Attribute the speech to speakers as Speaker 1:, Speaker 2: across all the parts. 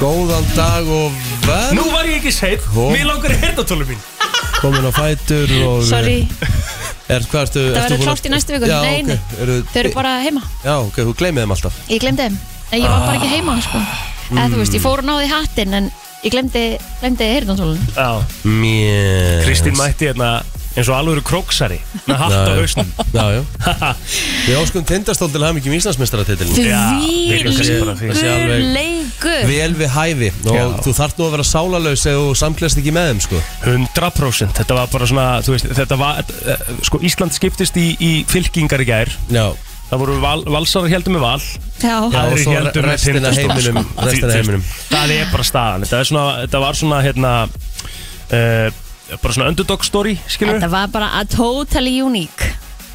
Speaker 1: Góðan dag og
Speaker 2: Nú
Speaker 1: verð
Speaker 2: var ég ekki seitt,
Speaker 1: Hó.
Speaker 2: mér langar í hernatólu mín
Speaker 1: Komin á fætur og
Speaker 3: Sorry,
Speaker 1: er, hvað ertu, ertu
Speaker 3: það verður
Speaker 1: búin að-
Speaker 3: klárt í næstu viku
Speaker 1: Já,
Speaker 3: Nei, nei,
Speaker 1: ok eru,
Speaker 3: þau eru bara heima
Speaker 1: Já, ok, þú gleymið þeim alltaf
Speaker 3: Ég glemdi þeim, en ég var bara ekki heima sko. Eða þú veist, ég fór og náði hattinn En ég glemdi, glemdi heyrnartólun
Speaker 2: Já,
Speaker 1: Mjö
Speaker 2: Kristín mætti hérna eins og alvöru króksari með hatt á hausnum
Speaker 1: Já, já Við óskum tindastól til hafum ekki Íslandsmeistaratitilin
Speaker 2: við erum kannski bara því.
Speaker 1: Þessi
Speaker 3: Þvílíkur
Speaker 1: alveg-
Speaker 3: leikur
Speaker 1: Vel við hæfi og
Speaker 2: Já.
Speaker 1: þú þarft nú að vera sálalaus ef þú samklest ekki með þeim sko
Speaker 2: 100% Þetta var bara svona, þú veist, þetta var eh, sko, Ísland skiptist í, í fylkingar í gær
Speaker 1: Já,
Speaker 2: Það voru val, valsarar heldur með val
Speaker 1: Já,
Speaker 3: Já,
Speaker 1: og
Speaker 2: Aðrir
Speaker 1: svo
Speaker 2: héldu með
Speaker 1: restina
Speaker 2: Tindastól,
Speaker 1: heiminum-
Speaker 2: sko.
Speaker 1: restina
Speaker 2: Því-
Speaker 1: heiminum.
Speaker 2: Það er bara staðan Þetta, er svona, þetta var svona, hérna uh, bara svona underdog story, skilur
Speaker 3: þetta var bara a totally unique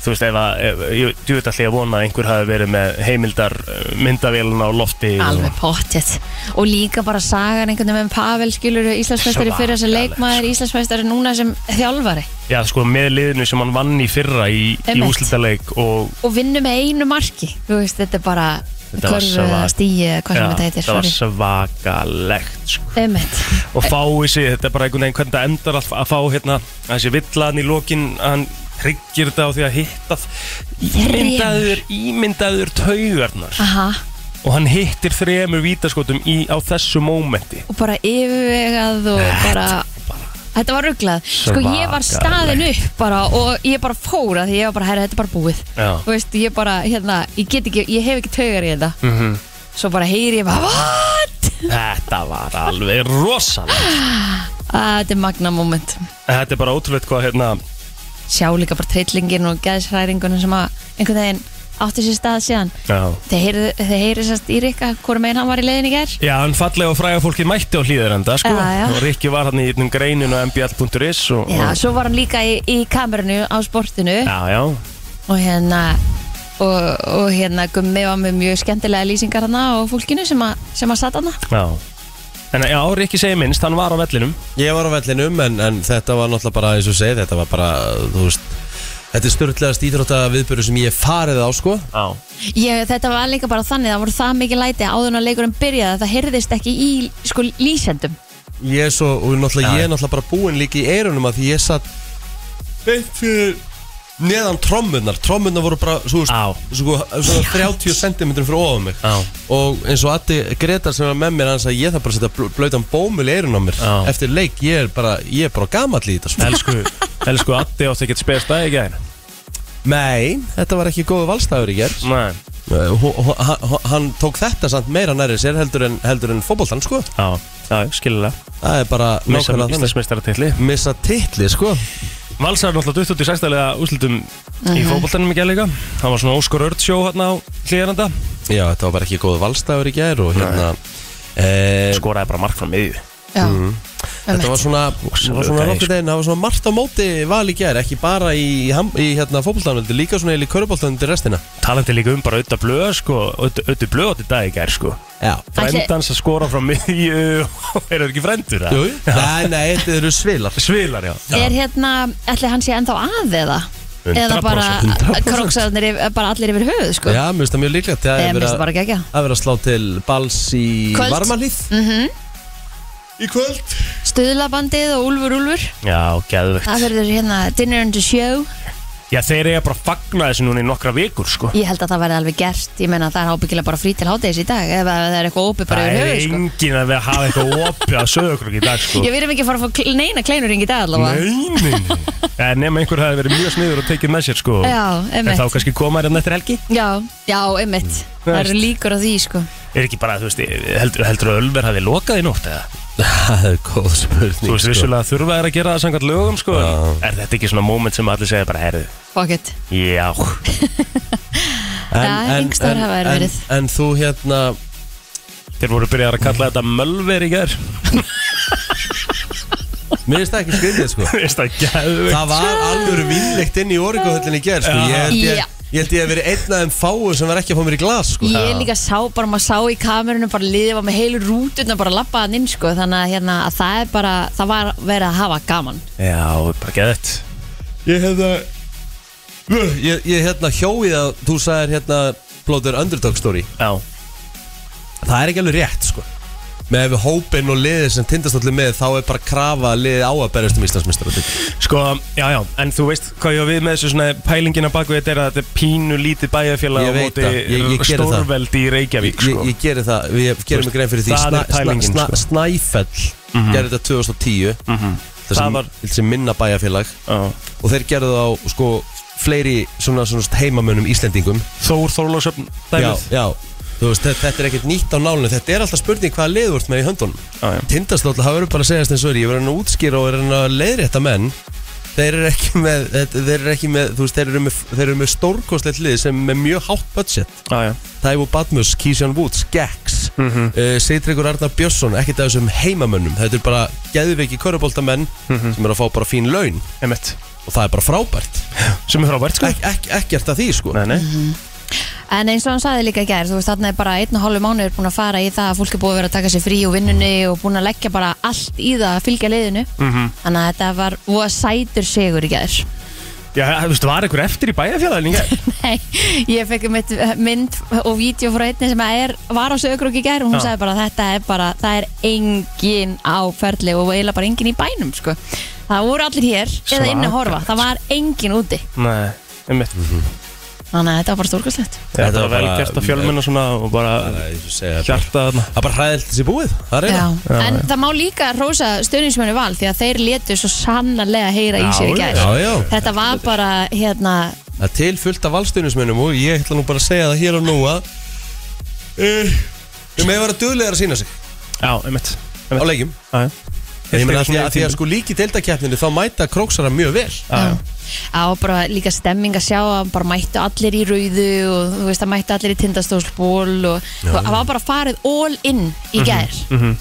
Speaker 2: þú veist, ef að, ef- ég djúið allir að vona að einhver hafi verið með heimildar eh, myndavélina á lofti
Speaker 3: Alveg pottet Og líka bara sagan einhvern veginn með Pavel skilur Íslandsmeistari fyrir þessi
Speaker 2: Svakalegt,
Speaker 3: leikmaður Íslandsmeistari núna sem þjálfari
Speaker 2: Og, já, sko, með liðinu sem hann vann í fyrra í, í
Speaker 3: Einmitt.
Speaker 2: úslitaleik og
Speaker 3: Og vinnu með einu marki Þú veist, þetta er bara
Speaker 2: Þetta var
Speaker 3: Körfu eða
Speaker 2: svak-
Speaker 3: stíi eða hvað
Speaker 2: já,
Speaker 3: sem þetta heitir
Speaker 2: það var
Speaker 3: sorry. Eh.
Speaker 2: svakalegt sko.
Speaker 3: Einmitt
Speaker 2: og fái sig, þetta er bara einhvern veginn hvernig það endar að, að fá hérna, þessi villan í lokin að hann hryggir þetta á því að hitta ímyndaður, ímyndaður taugarnar
Speaker 3: Aha
Speaker 2: og hann hittir þremur vítaskotum í, á þessu mómenti
Speaker 3: Og bara yfirvegað og bara Þetta var rugglað Sko ég var staðin upp bara Og ég bara fór að því ég var bara Herra, þetta er bara búið
Speaker 2: Já.
Speaker 3: Þú veist, ég bara, hérna Ég get ekki, ég hef ekki taugar í þetta -hmm. Svo bara heyri ég bara What?
Speaker 2: þetta var alveg rosalega
Speaker 3: Ah, Þetta er magna moment
Speaker 2: Þetta er bara ótrúleitt hvað hérna
Speaker 3: sjá líka bara trillingin og gæðsræringunum sem að einhvern veginn átti sér stað síðan
Speaker 2: Já,
Speaker 3: þeir heyrðu- þeir heyri sérst í Rikka hvora meginn hann var í leiðin í gær
Speaker 2: hann fallega og fræga fólki mætti á hlýðarenda sko
Speaker 3: Já, já.
Speaker 2: Og Rikki var hann í einnum greinin á mbl.is og,
Speaker 3: Já,
Speaker 2: og,
Speaker 3: svo var hann líka í, í kamerunu á sportinu
Speaker 2: já, já,
Speaker 3: og hérna og, og hérna Gummi var með mjög skemmtilega lýsingar hana og fólkinu sem að, sem að satt hana
Speaker 2: já En já, Rikki segir minnst, hann var á vellinum
Speaker 1: Ég var á vellinum en, en þetta var náttúrulega bara eins og ég segi, þetta var bara, þú veist Þetta er störtlegast íþrótta viðbörðu sem ég hef farið á sko
Speaker 2: Já,
Speaker 3: ég, Þetta var líka bara þannig, það voru það mikið læti áður en að leikurinn byrjaði að það heyrðist ekki í sko lýsendum
Speaker 1: Ég er svo, og náttúrulega,
Speaker 2: Já.
Speaker 1: ég er náttúrulega bara búinn líka í eyrunum að því ég satt beint fyrir neðan trommunar, trommunar voru bara sko, svo,
Speaker 2: Á.
Speaker 1: svo, svo 30 cm fyrir ofan mig
Speaker 2: Á.
Speaker 1: og eins og Addi Gretar sem var með mér hann sagði ég þarf bara að setja bl- blautan bómul í eyrun á mér
Speaker 2: Á.
Speaker 1: eftir leik, ég er bara, ég er bara gamall í þetta sko.
Speaker 2: elsku, elsku Addi átti ekkert spes dag í gæðin
Speaker 1: Nei, þetta var ekki góðu valstæður í gerð
Speaker 2: Nei,
Speaker 1: Hann tók þetta samt meira nærið sér heldur en, heldur en fótboltan sko
Speaker 2: já, já, skiljulega
Speaker 1: Það er bara
Speaker 2: Missa
Speaker 1: nákvæmlega þannig
Speaker 2: Íslandsmeistaratilli
Speaker 1: Missa titli sko
Speaker 2: Valsar er náttúrulega dutt út í sæstælega úslutum í fótboltanum í gæð líka Hann var svona Óskar Örd sjó hérna á hlýðarenda
Speaker 1: Já, þetta var bara ekki góð valstæður í gær og hérna e,
Speaker 2: Skoraði bara mark frá miðju
Speaker 3: Já, mm.
Speaker 1: Þetta var svona, það var svona
Speaker 2: Ósjálfrátt,
Speaker 1: nokkuð einn, það var svona margt á móti val í gær, ekki bara í, í, ham- í hérna fótboltanöldi, líka svona í köruboltanöldi restina.
Speaker 2: talandi líka um bara auðvitað blöð sko, auðvitað blöð átti dag í gær sko
Speaker 1: Já.
Speaker 3: Ætli-
Speaker 2: frendans að skora frá miðju og eru ekki frendur
Speaker 1: Jú,
Speaker 2: það?
Speaker 1: nei, nei, þetta eru svilar.
Speaker 2: Svilar já
Speaker 3: Er hérna, ætli hann sé ennþá að eða?
Speaker 2: 100%,
Speaker 3: Eða bara
Speaker 1: 100%.
Speaker 3: króksarnir, yfir- bara allir yfir höfuð, sko?
Speaker 1: Já, mér finnst það mjög líklegt. Það
Speaker 3: Eða
Speaker 1: er
Speaker 3: mér
Speaker 1: verið
Speaker 3: finnst það
Speaker 1: að-
Speaker 3: bara ekki ekki
Speaker 1: að vera að slá til bals í
Speaker 3: Kvöld.
Speaker 1: varmalíð. Í kvöld.
Speaker 3: Stöðlabandið og Úlfur Úlfur
Speaker 2: Já, geðvögt
Speaker 3: Það verður hérna Dinner and the Show
Speaker 2: Já, þeir eiga bara að fagna þessu núna í nokkra vikur sko
Speaker 3: Ég held að það verði alveg gert Ég meina það er ábyggilega bara frí til hátegis í dag Ef að það er eitthvað opið bara
Speaker 2: Það
Speaker 3: yfir
Speaker 2: er
Speaker 3: höfuð, sko
Speaker 2: enginn að við hafa eitthvað opið að sögja okkur í dag sko
Speaker 3: Ég verðum ekki að fara að fá kl- neina kleinuring í dag allavega
Speaker 2: Nei, nei, nei En nema einhver hafi verið mjög sniður og tekið með sér sko
Speaker 3: Já,
Speaker 2: En
Speaker 3: einmitt
Speaker 2: þá Mm. kannski koma hérna eftir helgi
Speaker 3: Já, já, einmitt Það eru líkur á því, sko
Speaker 2: Er ekki bara, þú veist, heldur, heldur að Ölver hafi lokað í nótt eða?
Speaker 1: Það er góð spurning.
Speaker 2: Þú veist,
Speaker 1: sko.
Speaker 2: vissulega þurfa er að gera það samkvæmt lögum sko en Er þetta ekki svona moment sem allir segja bara, herðu,
Speaker 3: Fuck it
Speaker 2: já
Speaker 3: Já, einhvers staðar hafa þær
Speaker 1: en,
Speaker 3: verið.
Speaker 1: en þú hérna, Mm.
Speaker 2: Þeir voru byrjar að kalla þetta mölver í gær
Speaker 1: mér finnst það ekki skriðið sko.
Speaker 2: Veist það gæðvegt
Speaker 1: Það var alveg vinnlegt inn í orðingahöllinni í gerð sko. ég, held
Speaker 3: Já.
Speaker 1: ég, ég held ég að verið einn af þeim fáu sem var ekki að fá mér í glas sko.
Speaker 3: Ég líka sá, bara maður sá í kamerunum bara liðið var með heilu rútuna bara lappaðan inn sko, þannig að, hérna, að það er bara það var verið að hafa gaman
Speaker 2: Já, bara gæðvegt
Speaker 1: Ég hefða Ég, ég hérna hjóið að þú sagðir hérna Blóður Underdog Story
Speaker 2: Já,
Speaker 1: Það er ekki alveg rétt sko með við hópin og liðið sem tindastóttir með þá er bara krafa að liðið á að berjast um Íslandsmeistar
Speaker 2: Sko, já, já, en þú veist hvað ég á við með þessu svona pælingina baku þetta er að þetta er pínu lítið bæjarfélag
Speaker 1: Ég
Speaker 2: á
Speaker 1: veit
Speaker 2: móti
Speaker 1: það, ég- ég geri það.
Speaker 2: stórveldi í Reykjavík,
Speaker 1: Ég,
Speaker 2: sko.
Speaker 1: ég geri það, við gerum mig grein fyrir því
Speaker 2: það
Speaker 1: Sna,
Speaker 2: er pælingin,
Speaker 1: sna,
Speaker 2: sko. Mhm.
Speaker 1: sna, Snæfell gerði þetta 2010 mm -hmm.
Speaker 2: Það var-
Speaker 1: þessi minna bæjarfélag
Speaker 2: Já.
Speaker 1: og þeir gerðu það á sko, fleiri svona, svona heimamönnum Íslendingum
Speaker 2: Þór Þórlásöfn
Speaker 1: já,
Speaker 2: dæmið
Speaker 1: já. Þú Veist, þetta, þetta er ekkert nýtt á nálinu þetta er alltaf spurning hvaða lið þú ert með í höndunum
Speaker 2: Já, já.
Speaker 1: Tindastóll, það verður bara að segja þess að ég verður að útskýra og verður að leiðrétta menn þeir eru ekki með, þetta- þeir eru ekki með, þú veist, þeir eru með, þeir eru með stórkostlegt lið sem er með mjög hátt budget
Speaker 2: Já, Mhm. já.
Speaker 1: Taivo Badmus, Kísjan Woods, Gex mm -hmm. uh, Seitryggur Arnar Björnsson ekkert af þessum heimamönnum þetta er bara geðveiki körubóltamenn
Speaker 2: Mhm.
Speaker 1: sem eru að fá bara fín laun
Speaker 2: Emmett
Speaker 1: og það er bara frábært
Speaker 2: sem er frábært sko
Speaker 1: Ek, ek, ekkert að því sko
Speaker 2: Nei, nei
Speaker 3: En eins og hann sagði líka í gær, þú veist, þarna er bara einn og hálfu mánuður búin að fara í það að fólk er búið að vera að taka sér frí og vinnunni og búin að leggja bara allt í það að fylgja liðinu.
Speaker 2: Mhm.
Speaker 3: -hmm. Þannig að þetta var voða sætur sigur í gær.
Speaker 2: Já, þú veist, var einhver eftir í bæjarfélagin
Speaker 3: Nei, ég fekk mitt mynd og vídeo frá einni sem er, var á sögurkróki í gær og hún
Speaker 2: Já.
Speaker 3: sagði bara þetta er bara, það er engin áferðli og eiginlega bara engin í bænum, sko. Það voru allir hér eða inn að horfa, það var engin úti.
Speaker 2: Nei, einmitt
Speaker 3: Þannig að þetta var bara stórkastlegt.
Speaker 1: Mhm. Þetta
Speaker 2: Þetta
Speaker 1: var
Speaker 2: var vel
Speaker 1: bara-
Speaker 2: gert að fjölmenn og svona og bara
Speaker 1: Nei, ég segi það.
Speaker 2: hjarta þarna
Speaker 1: Það er bara hræðilt þessi búið Það er
Speaker 3: Já,
Speaker 1: eiginlega.
Speaker 3: en það má líka rosa stöðningsmjönu val því að þeir letu svo sannarlega heyra í
Speaker 2: Já,
Speaker 3: sér í gær
Speaker 1: já, já.
Speaker 3: Þetta var bara, hérna,
Speaker 1: Það er til fullt af valstunismunum og ég ætla nú bara að segja það hér og nú að uh, við meðum vera duglegar að sína sig
Speaker 2: Já, einmitt
Speaker 1: á leikjum
Speaker 2: Já, já.
Speaker 1: En ég meina að því að,
Speaker 2: Svona
Speaker 1: því að sko líki deildakeppninu þá mæta króksara mjög vel
Speaker 2: Já, já.
Speaker 3: á bara líka stemming að sjá að bara mættu allir í rauðu og þú veist að mættu allir í tindastólsból og og það var bara farið all in
Speaker 2: Mhm.
Speaker 3: í gær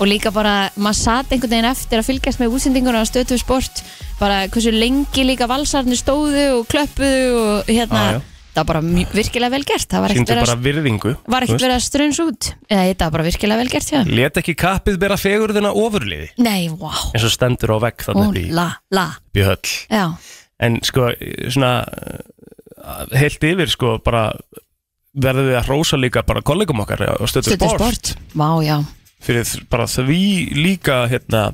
Speaker 3: og líka bara, maður satt einhvern veginn eftir að fylgjast með útsendinguna á stötu sport bara hversu lengi líka valsarnir stóðu og klöppuðu og hérna,
Speaker 2: Já, já.
Speaker 3: það var bara mjög- virkilega vel gert, það var ekkert
Speaker 2: Sýndu
Speaker 3: verið að
Speaker 2: bara virðingu
Speaker 3: var ekkert verið að strunns út eða þetta var bara virkilega vel gert hjá þeim
Speaker 2: Let ekki kappið bera fegurðina ofurliði
Speaker 3: nei, vá,
Speaker 2: eins og stendur á vegg þarna
Speaker 3: hún,
Speaker 2: upp í,
Speaker 3: la, la
Speaker 2: upp í höll
Speaker 3: já,
Speaker 2: En sko, svona uh, heilt yfir sko bara verðum við að hrósa líka bara kollegum okkar á stöðu
Speaker 3: stötu
Speaker 2: sport
Speaker 3: sport vá, já,
Speaker 2: fyrir þ- bara því líka hérna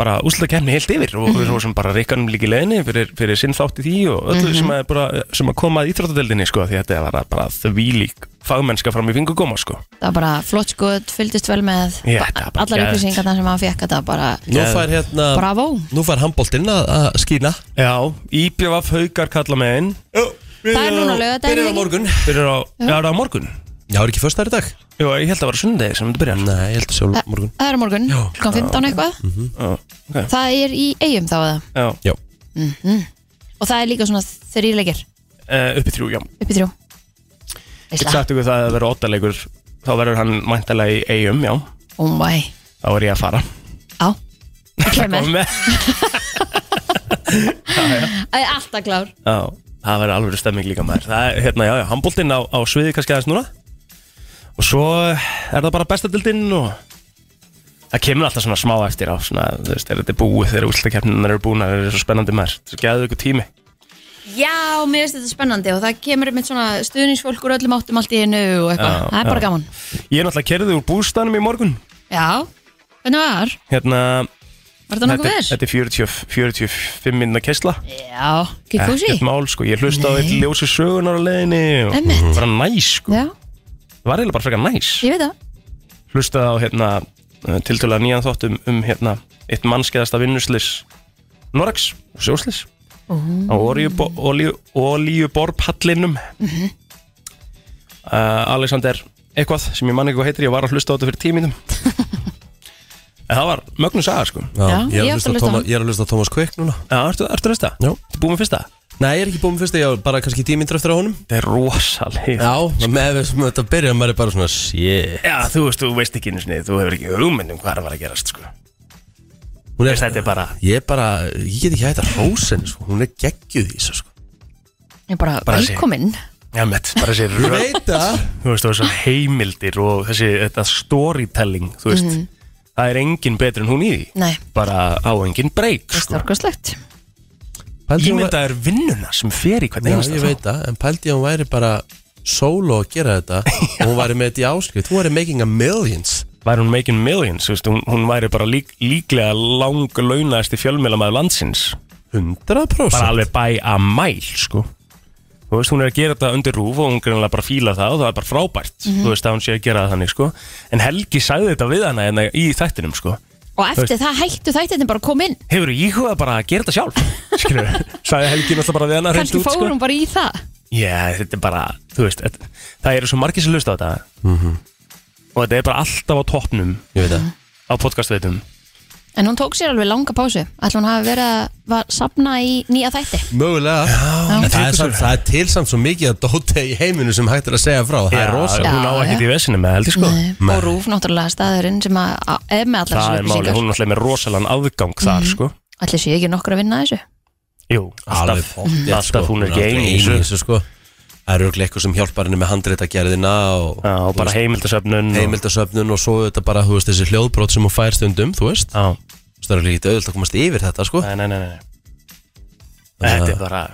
Speaker 2: bara úslakefni heilt yfir og við erum bara rikkanum líka í leðinni fyrir, fyrir sinn þátt í því og öllu sem, að er bara, sem að koma að íþróttadeldinni sko því þetta var bara því lík fagmennska fram í fingurgóma sko
Speaker 3: það var bara flott skot fylgdist vel með
Speaker 2: Já,
Speaker 3: ba-
Speaker 2: þetta var bara
Speaker 3: allar
Speaker 2: geðveikt.
Speaker 3: upplýsingarna sem hann fekk þetta var bara,
Speaker 1: Nú fær hérna
Speaker 3: bravo
Speaker 1: Nú fær handbóltinn að, að skýna
Speaker 2: Já, Íbjöfaf Haukar kalla með einn
Speaker 3: Það er núna laugardaginn,
Speaker 1: Byrjar á
Speaker 3: ekki?
Speaker 1: morgun
Speaker 2: fyrir á, já, er það á morgun
Speaker 1: Já, er ekki föstaðar í dag?
Speaker 2: Jú, ég held að það var sunnudegi sem þetta byrja
Speaker 1: Nei, ég held að sjá
Speaker 3: Þa-
Speaker 1: morgun Mhm.
Speaker 3: það er á morgun, klokkan 15 eitthvað
Speaker 2: Já, okay.
Speaker 3: það er í eigum þá eða Mhm.
Speaker 2: já
Speaker 1: Já
Speaker 3: og það er líka svona þrýleikir
Speaker 2: uh, uppi þrjú, já
Speaker 3: upp í þrjú
Speaker 2: Ég
Speaker 3: Veisla.
Speaker 2: sagt ykkur það að vera óttalegur þá verður hann mæntalega í eigum, já
Speaker 3: oh my,
Speaker 2: þá er ég að fara
Speaker 3: á kemur,
Speaker 2: með
Speaker 3: Það er alltaf klár
Speaker 2: Já, það verður alveg stemming líka maður Það er, hérna, já, já, handbóltinn á, á sviði kannski aðeins núna Og svo er það bara bestadildinn og Það kemur alltaf svona smá eftir á svona, þú veist, er þetta búið þegar útlitakeppnirnar eru búin það er svo spennandi maður, það er gæðu ykkur tími
Speaker 3: Já, mér finnst þetta spennandi og það kemur með svona stuðningsfólk úr öllum áttum allt í einu og eitthvað,
Speaker 2: Já,
Speaker 3: það er bara
Speaker 2: já.
Speaker 3: gaman
Speaker 2: Ég er náttúrulega kerðið úr bústanum í morgun
Speaker 3: Já, hvernig var?
Speaker 2: Hérna,
Speaker 3: Var það
Speaker 2: þetta,
Speaker 3: nokkuð
Speaker 2: er-
Speaker 3: verð?
Speaker 2: þetta er 40, 45 minna kessla
Speaker 3: Já, ekki kúsi
Speaker 2: Ekkert mál, sko, ég hlusta á eitt ljósi sögunar á leiðinni og
Speaker 3: Einmitt.
Speaker 2: bara næs, sko
Speaker 3: Já,
Speaker 2: Það var eiginlega bara frekar næs
Speaker 3: ég veit það
Speaker 2: hlustaði á hérna tiltölulega nýjan þátt um, um hérna eitt mannskeiðasta vinnuslis Norax og sjóslis á olíubo- olíu- olíuborpallinum
Speaker 3: Mhm.
Speaker 2: uh, Alexander eitthvað sem ég man ekki hvað heitir ég var að hlusta á þetta fyrir tíminum en það var mögnu saga sko
Speaker 3: Já,
Speaker 1: ég, er
Speaker 3: ég
Speaker 1: að
Speaker 3: átti að
Speaker 1: hlusta á
Speaker 3: hlusta á
Speaker 1: Tóma-
Speaker 3: hann.
Speaker 1: ég er að hlusta á Thomas Quick núna
Speaker 2: Já, ertu, ertu að hlusta?
Speaker 1: Já.
Speaker 2: Ertu búin með fyrsta?
Speaker 1: Nei, ég er ekki búin með fyrsta, ég er bara kannski tímyndur eftir á honum
Speaker 2: Það er rosalega
Speaker 1: Já, með við sem þetta byrja, maður er bara svona Shit
Speaker 2: Já, þú veist, þú veist ekki einu sinni, þú hefur ekki hugmynd um hvað það var að gerast sko
Speaker 1: Hún er,
Speaker 2: Veist, Þetta er bara
Speaker 1: ég er bara, ég get ekki hægt að hrósa henni sko. Hún er geggjuð í þessu sko.
Speaker 3: Ég er bara,
Speaker 2: Bara
Speaker 3: bara
Speaker 2: sé.
Speaker 3: velkomin
Speaker 2: Já, mitt, bara þessi
Speaker 1: Ég
Speaker 2: röð
Speaker 1: veit það
Speaker 2: þú veist, og þessar heimildir og þessi þetta storytelling, þú veist það er engin betur en hún í því
Speaker 3: Mhm. Nei,
Speaker 2: bara á engin breyk
Speaker 3: það er
Speaker 2: sko.
Speaker 3: stórkoslegt
Speaker 1: Pældi hún væri-
Speaker 2: Ímynda er vinnuna sem fer í hvernig
Speaker 1: Já,
Speaker 2: einasta
Speaker 1: ég veit það, en pældi ég að hún væri bara solo að gera þetta og hún væri með þetta í áskrift Hún væri making a millions
Speaker 2: væri hún making millions, þú veist, hún, hún væri bara lík, líklega lang launast í fjölmjölamæður landsins
Speaker 1: 100%
Speaker 2: bara alveg by a mile sko. þú veist, hún er að gera þetta undir rúf og hún greinlega bara fílar það og það er bara frábært
Speaker 3: Mhm.
Speaker 2: þú veist að hún sé að gera það þannig sko. en Helgi sagði þetta við hana hérna í þættinum sko.
Speaker 3: Og eftir það hættu þættirni bara að koma inn
Speaker 2: hefur þú íhugað bara að gera þetta sjálf skilur, sagði Helgi náttúrulega bara við hana hreint
Speaker 3: Kannski
Speaker 2: út, sko.
Speaker 3: fór hún bara í það
Speaker 2: Já, þetta er bara, þú veist, þetta, það eru svo margir sem hlusta á þetta og þetta er bara alltaf á toppnum
Speaker 1: Mhm. Ég veit það
Speaker 2: á podcastveitum.
Speaker 3: En hún tók sér alveg langa pásu Ætla hún hafi verið að var- safna í nýja þætti
Speaker 1: Mögulega Já, það, er samt, það er til samt svo mikið að dóta í heiminu sem hægt er að segja frá Það er rosa
Speaker 2: Hún á
Speaker 3: Já,
Speaker 2: ekkert
Speaker 3: já.
Speaker 2: í vesinu með heldur sko.
Speaker 3: Nei. Og Rúf náttúrulega staðurinn sem að, að, er með allar
Speaker 2: Það er málið,
Speaker 3: þessar
Speaker 2: hún
Speaker 3: upplýsingar
Speaker 2: er náttúrulega með rosalan aðgang þar sko.
Speaker 3: Ætli sé ekki nokkur að vinna að þessu
Speaker 2: Jú,
Speaker 1: Mhm. Alveg
Speaker 2: alltaf,
Speaker 1: pottþétt,
Speaker 2: alltaf
Speaker 1: sko.
Speaker 2: hún er ekki
Speaker 1: aldrei
Speaker 2: einu í þessu.
Speaker 1: sko. Það eru örugglega eitthvað sem hjálpar henni með handreitagerðina og
Speaker 2: Já, og bara heimildasöfnun. og-
Speaker 1: heimildasöfnun og svo þetta bara, þú veist, þessi hljóðbrot sem hún fær stundum, þú veist
Speaker 2: Já,
Speaker 1: Það er líka auðvitað að komast yfir þetta, sko
Speaker 2: nei, nei, nei, nei.
Speaker 1: Ah.
Speaker 2: Þetta er bara,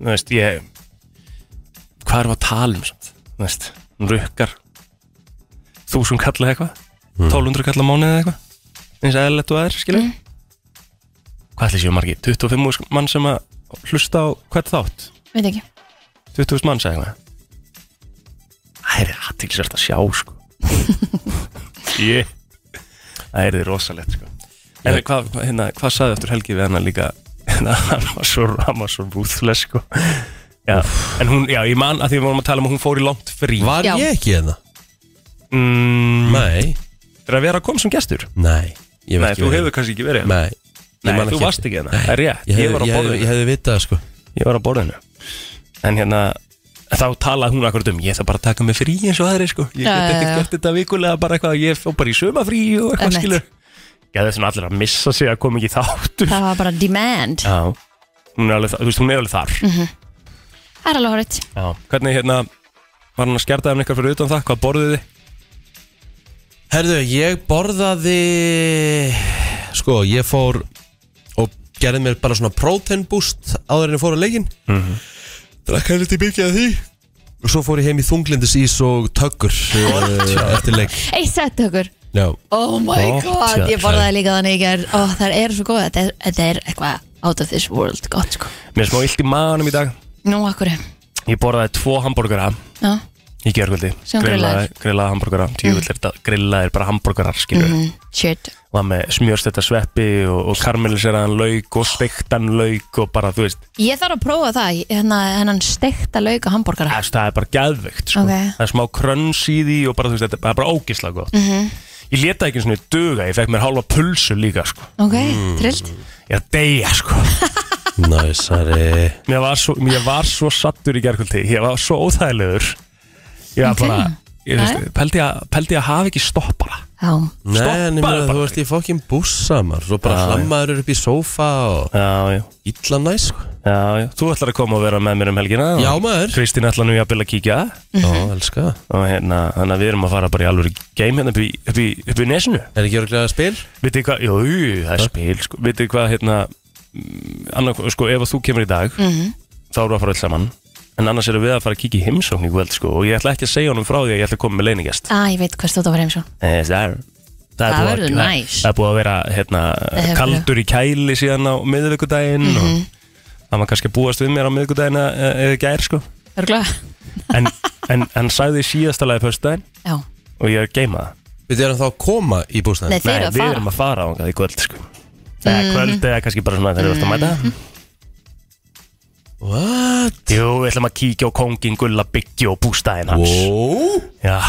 Speaker 2: þú veist, ég, hvað erum við að tala um samt? Þú veist, hún rukkar þúsund kalla eitthvað, 1200 kalla mánuð eða eitthvað, eins og eðlilegt og aðeins, skilur.
Speaker 3: Mm.
Speaker 2: Hvað ætli séu margir? 25 þúsund mann sem að hlusta á hvert þátt?
Speaker 3: Veit ekki
Speaker 2: 20.000 manns eða eitthvað? Það er aðtilsvært að sjá, sko. Ég. Það er þið rosalegt, sko. En
Speaker 1: Já.
Speaker 2: hvað, hvað- hérna, hvað sagði eftir helgi við hana líka? Hérna, hann var svo, hann var svo rúðfles, sko. Já, en hún, já, ég man að því við vorum að tala um að hún fór í langt frí.
Speaker 1: Var
Speaker 3: Já.
Speaker 1: ég ekki hérna?
Speaker 2: Mm,
Speaker 1: Nei,
Speaker 2: er að vera að koma sem gestur?
Speaker 1: nei Ég hef
Speaker 2: Nei,
Speaker 1: ekki
Speaker 2: þú
Speaker 1: verið.
Speaker 2: hefur kannski ekki verið. hérna.
Speaker 1: Nei, ég
Speaker 2: Nei,
Speaker 1: man
Speaker 2: þú
Speaker 1: eftir.
Speaker 2: varst ekki hérna. Það er rétt,
Speaker 1: Ég
Speaker 2: ég var á
Speaker 1: hefði- ég hefði-
Speaker 2: borðinu.
Speaker 1: ég hefði vitað, sko
Speaker 2: Ég var á borðinu. En hérna, þá talaði hún akkurat um, ég þarf bara að taka mig frí eins og aðri, sko. Ég
Speaker 3: Já,
Speaker 2: get
Speaker 3: já,
Speaker 2: ekki
Speaker 3: já.
Speaker 2: gert þetta vikulega, bara eitthvað, ég fór bara í sömafrí og eitthvað
Speaker 3: Einmitt.
Speaker 2: skilur. Já, það er svona allir að missa sig að koma ekki í þáttur.
Speaker 3: Það var bara demand
Speaker 2: Já, hún er alveg, þa- þú veist, hún er alveg þar.
Speaker 3: Mhm. Það er alveg horrið
Speaker 2: Já. Hvernig, hérna, var hann að skjarta um eitthvað fyrir utan það? Hvað borðið þið?
Speaker 1: Herðu, ég borðaði Sko, ég fór og gerði mér bara svona protein boost áður en ég fór á leikinn mm
Speaker 2: Mhm.
Speaker 1: -hmm. Drakk hann lítið byrgjaði því Og svo fór ég heim í þunglindisís og töggur eh, eftir leik
Speaker 3: Eitt sett okkur
Speaker 1: Já,
Speaker 3: Oh my
Speaker 2: Gott,
Speaker 3: god,
Speaker 2: já.
Speaker 3: ég borðaði líka þannig í ger oh, Það er svo góð, þetta er, þetta er eitthvað out of this world gott sko
Speaker 2: Mér er smá illt í maðanum í dag.
Speaker 3: Nú, akkur
Speaker 2: Ég borðaði tvo hambúrgara
Speaker 3: Já,
Speaker 2: í gerkvöldi.
Speaker 3: Sem grillaðir.
Speaker 2: Grillaði hambúrgara. Tjúvill er þetta grillaðir bara hambúrgarar, skilur. Mm.
Speaker 3: mm, shit
Speaker 2: Var með smjörstetta sveppi og, og karmeliseraðan lauk og steiktan lauk og bara, þú veist,
Speaker 3: Ég þarf að prófa það, hennan, hennan steikta lauka hambúrgara
Speaker 2: Æst, það er bara gæðveikt sko.
Speaker 3: Ok.
Speaker 2: það er smá kröns í því og bara, þú veist, þetta það er bara ógislega gott
Speaker 3: Mhm,
Speaker 2: -hmm. ég leta ekki svona í duga, ég fekk mér hálfa pulsu líka sko.
Speaker 3: Ok,
Speaker 4: Mm.
Speaker 3: trillt
Speaker 2: ég er að deyja sko.
Speaker 1: næsari
Speaker 2: mér, var svo, mér var svo sattur í gerkvöldi ég var svo óþægilegur ég var
Speaker 3: Ok.
Speaker 2: bara ég, þú
Speaker 3: Jæja.
Speaker 2: veist, pældi, að, pældi að hafa ekki stoppara
Speaker 3: Já,
Speaker 1: Nei, en ég
Speaker 2: Stoppaðu
Speaker 1: meina,
Speaker 2: bara.
Speaker 1: þú veist, ég fokkin bussamar Svo bara
Speaker 2: Já, já.
Speaker 1: hlammaður upp í sófa og
Speaker 2: já, já,
Speaker 1: illa næs sko.
Speaker 2: já, já. þú ætlar að koma og vera með mér um helgina
Speaker 1: Já,
Speaker 2: og
Speaker 1: maður
Speaker 2: Kristín ætlar nú jafnvel að kíkja
Speaker 1: Já, elska það.
Speaker 2: og hérna, þannig að við erum að fara bara í alvöru game hérna upp í, upp í, upp í nesinu
Speaker 1: Er ekki örglega spil?
Speaker 2: Vitið hvað, jú, það er spil sko. Vitið hvað, hérna mm, annar, sko, ef að þú kemur í dag
Speaker 3: Mhm.
Speaker 2: þá eru að fara öll saman en annars erum við að fara að kíkja í heimsókn í kvöld sko, og ég ætla ekki að segja honum frá því að ég ætla að koma með leiningest
Speaker 3: að ég veit hvað stóð að sko. vera heimsjón
Speaker 2: Eh, Það er Það, búið
Speaker 3: Það
Speaker 2: að-
Speaker 3: verður
Speaker 2: það-
Speaker 3: næs. Eh,
Speaker 2: það er búið að vera hérna,
Speaker 3: hefur
Speaker 2: kaldur í kæli síðan á miðvikudaginn
Speaker 3: Mhm.
Speaker 2: og það maður kannski að búast við mér á miðvikudaginn að- eh, eða gær sko.
Speaker 3: Örgulega
Speaker 2: en, en hann sagði síðastalagi föstudaginn
Speaker 3: Já,
Speaker 2: og ég er að geima það
Speaker 1: Við erum þá að koma í
Speaker 3: nei
Speaker 1: bústaðin
Speaker 3: þeir eru að
Speaker 2: við
Speaker 3: fara Mhm.
Speaker 2: erum að fara á það í kvöld sko. Eða kvöld eða kannski bara svona þegar við erum að mæta
Speaker 1: What?
Speaker 2: Jú, við ætlum að kíkja á kongin Gulla Byggju og bústæðin hans
Speaker 1: Wow,
Speaker 2: Já,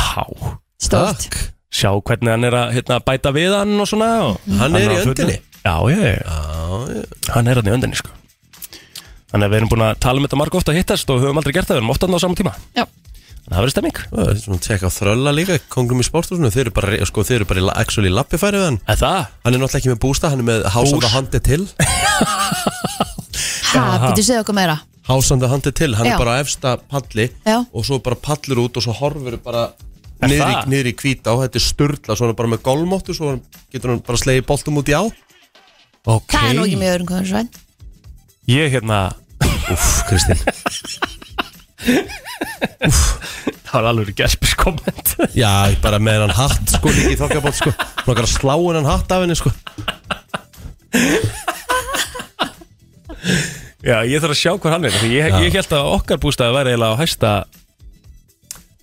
Speaker 3: Stórt
Speaker 1: takk
Speaker 2: sjá hvernig hann er að hérna, bæta við hann og svona og
Speaker 3: Mhm.
Speaker 1: Hann er í
Speaker 2: á fullu.
Speaker 1: öndinni?
Speaker 2: Já, ég, hann er hann í öndinni sko Þannig að við erum búin að tala um þetta marg ofta að hittast og höfum aldrei gert það, við erum ofta á saman tíma
Speaker 3: Já,
Speaker 2: Þannig að það verður stemming
Speaker 1: Það er svona að tekka á þrölla líka Kongrum í sporthúsinu, þeir eru bara, sko, þeir eru bara í la- actually lappifæri við hann
Speaker 2: Eða það?
Speaker 1: Hann er náttúrulega ekki með bústað, hann er með hásanda handi til
Speaker 3: ha, býttu segja okkur meira
Speaker 1: Hásanda handi til, hann
Speaker 3: Já.
Speaker 1: er bara á efsta palli
Speaker 3: Já.
Speaker 1: Og svo bara pallur út og svo horfur bara
Speaker 2: Er
Speaker 1: niður í,
Speaker 2: það?
Speaker 1: niður í hvít á Þetta er sturla, svo hann er bara með golmóttu Svo hann getur hann bara slegið boltum út í á
Speaker 2: Ok
Speaker 3: Það er nú ekki mjög örgulega svænt
Speaker 2: Ég hérna,
Speaker 1: Úff, Kristinn
Speaker 2: Það var alveg gæspis komment
Speaker 1: Já, ég bara með hennan hatt sko líka í þokkabót sko Nokkar að slá hennan hatt af henni sko
Speaker 2: Já, ég þarf að sjá hvað hann er því Ég, ég held að okkar bústæði væri eiginlega á hæsta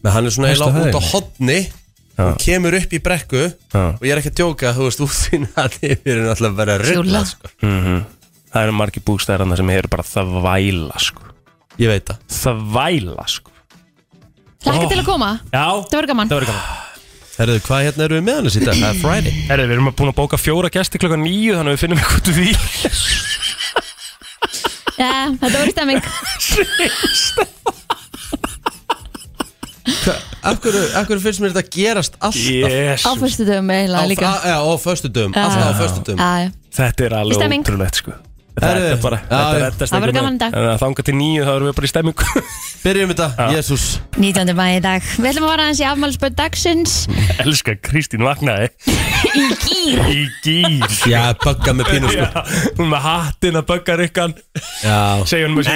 Speaker 1: Men hann er svona
Speaker 2: Hæsta
Speaker 1: eiginlega út á
Speaker 2: hæðinni.
Speaker 1: hotni
Speaker 2: Já.
Speaker 1: Hún kemur upp í brekku
Speaker 2: Já.
Speaker 1: Og ég er ekki að djóka, þú veist, út þín að þið er náttúrulega að vera
Speaker 3: Hjóla.
Speaker 1: rulla sko.
Speaker 2: Mhm. Það eru margir bústæðir hann sem eru bara þvæla sko
Speaker 1: Ég veit það
Speaker 2: Þvæla sko
Speaker 3: Hlakka til að koma
Speaker 2: Já
Speaker 3: Það verður gaman
Speaker 2: Það verður gaman
Speaker 1: Herðu, hvað hérna erum við með hann að sýta? Það er Friday
Speaker 2: Herri, við erum að búin að bóka fjóra gesti klokka nýju Þannig að við finnum eitthvað út úr því
Speaker 3: Já, Þetta verður stemming
Speaker 1: Hva, af, hverju, af hverju finnst mér þetta gerast alltaf?
Speaker 3: Á
Speaker 2: Jésus
Speaker 3: fyrstu dögum eiginlega líka
Speaker 1: Á, já, á föstudum, alltaf á föstudum
Speaker 3: Já, já.
Speaker 2: Þetta er alveg
Speaker 3: Stemming.
Speaker 2: ótrúlegt sko
Speaker 1: Herri,
Speaker 2: Þetta er bara
Speaker 1: já,
Speaker 2: Þetta
Speaker 1: já.
Speaker 2: reddast
Speaker 3: Það verður
Speaker 2: einhvern
Speaker 3: gaman í dag.
Speaker 2: veginn. En að Þanga til nýju þá erum við bara í stemmingu
Speaker 1: Byrjum þetta, Jésús
Speaker 3: 19. maður í dag Við ætlum að fara hans í afmálsböð dagsins
Speaker 2: Elskar Kristín vaknaði
Speaker 3: Í gýr
Speaker 2: Í gýr
Speaker 1: Já, bugga með pínu sko
Speaker 2: Já, Hún með hattin að böggar ykkan
Speaker 1: Já
Speaker 2: Segja hún með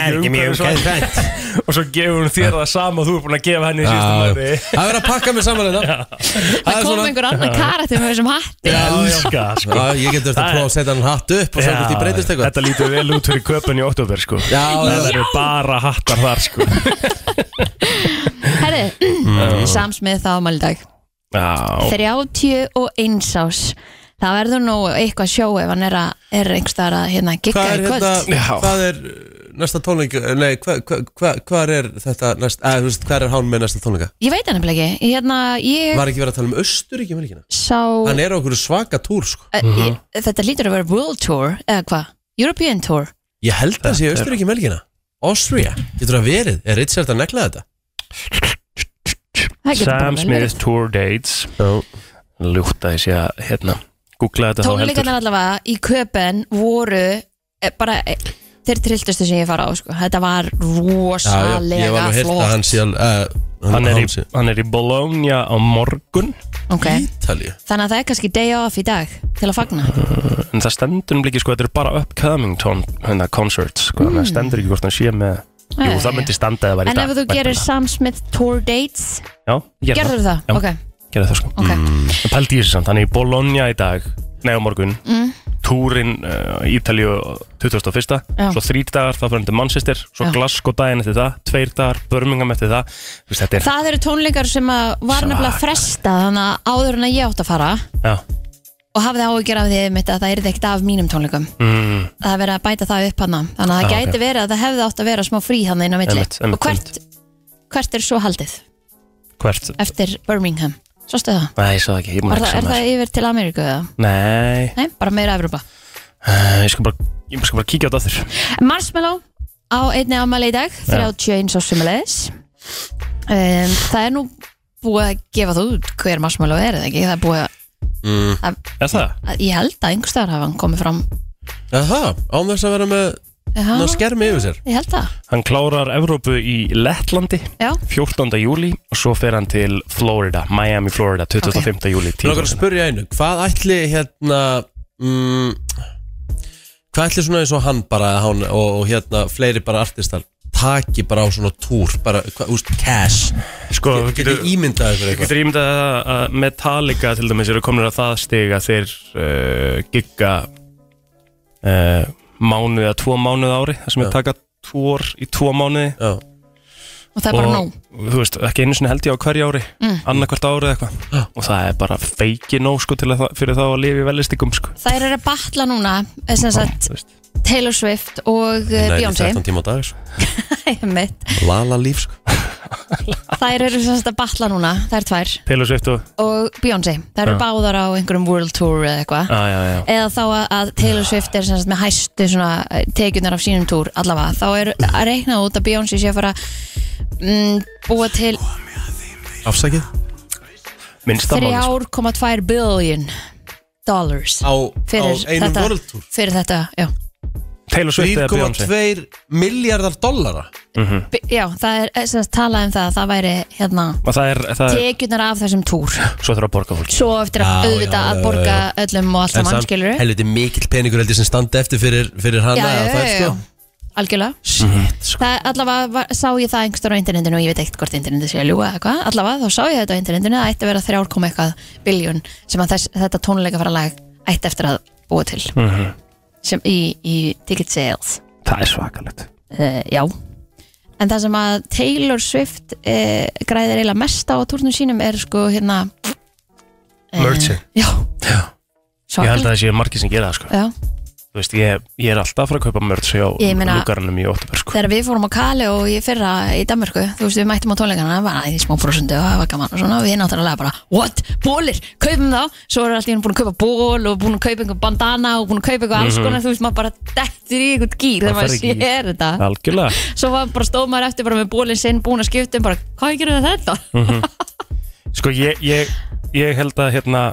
Speaker 2: sér
Speaker 1: fænt
Speaker 2: Og svo gefur hún þér það sama Þú er búin að gefa henni í síðustu
Speaker 1: Það
Speaker 2: mánuði.
Speaker 1: verður að pakka mig saman þetta
Speaker 3: Það kom einhver annar karakter með þessum hatti
Speaker 2: Elska sko
Speaker 1: Já, ég getur þetta að
Speaker 2: Það
Speaker 1: prófa
Speaker 2: er-
Speaker 1: að setja hann hatt upp og sjá hvort ég breytist eitthvað
Speaker 2: Þetta lítur vel út fyrir köpun í oktober sko
Speaker 1: Já,
Speaker 2: Það
Speaker 1: já,
Speaker 2: eru bara hattar þar sko
Speaker 3: Herri, samsmið það afmál í dag
Speaker 2: Já
Speaker 3: 31 ás Það verður nú eitthvað sjó ef hann er, að- er einhverstaðar að hérna gigga
Speaker 1: hvað er
Speaker 3: í kvöld
Speaker 1: hérna,
Speaker 2: Já.
Speaker 1: hvað er uh, næsta tónleik, nei, hvað hva, hva, hva er þetta næst, að, þú veist, hvað er hán með næsta tónleika?
Speaker 3: Ég veit hann nefnilega ekki Hérna, ég
Speaker 1: Var ekki verið að tala um Östuríki, maður ekki
Speaker 3: sá
Speaker 1: Hann er á okkur svaka túr, sko
Speaker 3: uh
Speaker 2: Mhm.
Speaker 3: Þetta lítur að vera World Tour eða hvað? European Tour
Speaker 1: Ég held að sé Östuríki melgina Austria, getur það verið, er Richard að negla þetta?
Speaker 3: Það getur bara
Speaker 2: Sam
Speaker 3: vel verið.
Speaker 2: Smith Tour Dates
Speaker 1: Já,
Speaker 2: Ljútt að ég sé að hérna Googla þetta þá heldur
Speaker 3: tónleikarnar allavega í köpen voru eh, bara eh, þeir trilltustu sem ég fara á sko. þetta var
Speaker 1: já, ég var
Speaker 3: rosalega
Speaker 1: nú hirt að hann
Speaker 3: flott
Speaker 1: sé alveg uh,
Speaker 2: Hann er, í,
Speaker 1: sé
Speaker 2: hann er í Bologna á morgun
Speaker 3: okay.
Speaker 1: Ítalíu
Speaker 3: þannig að það er kannski day off í dag til að fagna
Speaker 2: En það stendur um líki sko Þetta eru bara upcoming tón, hérna, concerts sko, mm. Það stendur ekki hvort hann sé með Jú,
Speaker 3: Jæja.
Speaker 2: það myndi standa eða væri í
Speaker 3: Eh, en
Speaker 2: dag
Speaker 3: ef þú
Speaker 2: væntanlega.
Speaker 3: gerir Sam Smith tour dates
Speaker 2: Já, ég gerði
Speaker 3: gerður það,
Speaker 2: Já.
Speaker 3: ok,
Speaker 2: Gerði það sko
Speaker 3: ok
Speaker 2: En pældi í þessu samt, hann er í Bologna í dag Nei, á morgun
Speaker 3: Mm.
Speaker 2: Túrin uh, Ítalíu 2001
Speaker 3: Já.
Speaker 2: Svo þrý dagar, það fyrir hann til Manchester Svo
Speaker 3: Já.
Speaker 2: Glasgow daginn eftir það Tveir dagar, Birmingham eftir það Þú veist, Þetta er
Speaker 3: það eru tónleikar sem að var nefnilega
Speaker 2: Svaka.
Speaker 3: fresta þannig að áður en að ég átt að fara
Speaker 2: Já,
Speaker 3: og hafði áhyggjur af því mitt að það er ekkert af mínum tónleikum
Speaker 2: mm,
Speaker 3: það er verið að bæta það upp hann þannig að það
Speaker 2: Já,
Speaker 3: gæti
Speaker 2: Ah, ok.
Speaker 3: verið að það hefði átt að vera smá frí hann inn á milli
Speaker 2: Einmitt, einmitt,
Speaker 3: og hvert, hvert er svo haldið
Speaker 2: hvert
Speaker 3: eftir Birmingham Svo stuð það
Speaker 2: Nei, ég svo það ekki, ég múið
Speaker 3: Er,
Speaker 2: að
Speaker 3: það,
Speaker 2: hugsa
Speaker 3: er
Speaker 2: um það
Speaker 3: það yfir til Ameríku eða?
Speaker 2: Nei,
Speaker 3: Nei, bara meira Evrópa
Speaker 2: uh, ég skal bara, ég skal bara kíkja á þetta aftur
Speaker 3: Marshmallow á einni ámæli í dag 31 á sumulegis um, Það er nú búið að gefa þú út hver Marshmallow er eða ekki Það er búið að,
Speaker 2: Mm. Er það?
Speaker 3: að ég held að einhverstaðar hafa hann komið fram
Speaker 1: Aha, án þess að vera með
Speaker 3: Já,
Speaker 1: ná skermi yfir sér
Speaker 3: ég held það
Speaker 2: Hann klárar Evrópu í Lettlandi
Speaker 3: Já,
Speaker 2: 14. júli og svo fer hann til Florida, Miami, Florida 25. Okay. júli
Speaker 1: Mér langar að spyrja einu, hvað ætli hérna mm, Hvað ætli svona eins og hann bara hann, og, og hérna fleiri bara artistar Taki bara á svona túr, bara, hvað, úst, cash
Speaker 2: Sko,
Speaker 1: Getur
Speaker 2: getur,
Speaker 1: getur ímyndað ykkur eitthvað
Speaker 2: getur ímyndað að- að Metallica til dæmis eru komin að það stig að þeir uh, gigga uh, mánuð eða tvo mánuð á ári það sem er
Speaker 1: Já.
Speaker 2: taka tvo ár í tvo mánuði
Speaker 1: Já,
Speaker 3: og það er bara nóg
Speaker 2: og þú veist, ekki einu sinni held ég á hverju ári mm. annarkvart ári eða eitthvað og það er bara feiki nóg sko til að, það- fyrir þá að lifa í velistingum sko
Speaker 3: Þær eru að batla núna eh, sem sagt,
Speaker 2: Þú veist.
Speaker 3: Taylor Swift og eh,
Speaker 1: Nei,
Speaker 3: Beyoncé
Speaker 1: 13 tíma á dag, sko
Speaker 3: Einmitt.
Speaker 1: Lala líf, sko
Speaker 3: Þær eru sem sagt að batla núna Þær tvær
Speaker 2: Taylor Swift og
Speaker 3: og Beyoncé það eru
Speaker 2: Já.
Speaker 3: báðar á einhverjum World Tour eða eitthvað
Speaker 2: ah, já, já.
Speaker 3: eða þá að- að Taylor Swift er sem sagt, með hæstu svona, eh, tekjurnar af sínum túr allavega, þá er að reikna út að Beyoncé sé að fara mm, búa til
Speaker 1: Afsakið
Speaker 2: minnsta máli sko.
Speaker 3: 3,2 billion dollars
Speaker 1: Á, á
Speaker 3: fyrir
Speaker 1: einum
Speaker 3: þetta,
Speaker 1: world tour
Speaker 3: fyrir þetta já.
Speaker 2: Taylor Swift eða Beyoncé
Speaker 1: 3,2 miljardar dollara
Speaker 3: B- já, það er eh, sem sagt, talað um það að það væri hérna,
Speaker 2: og það er, það er,
Speaker 3: tekjurnar af þessum túr
Speaker 2: svo þarf að borga fólk
Speaker 3: svo eftir að
Speaker 1: Já,
Speaker 3: auðvita
Speaker 1: já,
Speaker 3: að
Speaker 1: já,
Speaker 3: borga öllum og
Speaker 1: En
Speaker 3: allt saman
Speaker 1: samt,
Speaker 3: skilur
Speaker 1: helviti mikill peningur heldur sem standa eftir fyrir, fyrir hana eða þær, sko.
Speaker 3: algjörlega
Speaker 1: Shit, sko
Speaker 3: Það allavega var, sá ég það einhverstað á internetinu og ég veit ekkert hvort internetinu sé að ljúga eða hvað allavega þá sá ég þetta á internetinu að það ætti að vera 3,1 eitthvað biljón sem að þess, þetta tónleika fara lag ætti eftir að búa til sem í, í ticket sales
Speaker 2: Mhm. Það er svakalegt
Speaker 3: uh, já en það sem að Taylor Swift uh, græðir eiginlega mest á á tórnum sínum er sko hérna eh,
Speaker 1: Merching.
Speaker 3: já,
Speaker 2: Já. Ég held að
Speaker 3: svakalegt
Speaker 2: það séu margir sem gera það sko
Speaker 3: já.
Speaker 2: Þú veist, ég, ég er alltaf að fara að kaupa mörg hjá
Speaker 3: Ég meina-
Speaker 2: lúkarnum í óttubur sko
Speaker 3: þegar við fórum á Kali og ég fyrra í Danmarku þú veist við mættum á tónleikana það var aðeins smá prosundu og það var gaman og svona við náttúrulega bara what, bólir, kaupum þá svo er allt í hún búin að kaupa ból og búin að kaupa einhver bandana og búin að kaupa einhver alls konar þú veist maður bara dettur í einhvern gýr
Speaker 2: Mhm. Það
Speaker 3: þegar maður
Speaker 2: fer ekki í-
Speaker 3: sér þetta
Speaker 2: Algjörlega
Speaker 3: svo var bara stóð maður eftir bara með bólinn sinn búin að skipta um bara hvað gerir það þetta
Speaker 2: Mhm. Sko ég, ég, ég held að hérna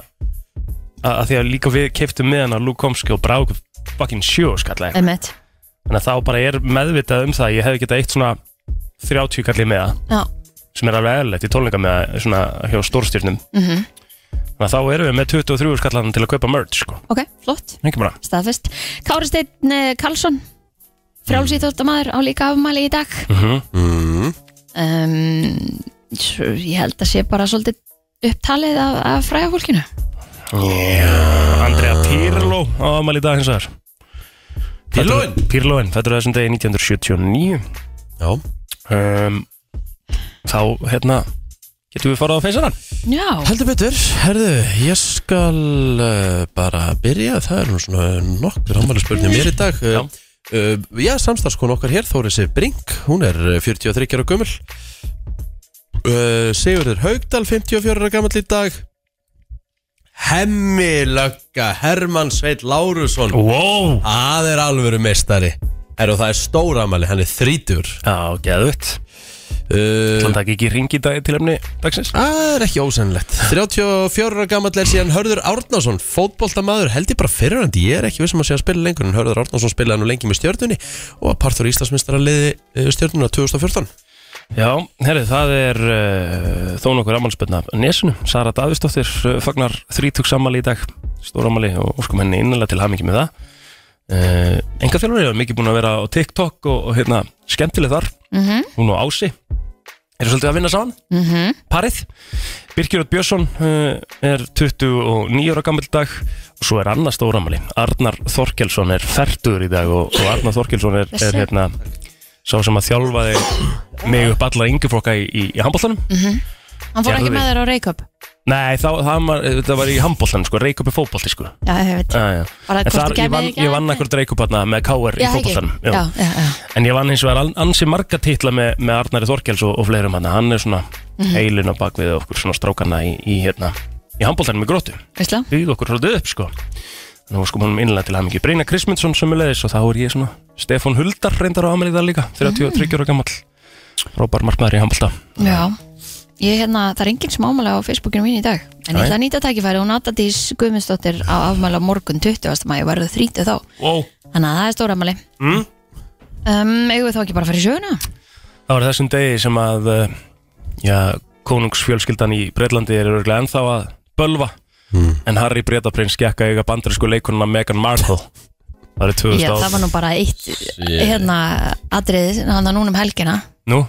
Speaker 2: að, að því að líka við keiftum með hann að Luke Komski og brá okkur fucking sjó skalla eitthvað.
Speaker 3: einmitt,
Speaker 2: Þannig að þá bara er meðvitað um það að ég hefði getað eitt svona 30 kalli með það
Speaker 3: já,
Speaker 2: sem er alveg eðlilegt í tónleika með það svona hjá stórstjörnum -hmm.
Speaker 3: mhm.
Speaker 2: Þannig að þá erum við með 23 skallan til að kaupa merch sko
Speaker 3: ok, flott
Speaker 2: Ekki bara
Speaker 3: staðfest, Kári Steinn eh, Karlsson frjálsýþóttamaður á líka afmæli í dag
Speaker 2: Mhm.
Speaker 3: um, svo ég held að sé bara svolítið upptalið af, af fræða fólkinu
Speaker 2: Andrea Pirlo á amal í dag hins vegar
Speaker 1: Pirloinn?
Speaker 2: Fæddur- Pirloinn, fættur þessum degi 1979
Speaker 1: Já,
Speaker 2: um, Þá, hérna, getum við farað á feysana
Speaker 3: já,
Speaker 1: heldur betur Herðu, ég skal uh, bara byrja Það er nú svona nokkur ammæli mér í dag
Speaker 2: Já.
Speaker 1: uh, uh, Já, samstarfskon okkar hér, Þóris Brink Hún er uh, 43 ára gömul uh, Sigurður Haugdal, 54 ára gamall í dag Hemmi Lögga, Hermann Sveit Lárusson
Speaker 2: Wow
Speaker 1: Það er alvöru meistari Herru, það er stóra amali, hann er þrítur
Speaker 2: Já, geðvitt
Speaker 1: uh,
Speaker 2: Þannig að ekki ringi í dag til efni dagsins
Speaker 1: Það er ekki ósennilegt 34 ára gammal er síðan Hörður Árnason Fótboltamaður held ég bara fyrirhandi Ég er ekki vissum að sé að spila lengur En Hörður Árnason spilaði nú lengi með stjörnunni Og var partur eh, í Íslandsmyndstara liði stjörnuna 2014
Speaker 2: Já, herri, það er uh, þó nokkur amalspötna Nesunu, Sara Davistóttir uh, fagnar þrítugs amali í dag Stór amali og skum henni innanlega til hamingi með það uh, Enga fjálfur er mikið búin að vera á TikTok og, og hérna, skemmtileg þar
Speaker 3: mhm,
Speaker 2: hún og Ási eru svolítið að vinna saman,
Speaker 3: mhm
Speaker 2: parið Birkir Ótt Björnsson uh, er 29 ára gammal dag og svo er annar stóramali, Arnar Þorkelsson er færtur í dag og, og Arnar Þorkelsson er, er hérna sá sem að þjálfaði mig upp alla yngjuflokka í, í, í handbóltanum
Speaker 3: mhm. hann fór
Speaker 2: Gerði.
Speaker 3: ekki með þér á Reykjavík
Speaker 2: Nei, þá, það, var, það var í handbóltanum sko, Reykjavík er fótbolti sko
Speaker 3: já, ég veit,
Speaker 2: ah,
Speaker 3: bara
Speaker 2: En þar,
Speaker 3: hvort þú
Speaker 2: ég
Speaker 3: kemur
Speaker 2: vann, ég vann akkur dreikupatna með KR í
Speaker 3: já, ekki,
Speaker 2: fótboltanum
Speaker 3: já, já, já
Speaker 2: En ég vann eins og er ansi marga titla með, með Arnari Þorkels og, og fleirum hann Hann er svona heilin á bakvið okkur svona strákana í, í hérna Í handbóltanum í gróttu
Speaker 3: Veistla?
Speaker 2: Byggði okkur svolítið upp sko Nú sko mannum innlega til hamingi Brynja Krismundsson sömulegis og þá er ég svona Stefán Huldar reyndar á amelíða líka 33 ára gammal Rópar markmaður í handbólta
Speaker 3: Já, ég hérna, það er enginn sem ámæla á Facebookinu mín í dag En
Speaker 2: Nei.
Speaker 3: ég ætla að nýta tækifæri og Natadís Guðmundsdóttir á afmæla á morgun 20. maður verður 30 þá
Speaker 2: Wow
Speaker 3: Þannig að það er stóra afmæli
Speaker 2: Mm.
Speaker 3: um, Eigum við þá ekki bara að fara í söguna?
Speaker 2: Það var þessum degi sem að uh, Já, konungsfjölskyldan í Breitlandi er örgulega ennþá að bölva
Speaker 1: Hmm.
Speaker 2: En Harry Bretaprins gekk að eiga bandarísku leikununa Meghan Markle Það er 2000
Speaker 3: Já, það var nú bara eitt hérna atrið, hann að núna um helgina
Speaker 2: Nú?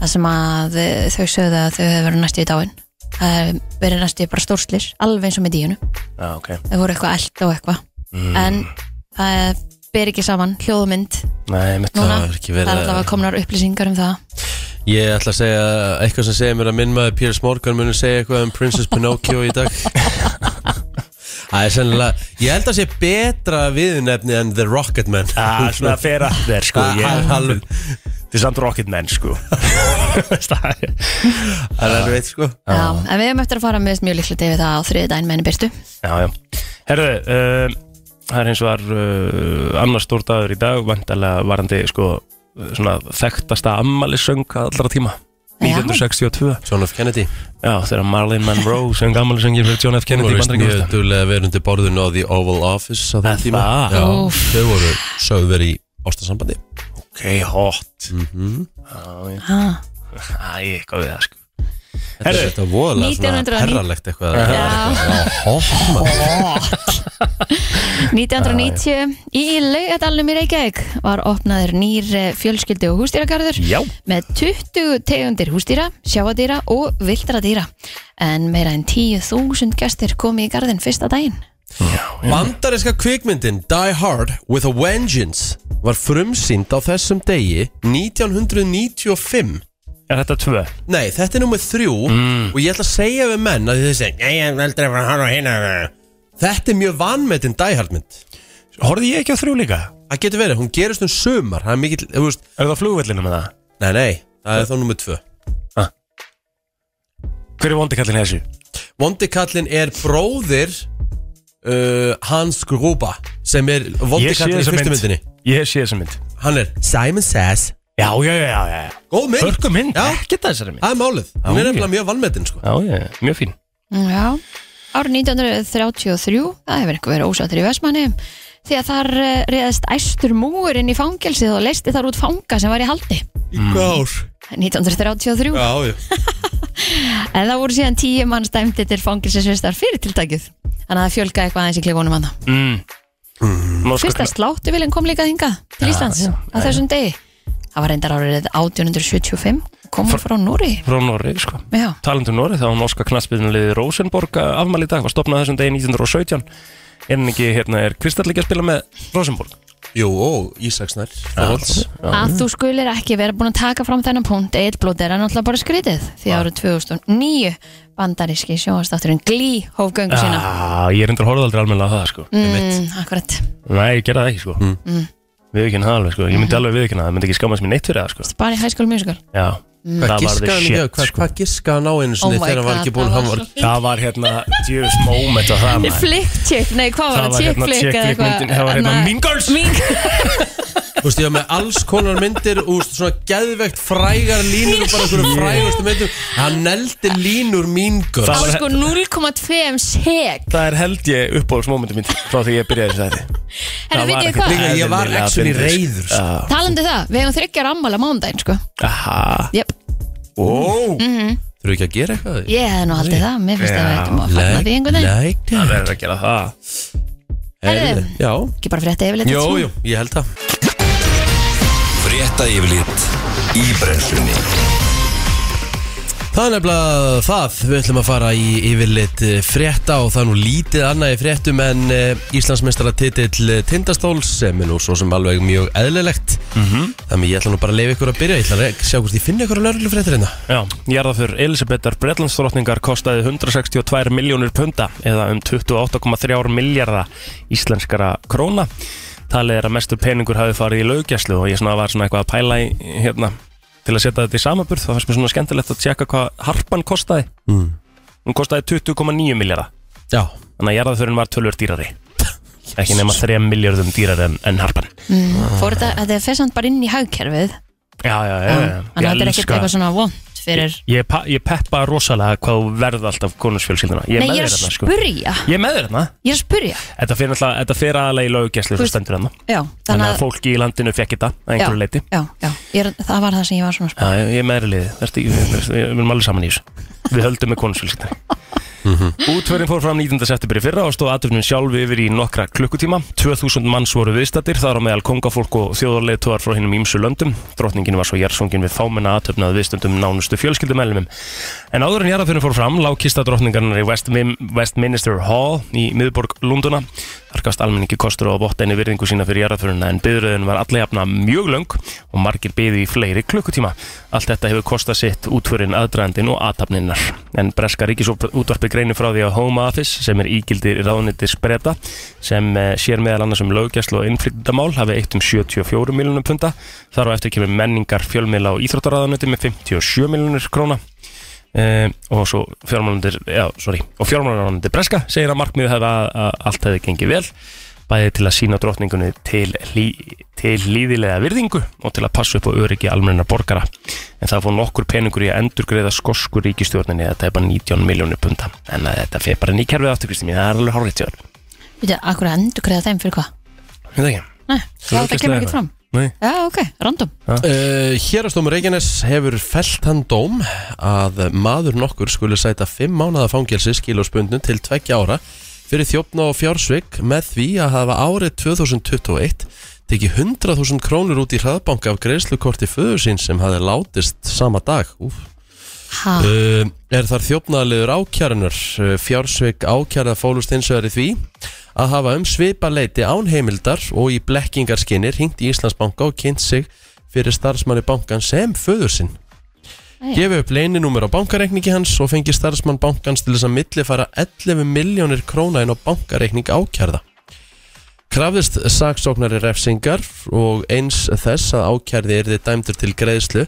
Speaker 3: Það sem að eh, þau sögðu að þau hefur verið næstu í dáin Það hefur verið næstu í bara stórslir Alveg eins og með díunu
Speaker 2: Já, ok
Speaker 3: Þau voru hérna. eitthvað eld og eitthvað
Speaker 1: Mm.
Speaker 3: En það ber ekki saman hljóðmynd
Speaker 2: Nei, mitt
Speaker 3: núna
Speaker 1: Það er ekki verið
Speaker 3: Það er
Speaker 1: að-
Speaker 3: allavega komnar upplýsingar um það
Speaker 1: Ég ætla að segja eitthvað sem segir mér að minn maður Piers Morgan muni segja eitthvað um Princess Pinocchio í dag Það er sennilega Ég held að sé betra viðnefni en The Rocketman
Speaker 2: Það er svona að fera þér sko
Speaker 1: Það
Speaker 2: ég,
Speaker 1: er alveg-
Speaker 2: Þið er samt Rocketman sko Það er-
Speaker 1: Það er veit sko
Speaker 3: Já, en við hefum eftir að fara með mjög líklega yfir það á þriði daginn með henni byrtu
Speaker 2: Já, já Herðu, um, það er eins og var uh, annar stór dagur í dag Vandalega varandi sko uh, svona þekktasta ammælissöng allra tíma
Speaker 3: Já.
Speaker 2: 1962
Speaker 1: John F. Kennedy
Speaker 2: Já, þegar Marlene Monroe söng ammælissöngir fyrir John F.
Speaker 1: Hún
Speaker 2: Kennedy
Speaker 1: var
Speaker 2: í
Speaker 1: veist mjög
Speaker 2: Bandaríkjum
Speaker 1: duglega að vera undir borðinu á The Oval Office á
Speaker 2: Er
Speaker 1: þeim tíma
Speaker 2: það?
Speaker 1: Já,
Speaker 3: Úff.
Speaker 1: Þau voru sögðu verið í ástasambandi
Speaker 2: Ok, hot
Speaker 1: mm -hmm.
Speaker 2: Æ,
Speaker 3: ah.
Speaker 2: eitthvað við það sko Herru.
Speaker 1: Þetta er voðalega svona
Speaker 3: 1990.
Speaker 1: herralegt eitthvað
Speaker 2: Já.
Speaker 1: Já,
Speaker 3: 1990 í laugadalunum í Reykjavík var opnaður nýr eh, fjölskyldu og hústýragarður
Speaker 2: Já.
Speaker 3: með 20 tegundir hústýra, sjáadýra og vildra dýra en meira en 10.000 gestir komi í garðin fyrsta daginn
Speaker 1: Bandarinska kvikmyndin Die Hard with a Vengeance var frumsýnd á þessum degi 1995
Speaker 2: Er þetta tvö? Mm.
Speaker 1: Nei, þetta er nummið þrjú og ég ætla að segja við menn að þið segja Nei, ég er aldrei að fara að horfa á hina Þetta er mjög vanmetin Die Hard mynd
Speaker 2: Horfði ég ekki á þrjú líka?
Speaker 1: Það getur verið, hún gerist um sumar Það er mikill, þú veist
Speaker 2: Er það flugvellinu með það?
Speaker 1: Nei, nei, það er þá nummið tvö
Speaker 2: Hver er vondikallin í þessu?
Speaker 1: Vondi kallinn er bróðir uh, Hans Gruba sem er vondi
Speaker 2: Ég sé
Speaker 1: kallinn í
Speaker 2: þessa
Speaker 1: fyrstu
Speaker 2: mynd.
Speaker 1: myndinni
Speaker 2: Ég sé þessa mynd
Speaker 1: Hann er Simon Says
Speaker 2: Já, já, já, já, já.
Speaker 1: Góð mynd,
Speaker 2: Hörku mynd,
Speaker 1: Já.
Speaker 2: ekkert að þessari mynd
Speaker 1: það er málið Hún
Speaker 2: Já,
Speaker 1: er
Speaker 2: ég.
Speaker 1: nefnilega mjög vanmetin sko
Speaker 2: Já, já, já, mjög fín
Speaker 3: Já, árið 1933 það hefur eitthvað verið ósáttur í Vestmanni því að þar eh, réðst æstur múur inn í fangelsið og leisti þar út fanga sem var í haldi
Speaker 1: Í
Speaker 2: Mm.
Speaker 1: góð Já,
Speaker 3: 1933
Speaker 1: já
Speaker 3: en það voru síðan 10 mann stæmdi til fangelsisvistar fyrir tiltakið þannig að það fjölga eitthvað aðeins í klifunum hann
Speaker 2: mm.
Speaker 1: Mm.
Speaker 2: Nú sko,
Speaker 3: Fyrsta sláttuvilin kom líka hingað til Íslands á þessum degi. Það var reyndar árið 1875, kom hún frá Núri.
Speaker 2: frá Norri, sko
Speaker 3: Já,
Speaker 2: Talandur Norri, þá var norska knassbyrnulegið Rosenborg að afmæli í dag, var stopnað þessum degi 1917 En ekki, hérna, er Kristall líka að spila með Rosenborg
Speaker 1: Jú, ó, Ísaksnær Þorvalds.
Speaker 3: að þú skulir ekki vera búin að taka fram þennan punkt eitt blótt er hann alltaf bara skrítið því árið 2009 bandaríski sjóastátturinn Glee hóf göngu sína.
Speaker 2: Já, ég er endur horfði aldrei almennilega að það, sko
Speaker 3: Mm, akkurat.
Speaker 2: Nei, ég gerði það ekki, sko mm. Við ekki það alveg, sko, ég myndi alveg við það, það myndi ekki skammast mér neitt fyrir það, sko
Speaker 3: Bara í High School Musical.
Speaker 2: Já,
Speaker 1: Hvað
Speaker 2: það var
Speaker 1: giskaði
Speaker 2: the
Speaker 1: hann
Speaker 2: shit,
Speaker 1: ekki hvað-
Speaker 2: sko
Speaker 1: Hvað giskaði hann á einu sinni
Speaker 3: Oh my
Speaker 1: þegar hann var
Speaker 3: God,
Speaker 1: ekki búin
Speaker 3: það
Speaker 1: hann
Speaker 3: var
Speaker 1: var
Speaker 3: svo-
Speaker 2: Það var hérna, djöfus moment á það, maður.
Speaker 3: Flick chick, nei hvað
Speaker 2: Það
Speaker 3: var það?
Speaker 2: var
Speaker 3: Chick
Speaker 2: hérna
Speaker 3: flick
Speaker 2: chick
Speaker 3: eða
Speaker 2: flick
Speaker 3: eitthvað?
Speaker 2: myndin, það var hérna Mean Girls.
Speaker 3: Mean
Speaker 1: Þú veist, ég var með alls konar myndir úr svona geðvegt frægar línur og bara einhverju frægustu myndum Hann neldi línur mín görs
Speaker 2: Það
Speaker 3: Það
Speaker 2: var-
Speaker 3: var sko 0,2 seg.
Speaker 2: Það er held ég uppáhaldsmómentum mín frá því ég byrjaði þess að því
Speaker 3: Herra, veit ég hvað?
Speaker 1: Líka ég var actually reiður, sko.
Speaker 3: Talandi það, við hefum þryggjar ammala mándaginn sko.
Speaker 2: Aha
Speaker 3: Jöp.
Speaker 2: Ó
Speaker 1: Þurfum við ekki að gera eitthvað? að því?
Speaker 3: Mhm. Ég hef nú haldið það, mér finnst að við ættum að fagna því einhvern veginn
Speaker 1: Like that.
Speaker 2: Það verður að gera það
Speaker 3: Herðu.
Speaker 1: Já
Speaker 3: Ekki bara frétta yfirleitt sko.
Speaker 1: Jú,
Speaker 3: svona.
Speaker 1: jú, ég held það
Speaker 5: Frétta yfirlit í brennslunni
Speaker 1: Það er nefnilega það, við ætlum að fara í yfirleitt eh, frétta og það er nú lítið annað í fréttum en uh, Íslandsmeistara titill Tindastóls sem er nú svo sem alveg mjög eðlilegt Þannig ég ætla nú bara að leifa ykkur að byrja, ég ætla að re- sjá hvort ég finna ykkur að lörglu fréttir hérna
Speaker 2: Já, jarðaför Elisabethar Bretlandsdrottningar kostaði 162 miljónir punda eða um 28,3 miljardar íslenskara króna Talið er að mestur peningur hafi farið í löggjæslu og ég svona var svona eitthvað að pæla í hérna til að setja þetta í samaburð þá fannst mér svona skemmtilegt að tjekka hvað harpan kostaði mm. Hún kostaði 20,9 miljardar
Speaker 1: Já,
Speaker 2: Þannig að jarðaförin var tölvör dýrari Ekki nema 3 miljardum dýrari en, en harpan
Speaker 3: Mm, Fór þetta, þetta er fyrst samt bara inn í hagkerfið
Speaker 2: Já, já, já, já.
Speaker 3: Þannig að þetta er ekkert eitthvað svona vond fyrir
Speaker 2: ég, pa, ég peppa rosalega hvað þú verð alltaf konusfjölskylduna Ég er
Speaker 3: Nei,
Speaker 2: með þér
Speaker 3: ég er að
Speaker 2: þarna sko
Speaker 3: spyrja
Speaker 2: Ég er með þér þarna
Speaker 3: Ég er að spyrja
Speaker 2: Þetta fyrir, alltaf, þetta fyrir aðalega í lögugæslu
Speaker 3: Þú
Speaker 2: sem
Speaker 3: veist-
Speaker 2: stendur þarna
Speaker 3: Já,
Speaker 2: Þannig að fólki í landinu fekk þetta að
Speaker 3: Já,
Speaker 2: einhverju leiti
Speaker 3: já, já, ég er, það var það sem ég var svona sko. að
Speaker 2: Já, ég ég er meðri liði, verðst ekki, við erum alveg saman í þessu Við höldum með konusfjölskyldinu Mhm, Útförin fór fram 19. september í fyrra og stóð aðtöfnum sjálf yfir í nokkra klukkutíma 2000 manns voru viðstattir, þar á meðal kongafólk og þjóðarleituar frá hinnum ímsu löndum Drottningin var svo jærsungin við fámenna aðtöfnað viðstöndum nánustu fjölskyldumeljumum En áður en jarðaförin fór fram lág kista drottningarnar í Westmin Westminster Hall í miðborg Lunduna Þar gafst almenningi kostur á að votta henni virðingu sína fyrir jarðaförina en byðröðin var alla jafna mjög löng og margir byði í fleiri klukkutíma. Allt þetta hefur kostað sitt útförin aðdraðandin og aðtapninnar. En breska ríkisútvarpi greinir frá því að Home Office sem er ígildi ráðniti spreta sem eh, sér meðal annars um löggjæslu og innflytendamál hafi eitt um 74 miljonum punda. Þar á eftir kemur menningar fjölmiðla og íþróttaráðanöti með 57 miljonur króna. Uh, og svo fjármálandir já, sorry, og fjármálandir Breska segir að markmiðu hefði að, að allt hefði gengið vel bæði til að sína drottningunni til, hlý, til líðilega virðingu og til að passa upp á öryggi almenna borgara en það fór nokkur peningur í að endurgreiða skosku ríkistjórninni þetta er bara 19 miljónir punda en að þetta fer bara nýkerfið aftur Kristi mín, það er alveg hárið tjóður
Speaker 3: Þú veit, akkur að endurgreða þeim fyrir hvað?
Speaker 2: Þetta ekki?
Speaker 3: Nei, já, það
Speaker 2: ekki
Speaker 3: kemur
Speaker 2: slega
Speaker 3: ekkert fram
Speaker 2: Nei.
Speaker 3: Já, ok, random
Speaker 1: Uh, Hérastómur Reykjanes hefur felt hann dóm að maður nokkur skulle sæta 5 mánada fangelsi skilóspundnu til 2 ára fyrir þjófna og fjársvik með því að hafa árið 2021 tekið 100.000 krónur út í hraðbanka af greiðslukorti föður sín sem hafði látist sama dag. Úf.
Speaker 3: ha.
Speaker 1: Uh, er þar þjófnaðaliður ákjærunar uh, fjársveik ákjærða fólust eins og er í því að hafa um svipa leiti án heimildar og í blekkingarskinir hringt í Íslandsbanka og kynnt sig fyrir starfsmanni bankan sem föður sinn
Speaker 3: Æja.
Speaker 1: gefið upp leininúmer á bankareikningi hans og fengi starfsmann bankans til þess að millifara 11 miljónir króna inn á bankareikning ákjærða Krafðist saksóknari refsingar og eins þess að ákjærði er þið dæmdur til greiðslu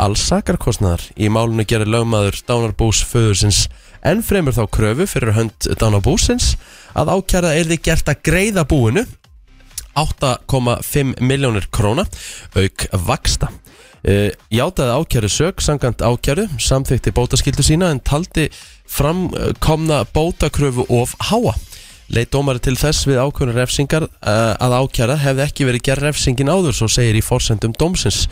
Speaker 1: alls sakarkostnaðar í málinu gerir lögmaður dánarbús föðursins en fremur þá kröfu fyrir hönd dánarbúsins að ákjærða er þið gert að greiða búinu 8,5 miljónir króna auk vaksta. Uh, játaði ákjæru sög samkant ákjæru, samþykti bótaskildu sína en taldi framkomna bótakröfu of háa. Leit dómari til þess við ákvörnur refsingar uh, að ákjæra hefði ekki verið gerð refsingin áður, svo segir í forsendum dómsins.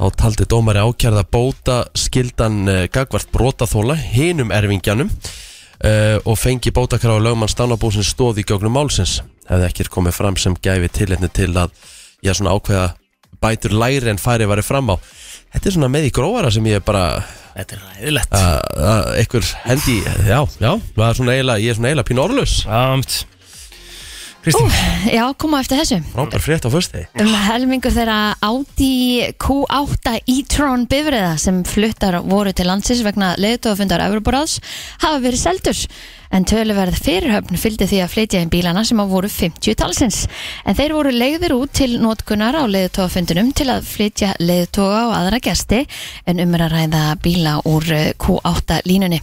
Speaker 1: Þá taldi dómari ákjærða bótaskildan uh, gagvart brotaþóla hinum erfingjanum uh, og fengi bótakráð lögmann stánabúsins stóð í gögnum málsins hefði ekkert komið fram sem gæfi tilhetni til að ég svona ákveða bætur læri en færi væri fram á þetta er svona með í grófara sem ég er bara
Speaker 2: Þetta er ræðilegt
Speaker 1: að að einhver hendi, já, já það er svona eiginlega, ég er svona eiginlega pínu orðlaus
Speaker 2: Samt Kristín
Speaker 3: Já, koma á eftir þessu
Speaker 1: frábær frétt á föstudegi
Speaker 3: Um helmingur þeirra Audi Q8 e-tron bifriða sem fluttar voru til landsins vegna leiðtofundar Európaráðs hafa verið seldur en töluverð fyrirhöfn fylgdi því að flytja inn bílana sem að voru 50 talsins en þeir voru leiðir út til notkunar á leiðtofundunum til að flytja leiðtoga og aðra gesti en um er að ræða bíla úr eh, Q8 línunni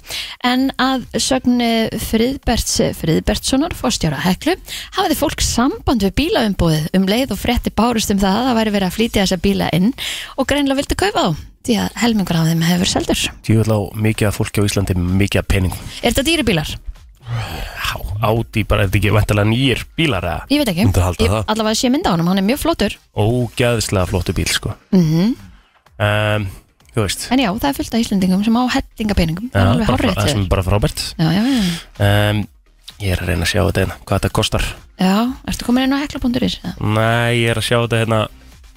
Speaker 3: en að sögn eh, Friðberts Friðbertssonar, fórstjóra Heklu hafiði fólk samband við bílaumbúðið um leið og frétti bárust um það að það væri verið að flytja þessa bíla inn og greinlega vildi kaupa þá því að helmingur af þeim hefur seldur
Speaker 2: Tjúvel á mikið af fólki á Íslandi með mikið af peningum
Speaker 3: Er þetta dýribílar?
Speaker 2: Há, áti bara, er þetta ekki vantalega nýjir bílar eða
Speaker 3: Ég veit ekki,
Speaker 1: Myndi halda
Speaker 3: Ég-
Speaker 1: það.
Speaker 3: allavega sé mynd á honum, hann er mjög flottur
Speaker 2: Ógæðslega flottu bíl sko
Speaker 3: mm
Speaker 2: um, Þú veist
Speaker 3: En já, það er fullt af Íslendingum sem á hellingapeningum
Speaker 2: Já,
Speaker 3: Það er alveg
Speaker 2: bara frá-
Speaker 3: hárrétt
Speaker 2: það
Speaker 3: hjá
Speaker 2: sem
Speaker 3: þér.
Speaker 2: er bara frábært
Speaker 3: Já, já, já,
Speaker 2: um, Ég er að reyna að sjá þetta hérna, hvað þetta kostar
Speaker 3: já, ertu komin inn á hekla.is? eða?
Speaker 2: Nei, ég er að sjá þetta hérna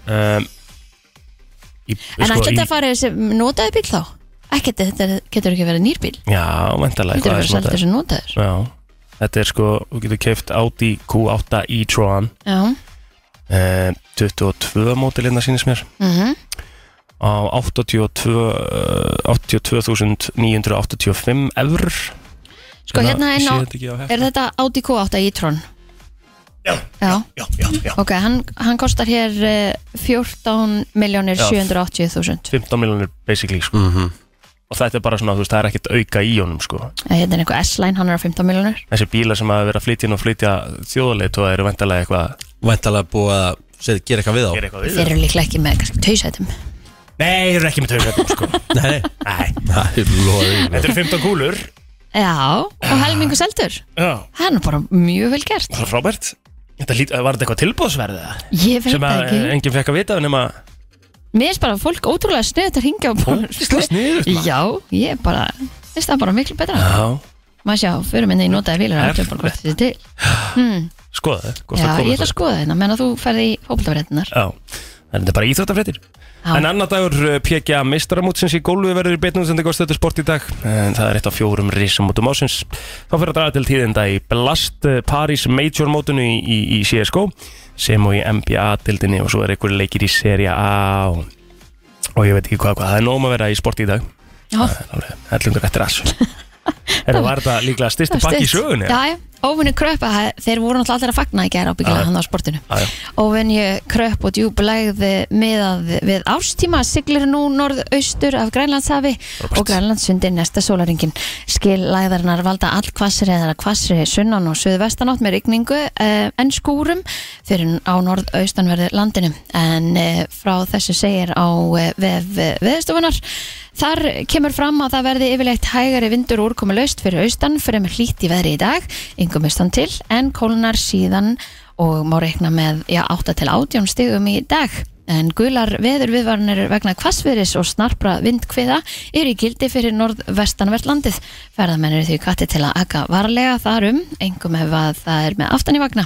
Speaker 2: um, í,
Speaker 3: En
Speaker 2: sko,
Speaker 3: ætla
Speaker 2: í-
Speaker 3: þetta að fara í þessi notaði bíl þá? Ekkert, þetta er- getur ekki verið nýr bíl
Speaker 2: Já, vantalega
Speaker 3: Þetta er verið seldur sem notaður
Speaker 2: Já, þetta er sko, þú getur keift Audi Q8 e-tron
Speaker 3: Já,
Speaker 2: um, 22 mótilina sínist mér
Speaker 3: mhm
Speaker 2: á 82 eh, 82.985 eur
Speaker 3: Sko hérna inn á, er þetta Audi Q8 e-tron? Já,
Speaker 2: Já, já, já
Speaker 3: ok, hann, hann kostar hér uh, 14.780.000
Speaker 2: 15 miljonir basically sko.
Speaker 1: mm -hmm.
Speaker 2: og þetta er bara svona, þú veist, það er ekkert auka í honum sko.
Speaker 3: Eh, Hérna er einhver S-Line, hann er á 15 miljonir
Speaker 2: þessi bíla sem hafa verið að flytja inn og flytja þjóðaleit og það eru vendalega eitthvað
Speaker 1: væntalega búið að segja, gera eitthvað við á
Speaker 2: gera eitthvað við
Speaker 3: Þeir eru líklega ekki með kannski tausætum
Speaker 2: Nei, þeir eru ekki með taugrættum sko
Speaker 1: nei, nei,
Speaker 2: Nei,
Speaker 1: nei, loði
Speaker 2: þetta eru 15 kúlur
Speaker 3: Já, og helmingu seldur
Speaker 2: Já,
Speaker 3: Það er nú bara mjög vel gert
Speaker 2: það er frábært Þetta lít, var þetta eitthvað tilbúðsverðið eða?
Speaker 3: Ég veit
Speaker 2: Sem
Speaker 3: það
Speaker 2: að
Speaker 3: ekki
Speaker 2: eh, enginn fekk að vita nema
Speaker 3: Mér finnst bara fólk ótrúlega sniðið að hringja og
Speaker 2: Ógeðslega sniðugt, maður.
Speaker 3: Já, ég bara, finnst það bara miklu betra
Speaker 2: Já,
Speaker 3: Maður sjá, fyrir minni í notaði bílar Það er bara hvort þið til hmm.
Speaker 2: skoða það hvort
Speaker 3: Já,
Speaker 2: það komi
Speaker 3: ég ætla að
Speaker 2: eitthvað.
Speaker 3: skoða þetta Menna þú ferði í fókbaltafréttinar
Speaker 2: Já, en þetta er bara íþróttafréttir En annar dagur eh, PGA meistaramótsins í gólfi verður í beitnum sem þetta góðst þetta sport í dag en það er eitt af fjórum risamótum ásins þá fyrir að draga til tíðinda í Blast eh, Paris Major mótunu í, í, í CSGO sem og í NBA dildinni og svo er einhverju leikir í Serie A og, og ég veit ekki hvað, hvað það er nóg um að vera í sport í dag
Speaker 3: Já.
Speaker 2: Ætlungur eftir ass Þetta var þetta líklega styrstu pakki í sögunni
Speaker 3: Já, já, óvinni kröp að þeir voru náttúrulega allir að fagna í gæra ábyggilega
Speaker 2: Já.
Speaker 3: hann á sportinu
Speaker 2: Já, já.
Speaker 3: Óvinni kröp og djúblegð miðað við ástíma siglir nú norðaustur af Grænlandshafi og Grænlandsundi næsta sólaringin Skillæðarnar valda all hvassri eða hvassri sunnan og suðvestanátt með rigningu eh, en skúrum fyrir á norðaustanverðu landinu en eh, frá þessu segir á eh, vef eh, veðurstofunar Þar kemur fram að það verði yfirleitt hægari vindur úrkomu laust fyrir austan fyrir með hlýtt í veðri í dag, yngum austan til, en kólnar síðan og má reikna með já, 8 til 18 stigum í dag. En gular veður viðvarnir vegna hvassviðris og snarpra vindkviða eru í gildi fyrir norðvestanvert landið. Ferðamenn eru því kvatti til að akka varlega þar um, engum ef að það er með aftan í vagna.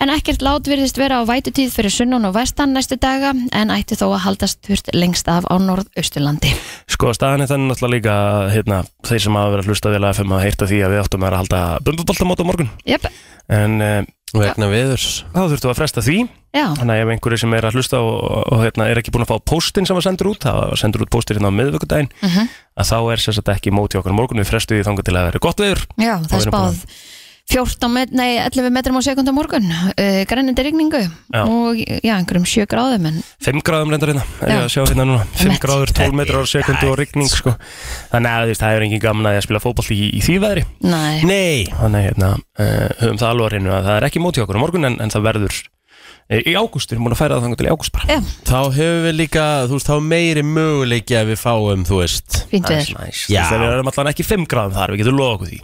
Speaker 3: En ekkert lát virðist vera á vætutíð fyrir sunnan og vestan næstu daga en ætti þó að haldast þurft lengst af á norðausturlandi.
Speaker 2: Sko, staðan er þannig náttúrulega líka hérna, þeir sem hafa verið að hlusta vel að FM að heyrta því að við áttum að vera að halda bumbuboltamót á morgun
Speaker 3: Jöp,
Speaker 2: en uh,
Speaker 1: Vegna viðurs
Speaker 2: þá þurftum við að fresta því
Speaker 3: já.
Speaker 2: þannig að ef einhverju sem er að hlusta og, og, og hérna, er ekki búin að fá póstinn sem var sendur út það var sendur út póstir hérna á miðvökkudaginn
Speaker 3: Mhm.
Speaker 2: að þá er sérstaklega ekki móti okkur á morgun við frestu því þangur til að vera gott veður
Speaker 3: Já, það er
Speaker 2: erum búin
Speaker 3: spáð 14 met, nei, 11 metrum á sekund á morgun uh, grænindi rigningu
Speaker 2: Já.
Speaker 3: og já, einhverjum 7 gráðum en
Speaker 2: 5 gráðum reyndar hérna, er ég
Speaker 3: Já.
Speaker 2: að sjá hérna núna 5
Speaker 3: Einmitt.
Speaker 2: gráður, 12 metrar á sekundu og rigning sko. þannig að þú veist, það er engin gaman að því að spila fótboll í, í því veðri
Speaker 3: nei,
Speaker 1: Nei
Speaker 2: þannig að, hérna, uh, höfum það alveg að reynu að það er ekki móti okkur á morgun en, en það verður eh, í ágúst, við erum búin að færa það þangur til í ágúst bara
Speaker 3: já,
Speaker 1: Þá hefur við líka, þú veist, þá er meiri möguleiki að við fáum, þú veist
Speaker 3: fínt
Speaker 2: Það er
Speaker 3: við
Speaker 2: svo næs.
Speaker 1: Já.
Speaker 2: Þegar við erum allan ekki 5 gráðum þar, við getum loða okkur því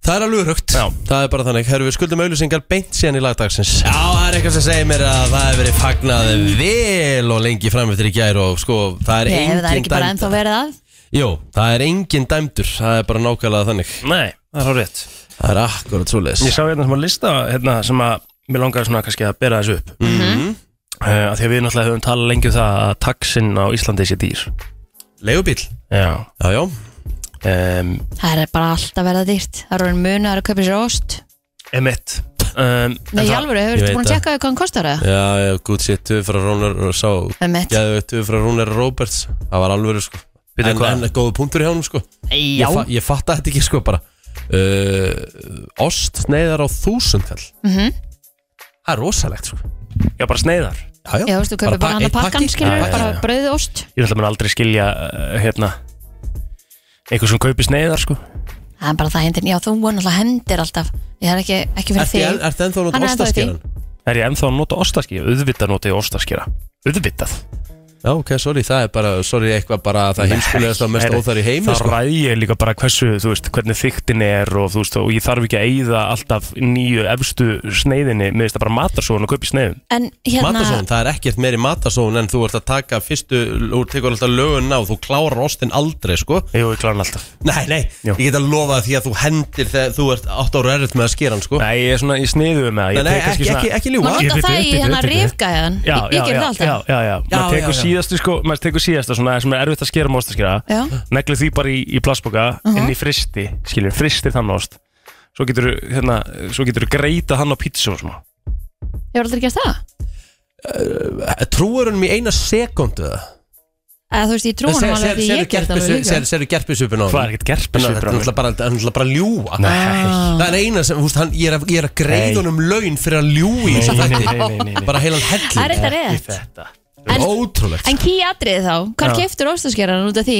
Speaker 1: Það er alveg rögt
Speaker 2: Já.
Speaker 1: Það er bara þannig, herru við skuldum auðlýsingar beint síðan í lagdagsins Já, það er eitthvað sem segir mér að það hefur verið fagnað vel og lengi fram eftir í gær og sko, það er
Speaker 3: Nei, ef
Speaker 1: engin
Speaker 3: það er ekki bara
Speaker 1: dæmd-
Speaker 3: ennþá verið að
Speaker 1: Jú, það er engin dæmdur, það er bara nákvæmlega þannig
Speaker 2: Nei, það er á rétt
Speaker 1: Það er akkurat svo
Speaker 2: Ég sá hérna sem að lista hérna, sem að mér langaði svona kannski að bera þessu upp mm
Speaker 3: Mhm.
Speaker 2: að því að við náttúrulega höfum talað lengi um það að taxinn á Íslandi sé dýr
Speaker 1: Leigubíl
Speaker 2: Já
Speaker 1: Já, já,
Speaker 2: um,
Speaker 3: það er bara alltaf verið að dýrt það eru munu, það eru að kaupa sér ost
Speaker 2: Emitt um,
Speaker 3: nei, í alvöru, hefur
Speaker 1: veit
Speaker 3: þú búin að
Speaker 1: það.
Speaker 3: tjekka hvað hann kostar það?
Speaker 1: já, já, gútt sér tuð frá Rónar og sá
Speaker 3: með mitt,
Speaker 1: Gæðu tuð frá Rónar Roberts Það var alveg, sko
Speaker 2: Bíddu,
Speaker 1: En,
Speaker 2: hvað?
Speaker 1: en góðu punktur hjá hann, sko
Speaker 3: já,
Speaker 1: Ég, fa ég fatta þetta ekki, sko, bara uh, Ost sneiðar á þúsundkall
Speaker 3: Mhm.
Speaker 1: Það er rosalegt, sko
Speaker 2: Já, bara sneiðar
Speaker 1: Já,
Speaker 3: já, veistu, kaupa bara hann að pakkan skilur,
Speaker 2: Já, já,
Speaker 3: bara
Speaker 2: já.
Speaker 3: brauðið ost
Speaker 2: Ég ætla að mér aldrei skilja uh, hérna einhver sem kaupir sneiðar sko
Speaker 3: það er bara það hendir, já, þú náttúrulega hendir alltaf ég er ekki, ekki fyrir
Speaker 1: Ertu
Speaker 3: þig
Speaker 1: en- ertu ennþá að nota
Speaker 3: Hann er ennþá í því.
Speaker 1: ostaskeran?
Speaker 2: Er ég ennþá að nota ostaskýra? Auðvitað nota ég ostaskýra Auðvitað
Speaker 1: Já, ok, sorry, það er bara, sorry, eitthvað bara að það heimskulegast og mest
Speaker 2: Herri,
Speaker 1: óþar í heimi,
Speaker 2: Það
Speaker 1: sko
Speaker 2: ræði ég líka bara hversu, þú veist, hvernig þyktin er og þú veist, og ég þarf ekki að eyða alltaf nýju efstu sneiðinni með þetta bara matarsóðan og kaupi sneiðum
Speaker 3: en hérna,
Speaker 1: Matasón, það er ekkert meiri matasón en þú ert að taka fyrstu, þú tekur alltaf lögun á, þú klárar ostin aldrei, sko
Speaker 2: Jú, ég klára hann alltaf
Speaker 1: Nei, nei,
Speaker 2: Jú.
Speaker 1: ég get að lofa því að þú hendir þegar þú ert 8 ára erfitt með að skera hann, sko
Speaker 2: Nei, ég er svona í sniðu með það
Speaker 1: Nei,
Speaker 2: Ég
Speaker 1: nei,
Speaker 2: tek kannski
Speaker 1: ekki, ekki, ekki ljúga
Speaker 3: maður
Speaker 2: Ég
Speaker 3: nota
Speaker 2: veit,
Speaker 3: það
Speaker 2: ég veit,
Speaker 3: í hérna hennar
Speaker 2: ég veit, ég veit.
Speaker 3: rifgæðan
Speaker 2: Já, já,
Speaker 3: ég ég gerir
Speaker 2: já,
Speaker 3: það
Speaker 2: já,
Speaker 3: alltaf
Speaker 2: já, já, maður
Speaker 1: Já,
Speaker 2: tekur
Speaker 1: já, já.
Speaker 2: síðastu sko, maður tekur síðasta svona sem er erfitt að skera með ostaskera
Speaker 3: Já. Uh-huh.
Speaker 2: neglir því bara í, í plastboka inn í fristi, skilur, fristir þann ost svo getur hérna, svo getur greita hann á pítsu og smá
Speaker 3: Ég voru aldrei gert það
Speaker 1: Eh, Trúur hann í eina sekundu það
Speaker 3: Eða þú veist, ég trú hann alveg því ég gert það alveg líka
Speaker 1: Serðu gerpisupin á
Speaker 2: Hvað er ekkert
Speaker 1: Þetta er
Speaker 2: gerpisvipur á
Speaker 1: náttúrulega
Speaker 2: mér?
Speaker 1: bara, þetta er náttúrulega bara að ljúa
Speaker 3: Ah.
Speaker 2: Nei,
Speaker 1: Það er eina sem, húst, hann, ég er að, ég er að
Speaker 2: Nei.
Speaker 1: greiða honum laun fyrir að ljúi
Speaker 2: nei, nei, nei, nei, nei, nei.
Speaker 1: Bara heilan
Speaker 3: Það er
Speaker 1: helling
Speaker 2: Ekki
Speaker 3: þetta rétt
Speaker 2: þetta
Speaker 3: En,
Speaker 1: Ótrúlegt
Speaker 3: en kýi atrið þá,
Speaker 2: sko.
Speaker 3: hvar
Speaker 2: Já.
Speaker 3: keftur óstaskerara út af því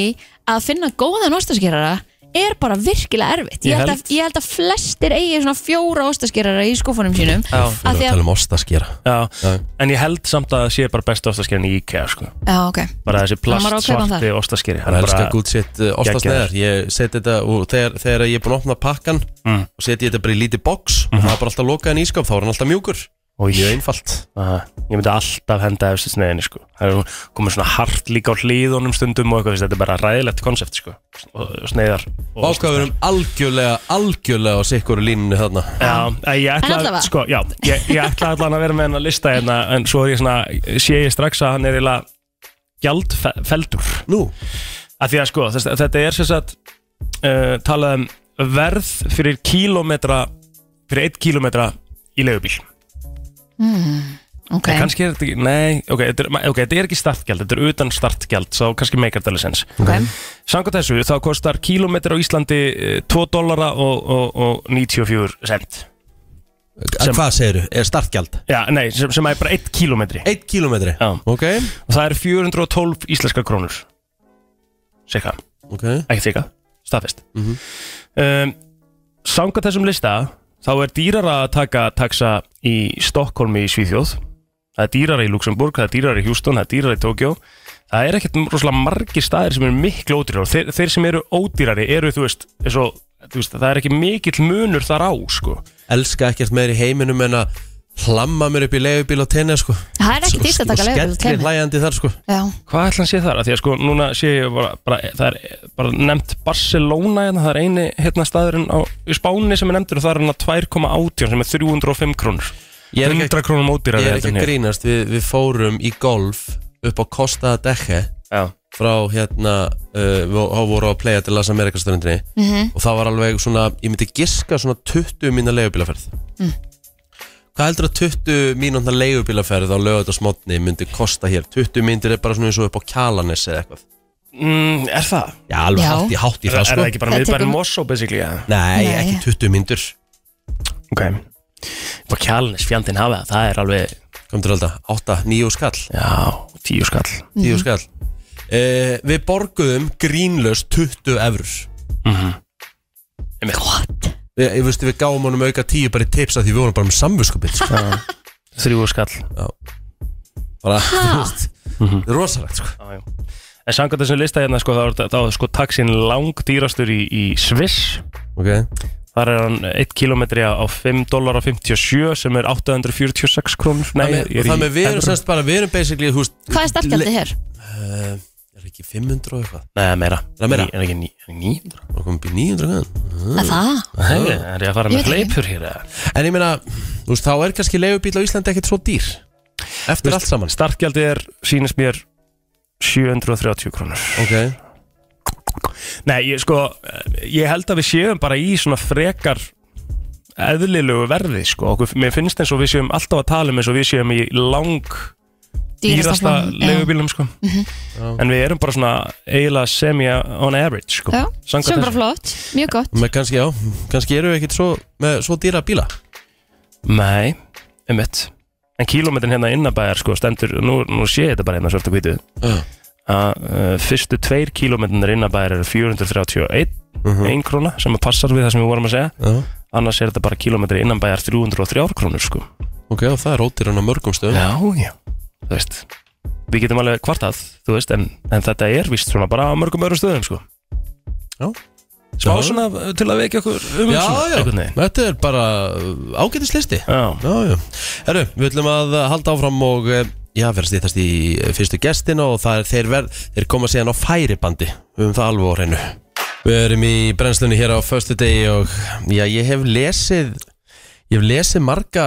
Speaker 3: að finna góðan óstaskerara er bara virkilega erfitt
Speaker 2: Ég
Speaker 3: Ég held
Speaker 2: held.
Speaker 3: að, ég held að flestir eigi svona fjóra óstaskerara í skúfunum sínum
Speaker 2: Já.
Speaker 1: Við erum
Speaker 3: að því
Speaker 1: að
Speaker 3: að,
Speaker 1: tala um ostaskera
Speaker 2: Já,
Speaker 1: Já.
Speaker 2: en ég held samt að það sé bara besta ostaskerin í IKEA sko.
Speaker 3: já ok
Speaker 2: bara þessi
Speaker 3: Hann var
Speaker 2: plast
Speaker 3: að kaupa um hann
Speaker 2: svarti ostaskeri
Speaker 1: Það elskar gútt sitt uh, ostasneðar Ég seti þetta og þegar, þegar ég er búinn að opna pakkan
Speaker 2: Mm. Mhm.
Speaker 1: og seti ég þetta bara í lítið box og það er bara alltaf lokaðan í ískap, þá er hann alltaf mjúkur
Speaker 2: og
Speaker 1: Mjög
Speaker 2: ég,
Speaker 1: einfalt
Speaker 2: ég myndi alltaf henda efstu sneiðinni sko. það er komið svona hart líka á hlýðunum stundum og eitthvað, veist, þetta er bara ræðilegt konsept sko. og og sneiðar og
Speaker 1: Ákvaðurum algjörlega, algjörlega á sikkur línunni þarna
Speaker 2: Já, að ég ætla,
Speaker 3: allavega.
Speaker 2: sko, já, ég, ég ætla allan að vera með hennar lista hérna, en svo er ég svona, sé ég strax að hann er eiginlega gjaldfeldur
Speaker 1: Nú,
Speaker 2: að því að sko, þess, þetta er sem sagt uh, talað um verð fyrir kílómetra fyrir eitt kílómetra í leigubíl
Speaker 3: Hmm, Ok,
Speaker 2: en kannski er þetta ekki, nei, ok, þetta er, ok, þetta er ekki startgjald, þetta er utan startgjald svo kannski meikar þetta alveg sens
Speaker 3: ok
Speaker 2: samkvæmt þessu, þá kostar kílómetri á Íslandi eh, 2 dollara og, og, og 94 cent Sem-
Speaker 1: hvað segiru? Er startgjald?
Speaker 2: já, nei, sem, sem er bara 1 kílómetri
Speaker 1: Eitt kílómetri?
Speaker 2: Já.
Speaker 1: Ok,
Speaker 2: og það eru 412 íslenska krónur Sikka,
Speaker 1: ok
Speaker 2: ekki sikka, staðfest um, Samkvæmt þessum lista þá er dýrara að taka taxa í Stokkólmi í Svíþjóð það er dýrara í Luxemburg, það er dýrara í Houston það er dýrara í Tokjó það er ekkert rosalega margir staðir sem eru miklu ódýrari þeir, þeir sem eru ódýrari eru þú veist, eins og, þú veist það er ekki mikill munur þar á sko.
Speaker 1: Elska ekkert meir í heiminum en að hlamma mér upp í leigubíl á tenni sko.
Speaker 3: Það er ekki dýrt að taka leigubíl á
Speaker 1: og skellir
Speaker 3: Tenni.
Speaker 1: hlæjandi þar sko.
Speaker 3: Já,
Speaker 2: Hvað ætla hann sé þar? Af Því að sko núna sé ég bara, bara það er bara nefnt Barcelona hérna, það er eini hérna staðurinn á í Spáni sem er nefndur og það er hérna 2,18 sem er 305 krónur.
Speaker 1: Ég er ekki-
Speaker 2: 100 krónum ódýrar
Speaker 1: ég er ekki að grínast við, við fórum í golf upp á Costa de Deje
Speaker 2: Já,
Speaker 1: frá hérna uh, við þá vorum við að playa til Las Amerikas stundinni
Speaker 3: Mhm.
Speaker 1: og það var alveg svona, ég myndi giska svona 20 mínu leigubílaferð
Speaker 3: Mm.
Speaker 1: Hvað heldur að 20 mínúna leigubílaferð á lögutarsmotni myndi kosta hér? 20 mínútur er bara svona eins og upp á Kjalanes eða eitthvað
Speaker 2: mm, er það?
Speaker 1: Já, alveg
Speaker 3: Já.
Speaker 1: hátt í, hátt í
Speaker 2: Er,
Speaker 1: það
Speaker 2: er
Speaker 1: sko
Speaker 2: það ekki bara
Speaker 3: Það
Speaker 2: miðbæri
Speaker 3: tekur-
Speaker 2: Mosó basically? Ja?
Speaker 1: Nei,
Speaker 3: Nei.
Speaker 1: ekki 20 mínútur
Speaker 2: Ok. Bara kjálnis fjandinn hafa það, það er alveg,
Speaker 1: Kom til alltaf, 8, 9 skall
Speaker 2: já, 10 skall.
Speaker 3: Mhm.
Speaker 1: 10 skall uh, Við borguðum grínlaus 20 eurur
Speaker 2: mhm.
Speaker 3: what?
Speaker 1: Við, ég veist, við gáum honum auka 10 bara í tipsa því við vorum bara með samvöskupið sko.
Speaker 2: Þrjú skall.
Speaker 1: bara, þú veist, það er rosalegt sko.
Speaker 2: Já, já. En samkvæmt þessum lista hérna sko, þá er þá er sko taxin langdýrastur í, í Sviss.
Speaker 1: okay.
Speaker 2: Þar er hann 1 km á 5 dólar og 57 sem er 846 krónur Nei,
Speaker 1: það með,
Speaker 2: ég er í
Speaker 1: það með við erum
Speaker 2: evrum.
Speaker 1: semst bara, við erum basically þú veist,
Speaker 3: Hvað er startgjaldið hér?
Speaker 1: uh, er ekki 500 og eitthvað
Speaker 2: Nei, meira
Speaker 1: Það er meira?
Speaker 2: Ní- Er ekki ní- er ekki 900?
Speaker 1: og komum upp í 900 grann.
Speaker 3: Er það?
Speaker 2: Nei, er ég að fara með
Speaker 3: Ég veit ekki.
Speaker 2: hleypur hér eða?
Speaker 1: en ég meina, þú veist, þá er kannski leigubíl á Íslandi ekkert svo dýr eftir allt saman
Speaker 2: Startgjaldið er, sýnist mér 730 krónur
Speaker 1: okay.
Speaker 2: Nei, ég, sko, eh, ég held að við séum bara í svona frekar eðlilegu verði sko. Okkur, Mér finnst eins og við séum alltaf að tala um eins og við séum í lang dýrasta
Speaker 3: flokkurinn, já.
Speaker 2: leigubílum sko. En við erum bara svona eiginlega semi on average sko.
Speaker 3: Já,
Speaker 2: Samkvæmt
Speaker 3: sem er bara
Speaker 2: þessu.
Speaker 3: flott, mjög gott
Speaker 1: með kannski, já, kannski erum við ekkert svo með svo dýra bíla
Speaker 2: Nei, einmitt En kílómetrin hérna innabæjar sko stendur Nú, nú sé ég þetta bara hérna svart og hvítu
Speaker 1: uh.
Speaker 2: að uh, fyrstu tveir kílómetrinir innabæjar eru 431
Speaker 1: Mhm.
Speaker 2: ein króna sem passar við það sem við vorum að segja
Speaker 1: Já,
Speaker 2: annars er þetta bara kílómetri innanbæjar 303 krónur sko
Speaker 1: ok, og það er ódýran á mörgum stöðum
Speaker 2: Já, já, þú veist Við getum alveg kvartað, þú veist en, en þetta er vist svona bara á mörgum öðrum stöðum sko
Speaker 1: Já.
Speaker 2: Smá
Speaker 1: Já.
Speaker 2: svona uh, til að vekja okkur um
Speaker 1: já, já. þetta er bara uh, ágætislisti
Speaker 2: já
Speaker 1: Já, já. Herru, við ætlum að uh, halda áfram og eh, já, vera stýttast í uh, fyrstu gestina og það er þeir, verð, þeir koma síðan á færibandi við höfum það alveg á hreinu. Við erum í brennslunni hér á föstu degi og já, ég hef lesið ég hef lesið marga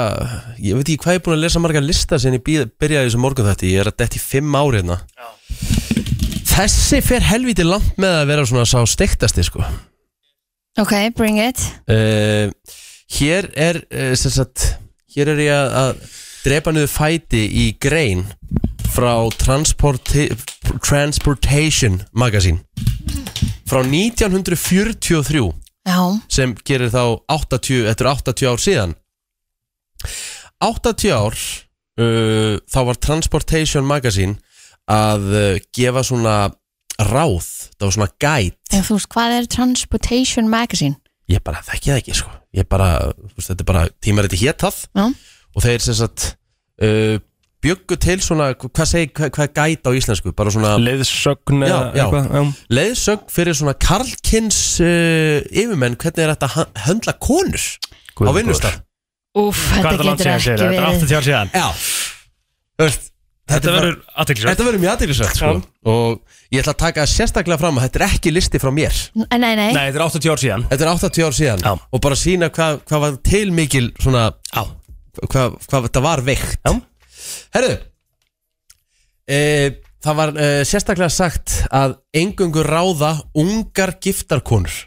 Speaker 1: ég veit ekki hvað ég er búin að lesa marga lista sem ég býð- byrjaði þessu morgun þetta, ég er að detti fimm ári hérna. Þessi fer helviti langt með að vera svona sá steiktasti sko.
Speaker 3: Ok, bring it
Speaker 1: Eh, hér er uh, sem sagt, hér er ég að, að drepa niður fæti í grein frá Transporti Transportation Magazine frá 1943
Speaker 3: Já,
Speaker 1: sem gerir þá 80, þetta er 80 ár síðan 80 ár uh, þá var Transportation Magazine að uh, gefa svona ráð, það var svona guide
Speaker 3: en þú veist, hvað er Transportation Magazine?
Speaker 1: ég bara þekki það ekki sko ég bara, þú veist, þetta er bara tímariti hétað
Speaker 3: Já.
Speaker 1: og þeir sem sagt uh, bjöggu til svona hvað segir, hvað, hvað er gæt á íslensku bara svona
Speaker 2: Leðsögn
Speaker 1: Já, já.
Speaker 2: já.
Speaker 1: leiðsögn fyrir svona karlkins uh, yfirmenn, hvernig er þetta að hö- höndla konur
Speaker 2: Guð
Speaker 1: á
Speaker 2: minn
Speaker 1: vinnustar
Speaker 3: Úf,
Speaker 2: Hvað er
Speaker 3: þetta
Speaker 2: það langt
Speaker 3: getur
Speaker 2: síðan sér?
Speaker 3: ekki
Speaker 2: Þetta er
Speaker 3: verið
Speaker 2: 80 ár síðan
Speaker 1: já, þú veist
Speaker 2: Þetta
Speaker 1: er bara-
Speaker 2: verður aðtilsvægt
Speaker 1: Þetta verður mjög aðeinsvægt sko. og ég ætla að taka sérstaklega fram að þetta er ekki listi frá mér
Speaker 3: Nei, nei, nei,
Speaker 2: Nei, þetta er 80 ár síðan
Speaker 1: Þetta er 80 ár síðan
Speaker 2: Já.
Speaker 1: og bara sína hvað hva var til mikil svona,
Speaker 2: Já.
Speaker 1: hvað hva, þetta var veikt
Speaker 2: Já.
Speaker 1: Herðu e, Það var e, sérstaklega sagt að engungu ráða ungar giftarkonur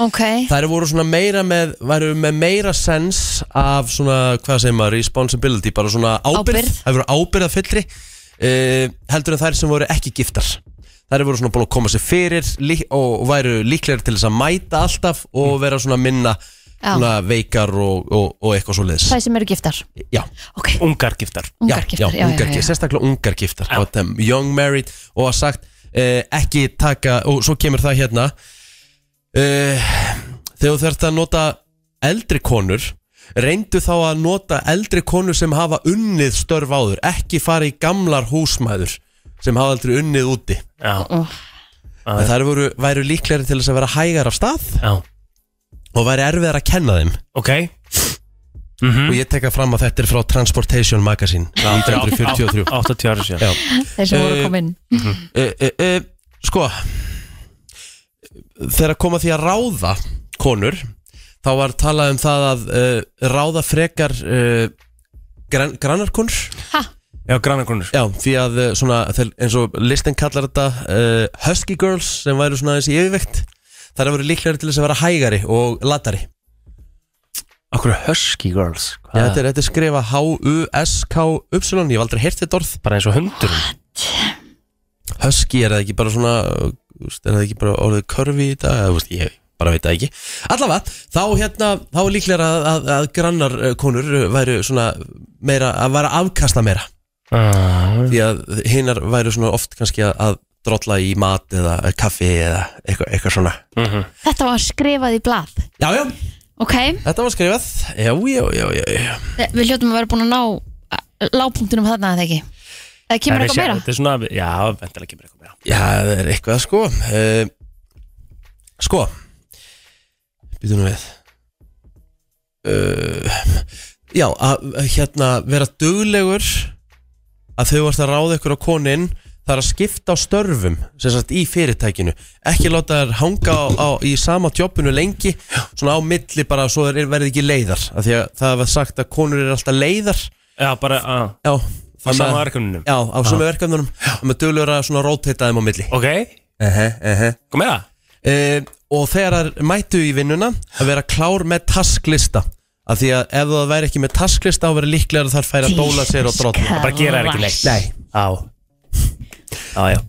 Speaker 3: ok
Speaker 1: Þær voru svona meira með, væru með meira sens af svona, hvað segir maður, responsibility, bara svona ábyrð,
Speaker 3: Ábyrgð.
Speaker 1: þær voru ábyrða fyllri, heldur en þær sem voru ekki giftar. Þær voru svona búin að koma sér fyrir lí- og væru líklegri til þess að mæta alltaf og vera svona minna
Speaker 3: Mm. Já.
Speaker 1: svona veikar og, og, og eitthvað svo leiðis.
Speaker 3: Það sem eru giftar
Speaker 1: Já,
Speaker 3: Ok,
Speaker 2: Ungar giftar
Speaker 3: ungar giftar
Speaker 1: já, ungar giftar, sérstaklega ungar giftar
Speaker 2: Já.
Speaker 1: og þetta er young married og að sagt eh, ekki taka, og svo kemur það hérna eh, þegar þú þarft að nota eldri konur reyndu þá að nota eldri konur sem hafa unnið störf áður, ekki fara í gamlar húsmæður sem hafa aldrei unnið úti
Speaker 2: Já,
Speaker 1: en þær voru, væru líklegri til þess að vera hægar af stað
Speaker 2: já
Speaker 1: og væri erfiðar að kenna þeim
Speaker 2: Ok
Speaker 1: og ég teka fram að þetta er frá Transportation Magazine 1943
Speaker 2: 80 ára síðan
Speaker 1: Já.
Speaker 3: þeir sem voru
Speaker 1: Eh,
Speaker 3: að koma inn
Speaker 1: e, e, e, sko þegar kom að því að ráða konur þá var talað um það að e, ráða frekar e, gran, grannarkonur
Speaker 3: ha,
Speaker 2: Já, grannarkonur
Speaker 1: já, því að eh, svona, þeir- eins og listin kallar þetta e, husky girls sem væru svona þessi yfirvekt þar að voru líklegri til þess að vera hægari og latari
Speaker 2: Akkur er Husky Girls
Speaker 1: já,
Speaker 2: Hvað?
Speaker 1: þetta, er, þetta er skrifa H-U-S-K-Y ég hef aldrei heyrt þetta orð
Speaker 2: Bara eins og hundur
Speaker 1: Husky er það ekki bara svona uh, úst, er það ekki bara orðið körfi í dag eða, úst, ég bara veit það ekki allavega, þá hérna, þá er líklega að, að, að grannar eh, konur væru svona meira, að vera afkasta meira
Speaker 2: uh,
Speaker 1: því að hinnar væru svona oft kannski að, að drolla í mat eða eh, kaffi eða eitthvað, eitthvað svona
Speaker 2: Mhm.
Speaker 3: þetta var skrifað í blað
Speaker 1: já, já,
Speaker 3: ok,
Speaker 1: þetta var skrifað já, já, já, já, já.
Speaker 3: Eh, við hljótum að vera búin að ná lágpunktunum þarna að það ekki það kemur eitthvað meira
Speaker 2: Þetta er svona, já, vendilega kemur eitthvað meira
Speaker 1: já, það er eitthvað sko uh, sko býtum við uh, já, að að hérna vera duglegur að þau varst að ráða ykkur á konin það er að skipta á störfum sem sagt í fyrirtækinu ekki láta þær hanga á, á, í sama tjópinu lengi svona á milli bara svo þær er- verði ekki leiðar af því að það var sagt að konur eru alltaf leiðar
Speaker 2: Já, bara, ah, á,
Speaker 1: já,
Speaker 2: á
Speaker 1: þannig að-
Speaker 2: sama verkefnunum
Speaker 1: Já, á svona verkefnunum og með duglegur að svona róteita þeim á milli
Speaker 2: Ok,
Speaker 1: uh -huh, uh -huh.
Speaker 2: kom meira
Speaker 1: Og þegar þær mættu í vinnuna að vera klár með tasklista af því að ef það væri ekki með tasklista þá verið líklega að þær færi að dóla sér og drolla
Speaker 2: Bara gera þær ekki neitt
Speaker 1: Nei.
Speaker 2: Á Á, já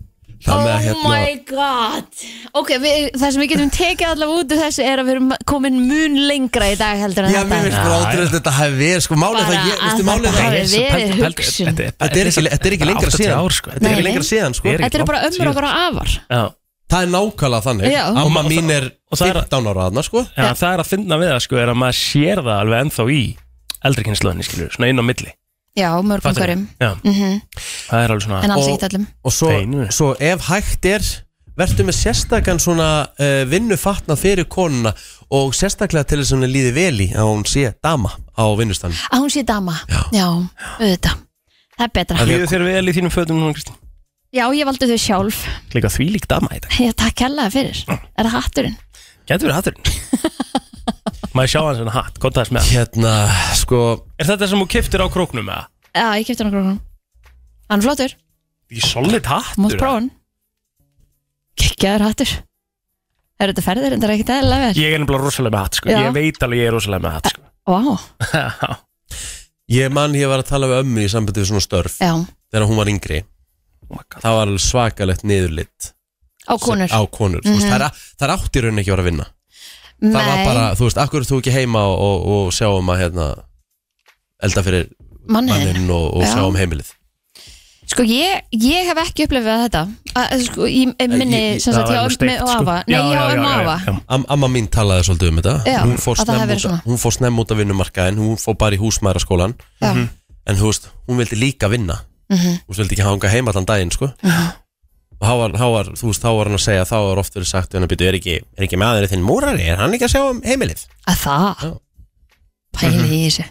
Speaker 1: Það með að
Speaker 3: Oh
Speaker 1: hérna
Speaker 3: my god Ok, við, það sem við getum tekið allavega út úr þessu er að við erum komin mun lengra í dag heldur en
Speaker 1: Já,
Speaker 3: þetta
Speaker 1: mér finnst
Speaker 2: Já,
Speaker 1: bara
Speaker 2: já.
Speaker 1: aldrei að þetta hafi verið sko málið það,
Speaker 3: Bara
Speaker 1: ég, veistu
Speaker 3: að
Speaker 1: málið
Speaker 3: þetta
Speaker 1: það
Speaker 3: hafi-
Speaker 2: Nei,
Speaker 3: verið
Speaker 2: pældu- pældu-
Speaker 3: hugsun.
Speaker 2: Þetta er-
Speaker 1: Þetta er ekki, þetta er ekki lengra
Speaker 2: 80
Speaker 1: síðan
Speaker 2: ár, sko.
Speaker 1: Þetta er
Speaker 3: Nei,
Speaker 1: ekki lengra
Speaker 3: nei.
Speaker 1: síðan sko
Speaker 2: Þetta er ekki
Speaker 3: Þetta er bara
Speaker 2: langt
Speaker 3: ömmur okkar og afar
Speaker 2: Já,
Speaker 1: Það er nákvæmlega þannig
Speaker 3: Já.
Speaker 1: Amma mín er
Speaker 2: og það er-
Speaker 1: 15 ára aðna sko
Speaker 2: Já, það er að finna við það sko er að maður sér það alveg ennþá í eldri kynnslóðinni skilur, svona inn á milli
Speaker 3: Já, mörgum
Speaker 2: Fattarðu?
Speaker 3: hverjum
Speaker 2: Já,
Speaker 3: Mhm,
Speaker 2: það er alveg svona
Speaker 3: En alls
Speaker 1: Og-
Speaker 3: ekkert allum
Speaker 1: Og svo,
Speaker 2: Feinu.
Speaker 1: svo ef hægt er Vertu með sérstakann svona uh, vinnufatna fyrir konuna og sérstaklega til þess að henni líði vel í að hún sé dama á vinnustanum
Speaker 3: Að hún sé dama Já, auðvitað Það er betra
Speaker 2: Líður þér vel í þínum fötum núna Kristín?
Speaker 3: Já, ég valdi þau sjálf
Speaker 2: Líka því lík dama í dag
Speaker 3: Ég takk hella fyrir Er það hatturinn?
Speaker 2: Gæti verið hatturinn Maður sjá hans hennar hatt, kontaðis með hann.
Speaker 1: Hérna, sko
Speaker 2: Er þetta sem þú kiftir á króknum eða?
Speaker 3: Já, ég kefti hann okkur hún Hann er flottur,
Speaker 2: Í solid hattur
Speaker 3: mútt prófa hann Kekjaður hattur Er þetta ferðir, þetta er ekkert
Speaker 2: eða?
Speaker 3: eðlilega vel
Speaker 2: Ég er nefnilega rosalega með hatt sko.
Speaker 3: Já.
Speaker 2: Ég veit alveg ég er rosalega með hatt sko.
Speaker 3: Vá,
Speaker 1: Ég mann ég var að tala við ömmu í sambandi við svona störf
Speaker 3: já,
Speaker 1: þegar hún var yngri,
Speaker 2: oh my God.
Speaker 1: það var alveg svakalegt niðurlitt
Speaker 3: á konur Mhm.
Speaker 1: á konur. Mm -hmm. það, er, það er átt í rauninni ekki að vera að vinna það var
Speaker 3: Nei.
Speaker 1: bara, þú veist, akkur er þú ekki heima og, og, og sjáum að hérna elda fyrir
Speaker 3: manniðin
Speaker 1: manninn og, og
Speaker 3: Já.
Speaker 1: sjáum heimilið
Speaker 3: sko ég, ég hef ekki upplifað þetta að, sko, í í minni
Speaker 1: Ég- ég-
Speaker 3: sem
Speaker 2: Það
Speaker 3: sagt
Speaker 2: var
Speaker 3: hjá
Speaker 2: alveg
Speaker 3: ömmu
Speaker 2: steikt,
Speaker 3: og
Speaker 2: sko.
Speaker 3: afa nei, hjá ömmu og afa
Speaker 2: já.
Speaker 1: Am, Amma mín talaði svolítið um þetta
Speaker 3: Já,
Speaker 1: hún, fór
Speaker 3: að það hafi
Speaker 1: snemma
Speaker 3: verið
Speaker 1: út,
Speaker 3: svona.
Speaker 1: að- hún fór snemm út af vinnumarkaðin hún fór bara í húsmæðraskólan
Speaker 3: Já.
Speaker 2: Mhm.
Speaker 1: en þú veist, hún vildi líka vinna
Speaker 3: Mhm.
Speaker 1: hún vildi ekki hanga heima allan daginn sko. og þá var, þá var, þú veist, þá var hann að segja þá var oft verið sagt, við hann að byrja, er ekki, er ekki maðurinn þinn múrari, er hann ekki að sjá um heimilið
Speaker 3: að það
Speaker 1: Já.
Speaker 3: pæli
Speaker 2: Mhm.
Speaker 3: í þessu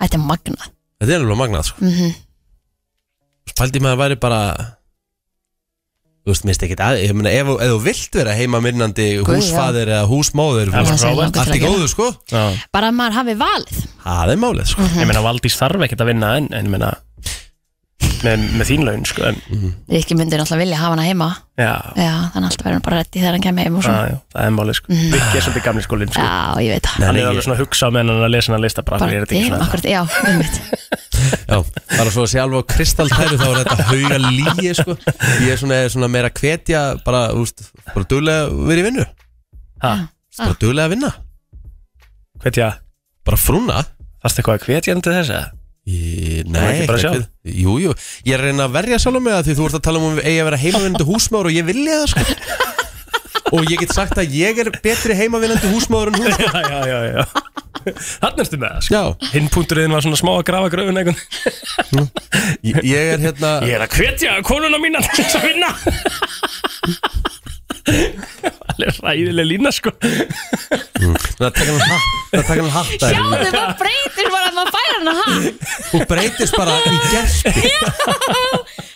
Speaker 3: þetta er magna
Speaker 1: þetta er alveg magnað, sko.
Speaker 3: mm
Speaker 1: spældi maður væri bara þú veist, minnst ekki að, ég meina, ef, ef þú vilt vera heima minnandi
Speaker 3: Guð,
Speaker 1: húsfaðir eða húsmóður
Speaker 2: Já,
Speaker 1: þú veist,
Speaker 2: bara
Speaker 1: allt í góðu, sko
Speaker 2: Já.
Speaker 3: bara að maður hafi valið
Speaker 1: það er málið, sko
Speaker 2: Ég meina Valdís þarf ekkert að vinna en, en ég meina með, með þín laun sko, en,
Speaker 1: Mhm.
Speaker 3: Rikki myndi náttúrulega vilja hafa hana heima
Speaker 2: já,
Speaker 3: já, þannig alltaf verður hann bara reddi þegar hann kemur heim og svona Mhm.
Speaker 2: að, já, það er málið sko. mm. Vikki er svolítið gamli skólinn sko.
Speaker 3: já, ég veit það
Speaker 1: Nei,
Speaker 2: Hann
Speaker 1: nei,
Speaker 2: er
Speaker 1: ég-
Speaker 2: alveg svona að hugsa með hann að lesa hann að lista bara,
Speaker 3: bara,
Speaker 2: bara er þetta ekki
Speaker 3: damn,
Speaker 2: svona
Speaker 3: akkurat, já, einmitt
Speaker 1: Já, bara svo að sé alveg á kristaldæru þá er þetta hauga líi sko. Ég er svona, svona meira að hvetja bara, úst, bara duglega að vera í vinnu
Speaker 2: Ha,
Speaker 1: bara duglega að vinna,
Speaker 2: Hvetja,
Speaker 1: bara frúna
Speaker 2: þarfst eitthvað að hvetja hann til þess að
Speaker 1: Í-
Speaker 2: Það er
Speaker 1: Nei,
Speaker 2: ekki bara
Speaker 1: ekkert
Speaker 2: sjálf.
Speaker 1: við- Jú, jú, ég er að reyna að verja sjálf með það því þú ert að tala um að ég að vera heimavinnandi húsmáður og ég vilja það sko. og ég get sagt að ég er betri heimavinnandi húsmáður en hún sko.
Speaker 2: Já, já, já, já Þannig ertu með það sko.
Speaker 1: Já,
Speaker 2: Hinn punkturinn var svona smá að grafa gröfun einhvern
Speaker 1: Hm? ég ég er hérna
Speaker 2: Ég er að hvetja konuna mína til þess að vinna Alveg ræðileg lína sko
Speaker 1: Þannig að taka hann hatt Mm. Það taka hann hatt að
Speaker 3: Sjáðu, maður breytir bara maður færa hann að hann
Speaker 1: Þú breytist bara í gerti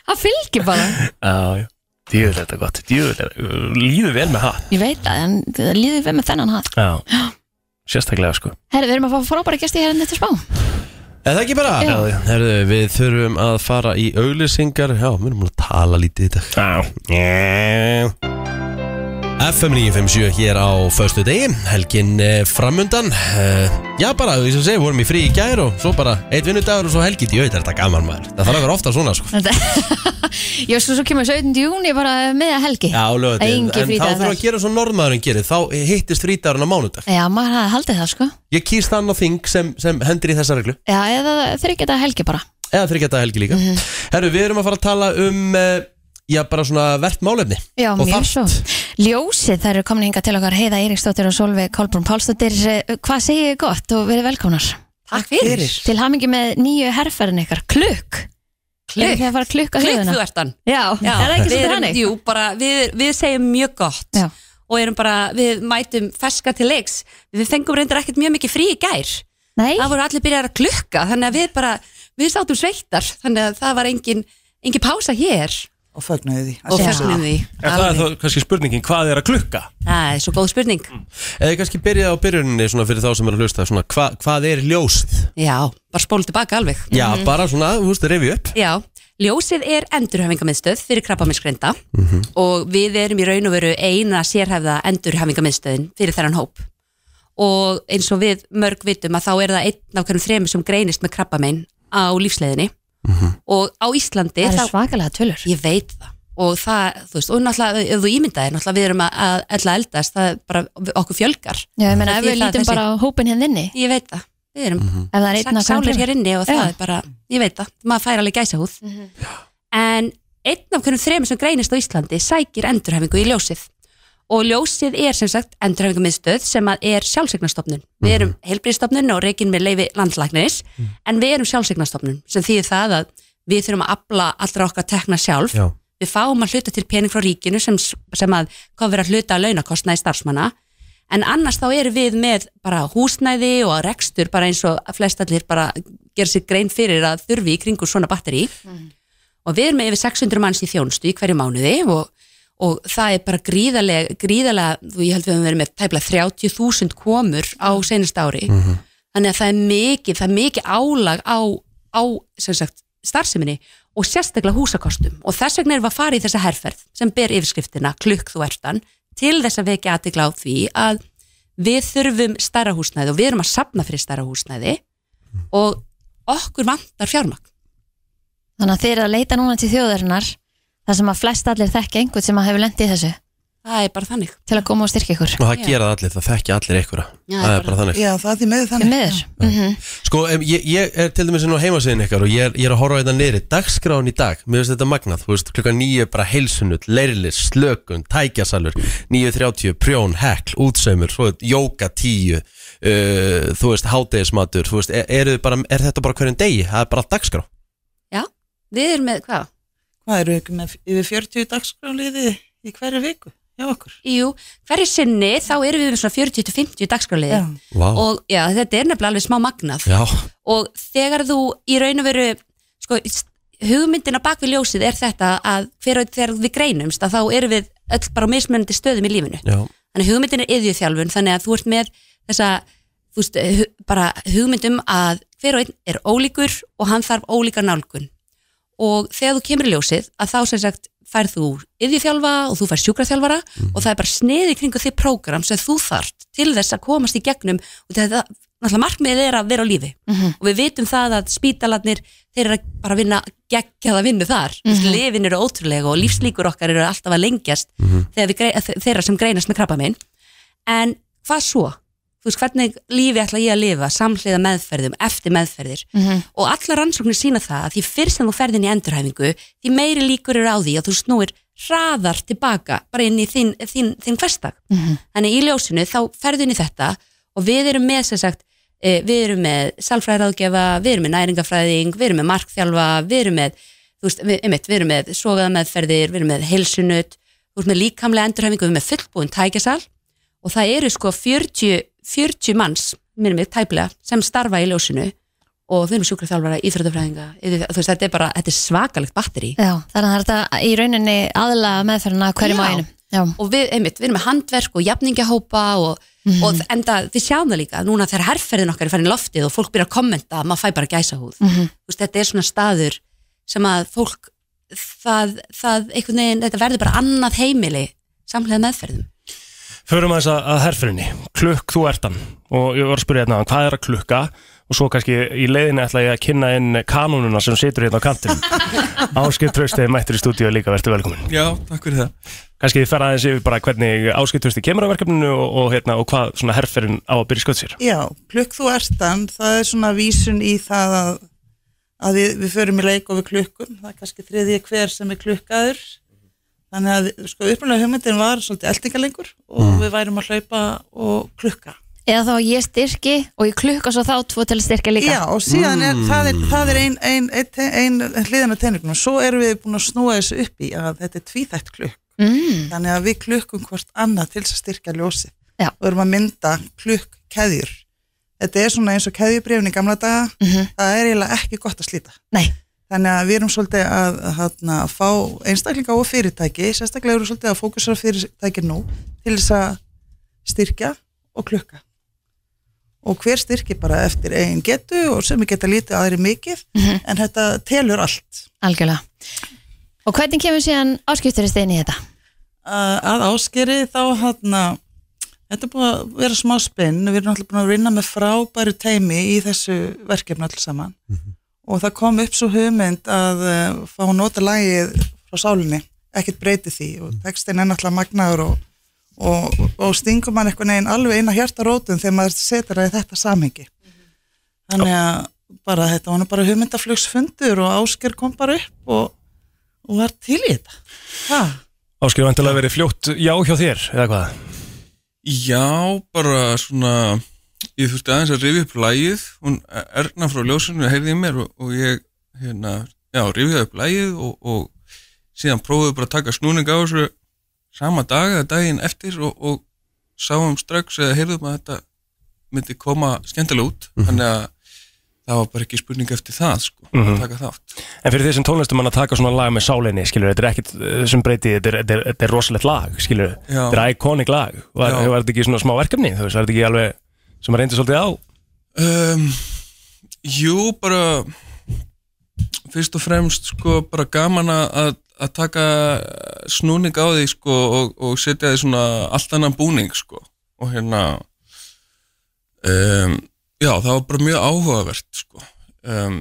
Speaker 3: Það fylgir bara
Speaker 2: Já, já Djúvel þetta er gott, djúvel þetta Líðu vel með hatt
Speaker 3: Ég veit að en það líður við með þennan hatt
Speaker 2: Já Sérstaklega sko
Speaker 3: Herri, við erum að fá frábæra gesti hérna eftir spá
Speaker 1: Er það ekki bara?
Speaker 3: Já.
Speaker 1: Herðu, við þurfum að fara í auglýsingar Já, við erum búin að tala lítið í dag
Speaker 2: Já
Speaker 1: FM 957 hér á föstu degi, helgin eh, framundan Eh, Já bara, því sem segi, vorum í frí í gær og svo bara eitt vinnudagur og svo helgi Jú, þetta er þetta gaman maður, það þarf að vera ofta svona sko
Speaker 3: Þetta Ég sko, svo kemur 17. júni bara meða helgi
Speaker 1: Já, lögut, en,
Speaker 3: Engin
Speaker 1: en þá
Speaker 3: frídagar
Speaker 1: þarf að
Speaker 3: þar.
Speaker 1: gera svo normaðurinn gerir Þá hittist frítagurinn á mánudag
Speaker 3: Já, maður hafði haldið það sko
Speaker 1: Ég kýst þann á þing sem, sem hendur í þessa reglu
Speaker 3: Já, eða þryggja þetta helgi bara
Speaker 1: Eða þryggja þetta helgi líka Herru, við erum að fara að tala um eh, Já, bara svona verðt málefni
Speaker 3: Já,
Speaker 1: Og
Speaker 3: mjög
Speaker 1: þarft.
Speaker 3: svo Ljósið, það eru komin hingað til okkar Heiða Eiríksdóttir og Solveig Kolbrún Pálsdóttir Eh, Hvað segið þið gott og verið velkomnar
Speaker 6: Takk fyrir.
Speaker 3: Til hamingi með nýju herrferðin ykkar, klukk Eru þið að fara að klukka
Speaker 6: Klikk
Speaker 3: hlöðuna?
Speaker 6: þú ert hann.
Speaker 3: Já,
Speaker 6: Já,
Speaker 3: er það ekki
Speaker 6: við
Speaker 3: svolítið
Speaker 6: erum-
Speaker 3: hannig?
Speaker 6: Jú, bara við, við segjum mjög gott
Speaker 3: Já.
Speaker 6: og erum bara, við mætum ferska til leiks. Við fengum reyndar ekkert mjög mikið frí í gær.
Speaker 3: Nei,
Speaker 6: Það voru allir byrjar að klukka, þannig að við bara, við sátum sveittar, þannig að það var engin, engin pása hér
Speaker 7: og fögnuði því
Speaker 6: og
Speaker 7: Já.
Speaker 6: fyrstnum því.
Speaker 2: En það er
Speaker 6: Alveg.
Speaker 2: þá kannski spurningin Hvað er að klukka?
Speaker 6: Það er svo góð spurning.
Speaker 1: Mm. Eða Eh, kannski byrjaði á byrjuninni svona fyrir þá sem er að hlusta svona, hva, Hvað er ljósið?
Speaker 6: Já, bara spólum tilbaka alveg.
Speaker 1: Já,
Speaker 3: Mhm.
Speaker 1: bara svona, þú veist, revi upp
Speaker 6: Já, ljósið er endurhæfingamiðstöð fyrir krabbaminskreinda og við erum í raun og veru eina sérhæfða endurhæfingamiðstöðin fyrir þennan hóp og eins og við mörg vitum að þá er það einn af hverjum þremur sem greinist með krabbamein á lífsleiðinni og á Íslandi
Speaker 3: það
Speaker 6: þá,
Speaker 3: eru svakalega tölur
Speaker 6: ég veit það og það, þú veist, og náttúrulega ef þú ímyndaðir, náttúrulega við erum að, að ella eldast það er bara, okkur fjölgar
Speaker 3: Já, ég meina
Speaker 6: Það
Speaker 3: ef við
Speaker 6: þýðir það
Speaker 3: lítum
Speaker 6: þessi-
Speaker 3: bara á hópin hérna inni Mhm.
Speaker 6: ég veit það, við erum
Speaker 3: Ef það er einn
Speaker 6: sex
Speaker 3: að
Speaker 6: sálir hér inni og það
Speaker 3: Já. Mhm.
Speaker 6: er bara, ég veit það, maður fær alveg gæsa húð en einn af hverjum þremur sem greinist á Íslandi sækir endurhæfingu í ljósið og ljósið er sem sagt endurhæfingumiðstöð sem að er sjálfsegnarstofnun við erum heilbríðstofnun og reikin með leifi landlæknis, en við erum sjálfsegnarstofnun sem þýðir það að við þurfum að afla allra okkar tekna sjálf
Speaker 1: Já.
Speaker 6: við fáum að hluta til pening frá ríkinu sem, sem að kofir að hluta að launakostnaði starfsmanna en annars þá erum við með bara húsnæði og rekstur bara eins og flestallir bara gera sér grein fyrir að þurfi í kringu svona batteri og við erum með yfir 600 manns í þjónustu í hverju mánuði og, og það er bara gríðarlega, gríðarlega og ég held við höfum verið með tæpla 30.000 komur á senast ári þannig að það er mikið, það er mikið álag á, á sem sagt, starfseminni og sérstaklega húsakostum og þess vegna erum við að fara í þessa herferð sem ber yfirskriftina klukk þú ertan til þess að vekja aðtikla á því að við þurfum stærra húsnæði og við erum að sapna fyrir stærra húsnæði og okkur vantar fjármagn
Speaker 3: Þannig að þeir eru að leita núna til þjóðarinnar þar sem að flest allir þekki einhvern sem að hefur lendið í þessu
Speaker 6: það er bara þannig
Speaker 3: til að koma og styrkja ykkur
Speaker 1: Og það gera það allir, það þekkja allir einhverja Það er bara þannig
Speaker 7: Já, það er því með
Speaker 3: Því
Speaker 7: þannig
Speaker 3: miður. Mhm.
Speaker 1: Sko, em, ég, ég er til dæmis inn á heimasíðin ykkar og ég er, ég er að horfa þetta niður Dagskráin í dag, mér finnst þetta magnað Þú veist, klukkan nýju bara heilsunud, leirilis, slökun, tækjasalur 9.30, prjón, hekl, útsaumur Svo veit, jóka tíu uh, Þú veist, hádegismatur Þú veist, er, er, bara, er þetta bara hverjum degi? Það er bara allt dagskrá
Speaker 6: Við erum með, hvað?
Speaker 7: Hvað eru ykkur með yfir 40 dagskráliði í hverju viku hjá okkur?
Speaker 6: Jú, hverju sinni þá erum við með svona 40-50 dagskráliði
Speaker 7: Já.
Speaker 1: Vá,
Speaker 6: og já, þetta er nefnilega alveg smá magnað
Speaker 1: já,
Speaker 6: og þegar þú í raun og veru sko, hugmyndina bak við ljósið er þetta að hver, og- þegar við greinumst að þá erum við öll bara á mismunandi stöðum í lífinu
Speaker 1: já
Speaker 6: þannig að hugmyndin er yðjöþjálfun þannig að þú ert með þessa þú veist, hu- bara hugmyndum að hver og einn er ólíkur og hann þarf ólíkar nálgun og þegar þú kemur í ljósið að þá sem sagt færð þú yðjöþjálfa og þú færð sjúkraþjálfara og það er bara sniði kringu þið prógram sem þú þarft til þess að komast í gegnum og þetta, náttúrulega markmiðið er að vera á lífi
Speaker 3: Mhm.
Speaker 6: og við vitum það að spítalarnir þeir eru að bara vinna geggjaða vinnu þar mm -hmm. lifin eru ótrúlega og lífslíkur okkar eru alltaf að lengjast þegar við grei, þe- þeirra sem greinast með krabba minn en hvað svo? Þú veist, hvernig lífi ætla ég að lifa samhliða meðferðum, eftir meðferðir
Speaker 3: Mhm.
Speaker 8: Mm.
Speaker 6: og allar rannsóknir sína það að því fyrst sem þú ferðin í endurhæfingu því meiri líkur eru á því að þú snúir hraðar tilbaka bara inn í þinn, þinn, þinn hverstag
Speaker 3: Mhm.
Speaker 6: þannig í ljósinu þá ferðu inn í þetta og við erum með sem sagt eh, við erum með salfræðráðgefa við erum með næringafræðing, við erum með markþjálfa við erum með, þú veist, við, einmitt, við erum með sogaðameðferðir, við erum með heilsunut þú veist með líkamlega endurhæfingu, við erum með fullbúin tækjasal og það eru sko 40, 40 manns, minnum við, tæplega sem starfa í ljósinu og við erum sjúkraþjálfara, íþrótafræðinga yfir- þú veist, þetta er bara, þetta er svakalegt batteri
Speaker 3: Já, þannig að það er þetta í rauninni aðlaga meðferðina hverjum
Speaker 6: Já.
Speaker 3: á einum. Já.
Speaker 6: og við, einmitt, við erum með handverk og jafningahópa og,
Speaker 3: Mhm.
Speaker 6: og enda, við sjáum það líka núna þegar herrferðin okkar er farin í loftið og fólk byrja að kommenta, maður fæ bara gæsa húð
Speaker 3: Mhm.
Speaker 6: veist, þetta er svona staður sem að fólk það, það einhvern veginn, þetta verður bara annað heimili samlega meðferðum
Speaker 2: Förum aðeins að, að herfrinni, klukk þú ertan og ég var að spyrja hérna hvað er að klukka og svo kannski í leiðinni ætla ég að kynna inn kanónuna sem situr hérna á kantinum Áskip Trausteði mættur í stúdíu líka, verður velkomin
Speaker 9: Já, takk fyrir það
Speaker 2: Kannski þið ferða aðeins yfir bara hvernig Áskip Trausteði kemur á verkefninu og, og, hérna, og hvað svona herfrin á að byrja sköld sér
Speaker 7: Já, klukk þú ertan, það er svona vísun í það að, að við, við förum í leik og við klukkum, það er kannski þriðji hver sem er klukkaður. Þannig að sko, upprunalega hugmyndin var svolítið eldingalengur og við værum að hlaupa og klukka.
Speaker 3: Eða þá ég styrki og ég klukka svo þá tvo til að styrka líka.
Speaker 7: Já, og síðan
Speaker 1: Mm.
Speaker 3: Mm.
Speaker 7: er, það er, það er ein, ein, ein, ein hliðan af tennirnum. Svo erum við búin að snúa þessu upp í að þetta er tvíþætt klukk.
Speaker 3: Mm,
Speaker 7: Þannig að við klukkum hvort annað til þess að styrkja ljósið.
Speaker 3: Já.
Speaker 7: Og erum að mynda klukk keðjur. Þetta er svona eins og keðjubrefin í gamla daga.
Speaker 3: Mhm.
Speaker 7: Það er eiginlega ekki gott að slíta.
Speaker 3: nei,
Speaker 7: Þannig að við erum svolítið að, hana, að fá einstaklinga og fyrirtæki, sérstaklega erum við svolítið að fókusra á fyrirtæki nú til þess að styrkja og klukka. Og hver styrki bara eftir eigin getu og sem geta lítið aðri mikið,
Speaker 3: Mhm.
Speaker 7: en þetta telur allt.
Speaker 3: algjörlega. Og hvernig kemur síðan áskipturist inn í þetta?
Speaker 7: Að að áskeri þá hana, þetta er búið að vera smá spinn, við erum náttúrulega búin að vinna með frábæru teimi í þessu verkefni alls saman. Og það kom upp svo hugmynd að uh, fá að nota lagið frá sálinni, ekkert breyti því og textin er náttúrulega magnaður og, og, og stingur mann einhvern veginn alveg inn að hjarta rótum þegar maður setur það í þetta samhengi. Þannig að bara þetta var nú bara hugmyndaflugsfundur og ásker kom bara upp og, og var til í þetta. Ha.
Speaker 2: Áskip, vantilega verið fljótt já hjá þér, eða hvað?
Speaker 9: Já, bara svona Ég þurfti aðeins að rifja upp lægið Hún erna frá ljósinu, heyrði í mér og, og ég, hérna, já, rifjaði upp lægið og, og síðan prófaði bara að taka snúning á þessu sama dag eða daginn eftir og, og sáum strax eða heyrðum að þetta myndi koma skemmtilega út
Speaker 2: Mhm.
Speaker 9: þannig að það var bara ekki spurning eftir það, sko, að taka þátt
Speaker 2: Mhm. En fyrir því sem tónlistumann að taka svona lag með sálinni, skilur, þetta er ekkit eh, sem breyti, þetta er, þetta er, þetta er rosalegt lag, skilur,
Speaker 9: Já.
Speaker 2: þetta er iconic lag, var,
Speaker 9: Já.
Speaker 2: var þetta ekki svona smá verkefni, þú veist, var þetta ekki alveg, sem að reyndi svolítið á,
Speaker 9: Um, jú, bara fyrst og fremst sko bara gaman að- að, að taka snúning á því sko og, og setja því svona allt annan búning sko og hérna um, já, það var bara mjög áhugavert sko um,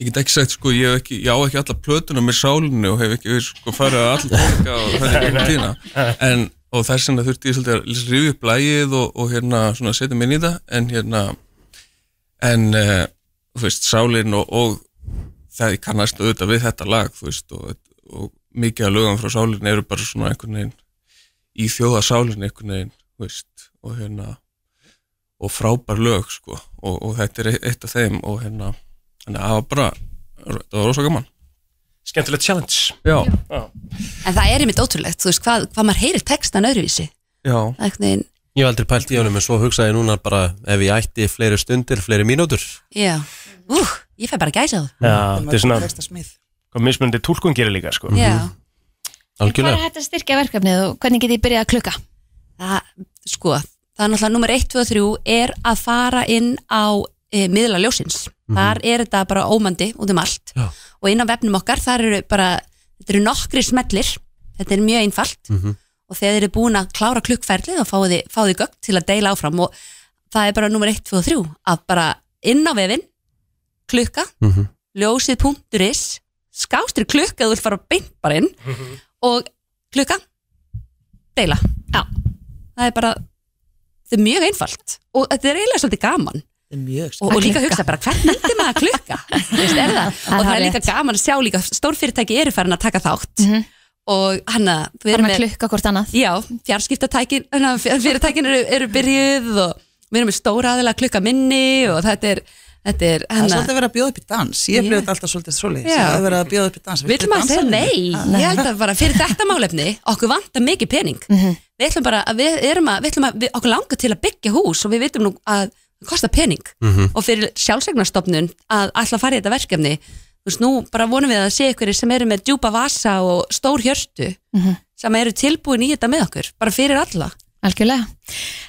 Speaker 9: ég get ekki sagt sko ég, hef ekki, ég á ekki alla plötuna með sálinu og hef ekki sko farið að alla tónleika og það er ekki tína en og þess vegna þurfti ég svolítið að rifja upp lægið og, og hérna svona setja mig inn í það en hérna en uh, þú veist, sálinn og, og það ég kannast auðvitað við þetta lag þú veist og, og mikið af lögum frá sálinn eru bara svona einhvern veginn í þjóða sálinn einhvern veginn þú veist, og hérna og frábær lög sko og, og þetta er eitt af þeim og hérna þannig að það var bara, það var rosa gaman
Speaker 2: skemmtilegt challenge.
Speaker 9: já,
Speaker 6: en það er einmitt ótrúlegt, þú veist, hvað, hvað maður heyrir textan öðruvísi,
Speaker 9: já,
Speaker 6: Það er einhvern veginn
Speaker 1: Ég hef aldrei pælt í honum en svo hugsaði ég núna bara ef ég ætti fleiri stundir, fleiri mínútur
Speaker 6: já,
Speaker 3: Mhm.
Speaker 6: ú, ég fæ bara gæsa húð
Speaker 2: Já, þetta er svona,
Speaker 7: Texta smið.
Speaker 2: hvað mismunandi tólkun gerir líka, sko.
Speaker 6: já,
Speaker 3: Hvað er
Speaker 1: Algjörlega
Speaker 3: hægt að styrkja verkefnið og hvernig get ég byrjað að klukka?
Speaker 6: það, sko, það er náttúrulega nummer 1, 2 og 3 er að fara inn á e, miðla ljósins þar er þetta bara ómandi út um allt
Speaker 1: Já.
Speaker 6: og inn á vefnum okkar þar eru bara, þetta eru nokkri smellir þetta er mjög einfalt og þegar þið eru búin að klára klukkferlið og fáið þið, fáið þið gögn til að deila áfram og það er bara nummer 1, 2 og 3 að bara inn á vefin klukka,
Speaker 1: Mhm.
Speaker 6: ljósið.is skástur klukka þú vil fara beint bara inn og klukka deila
Speaker 3: Já.
Speaker 6: það er bara þetta er mjög einfalt og þetta er eiginlega svolítið gaman
Speaker 7: Þetta er mjög
Speaker 6: og, og líka hugsa bara hvern myndi maður að klukka Þú veist, er það? og það
Speaker 3: það
Speaker 6: er
Speaker 3: er
Speaker 6: líka gaman að sjá líka stórfyrirtæki eru farin að taka þátt
Speaker 3: Mhm.
Speaker 6: og hann að við erum
Speaker 3: Þannig að
Speaker 6: með
Speaker 3: klukka hvort annað.
Speaker 6: já, fjarskiptatækin hana, fyrirtækin eru, eru byrjuð og við erum með stóra aðila að klukka minni og þetta er, þetta er
Speaker 7: Það er
Speaker 6: hana,
Speaker 7: svolítið verið að bjóða upp í dans, ég
Speaker 6: Já.
Speaker 7: yeah. þetta alltaf svolítið svolítið,
Speaker 6: Já.
Speaker 7: það er verið að bjóða upp í dans Ah,
Speaker 6: Vill maður segja nei? Ég held að bara fyrir þetta málefni, okkur vantar mikið pening. við ætlum bara að við erum að, við ætlum að við, okkur langar til að byggja hús og við vitum nú að það kostar pening og fyrir sjálfsegnarstofnun að ætla að fara í þetta verkefni þú veist, nú bara vonum við að sé ykkur sem eru með djúpa vasa og stór hjörtu sem eru tilbúin í þetta með okkur bara fyrir alla
Speaker 3: Algjörlega.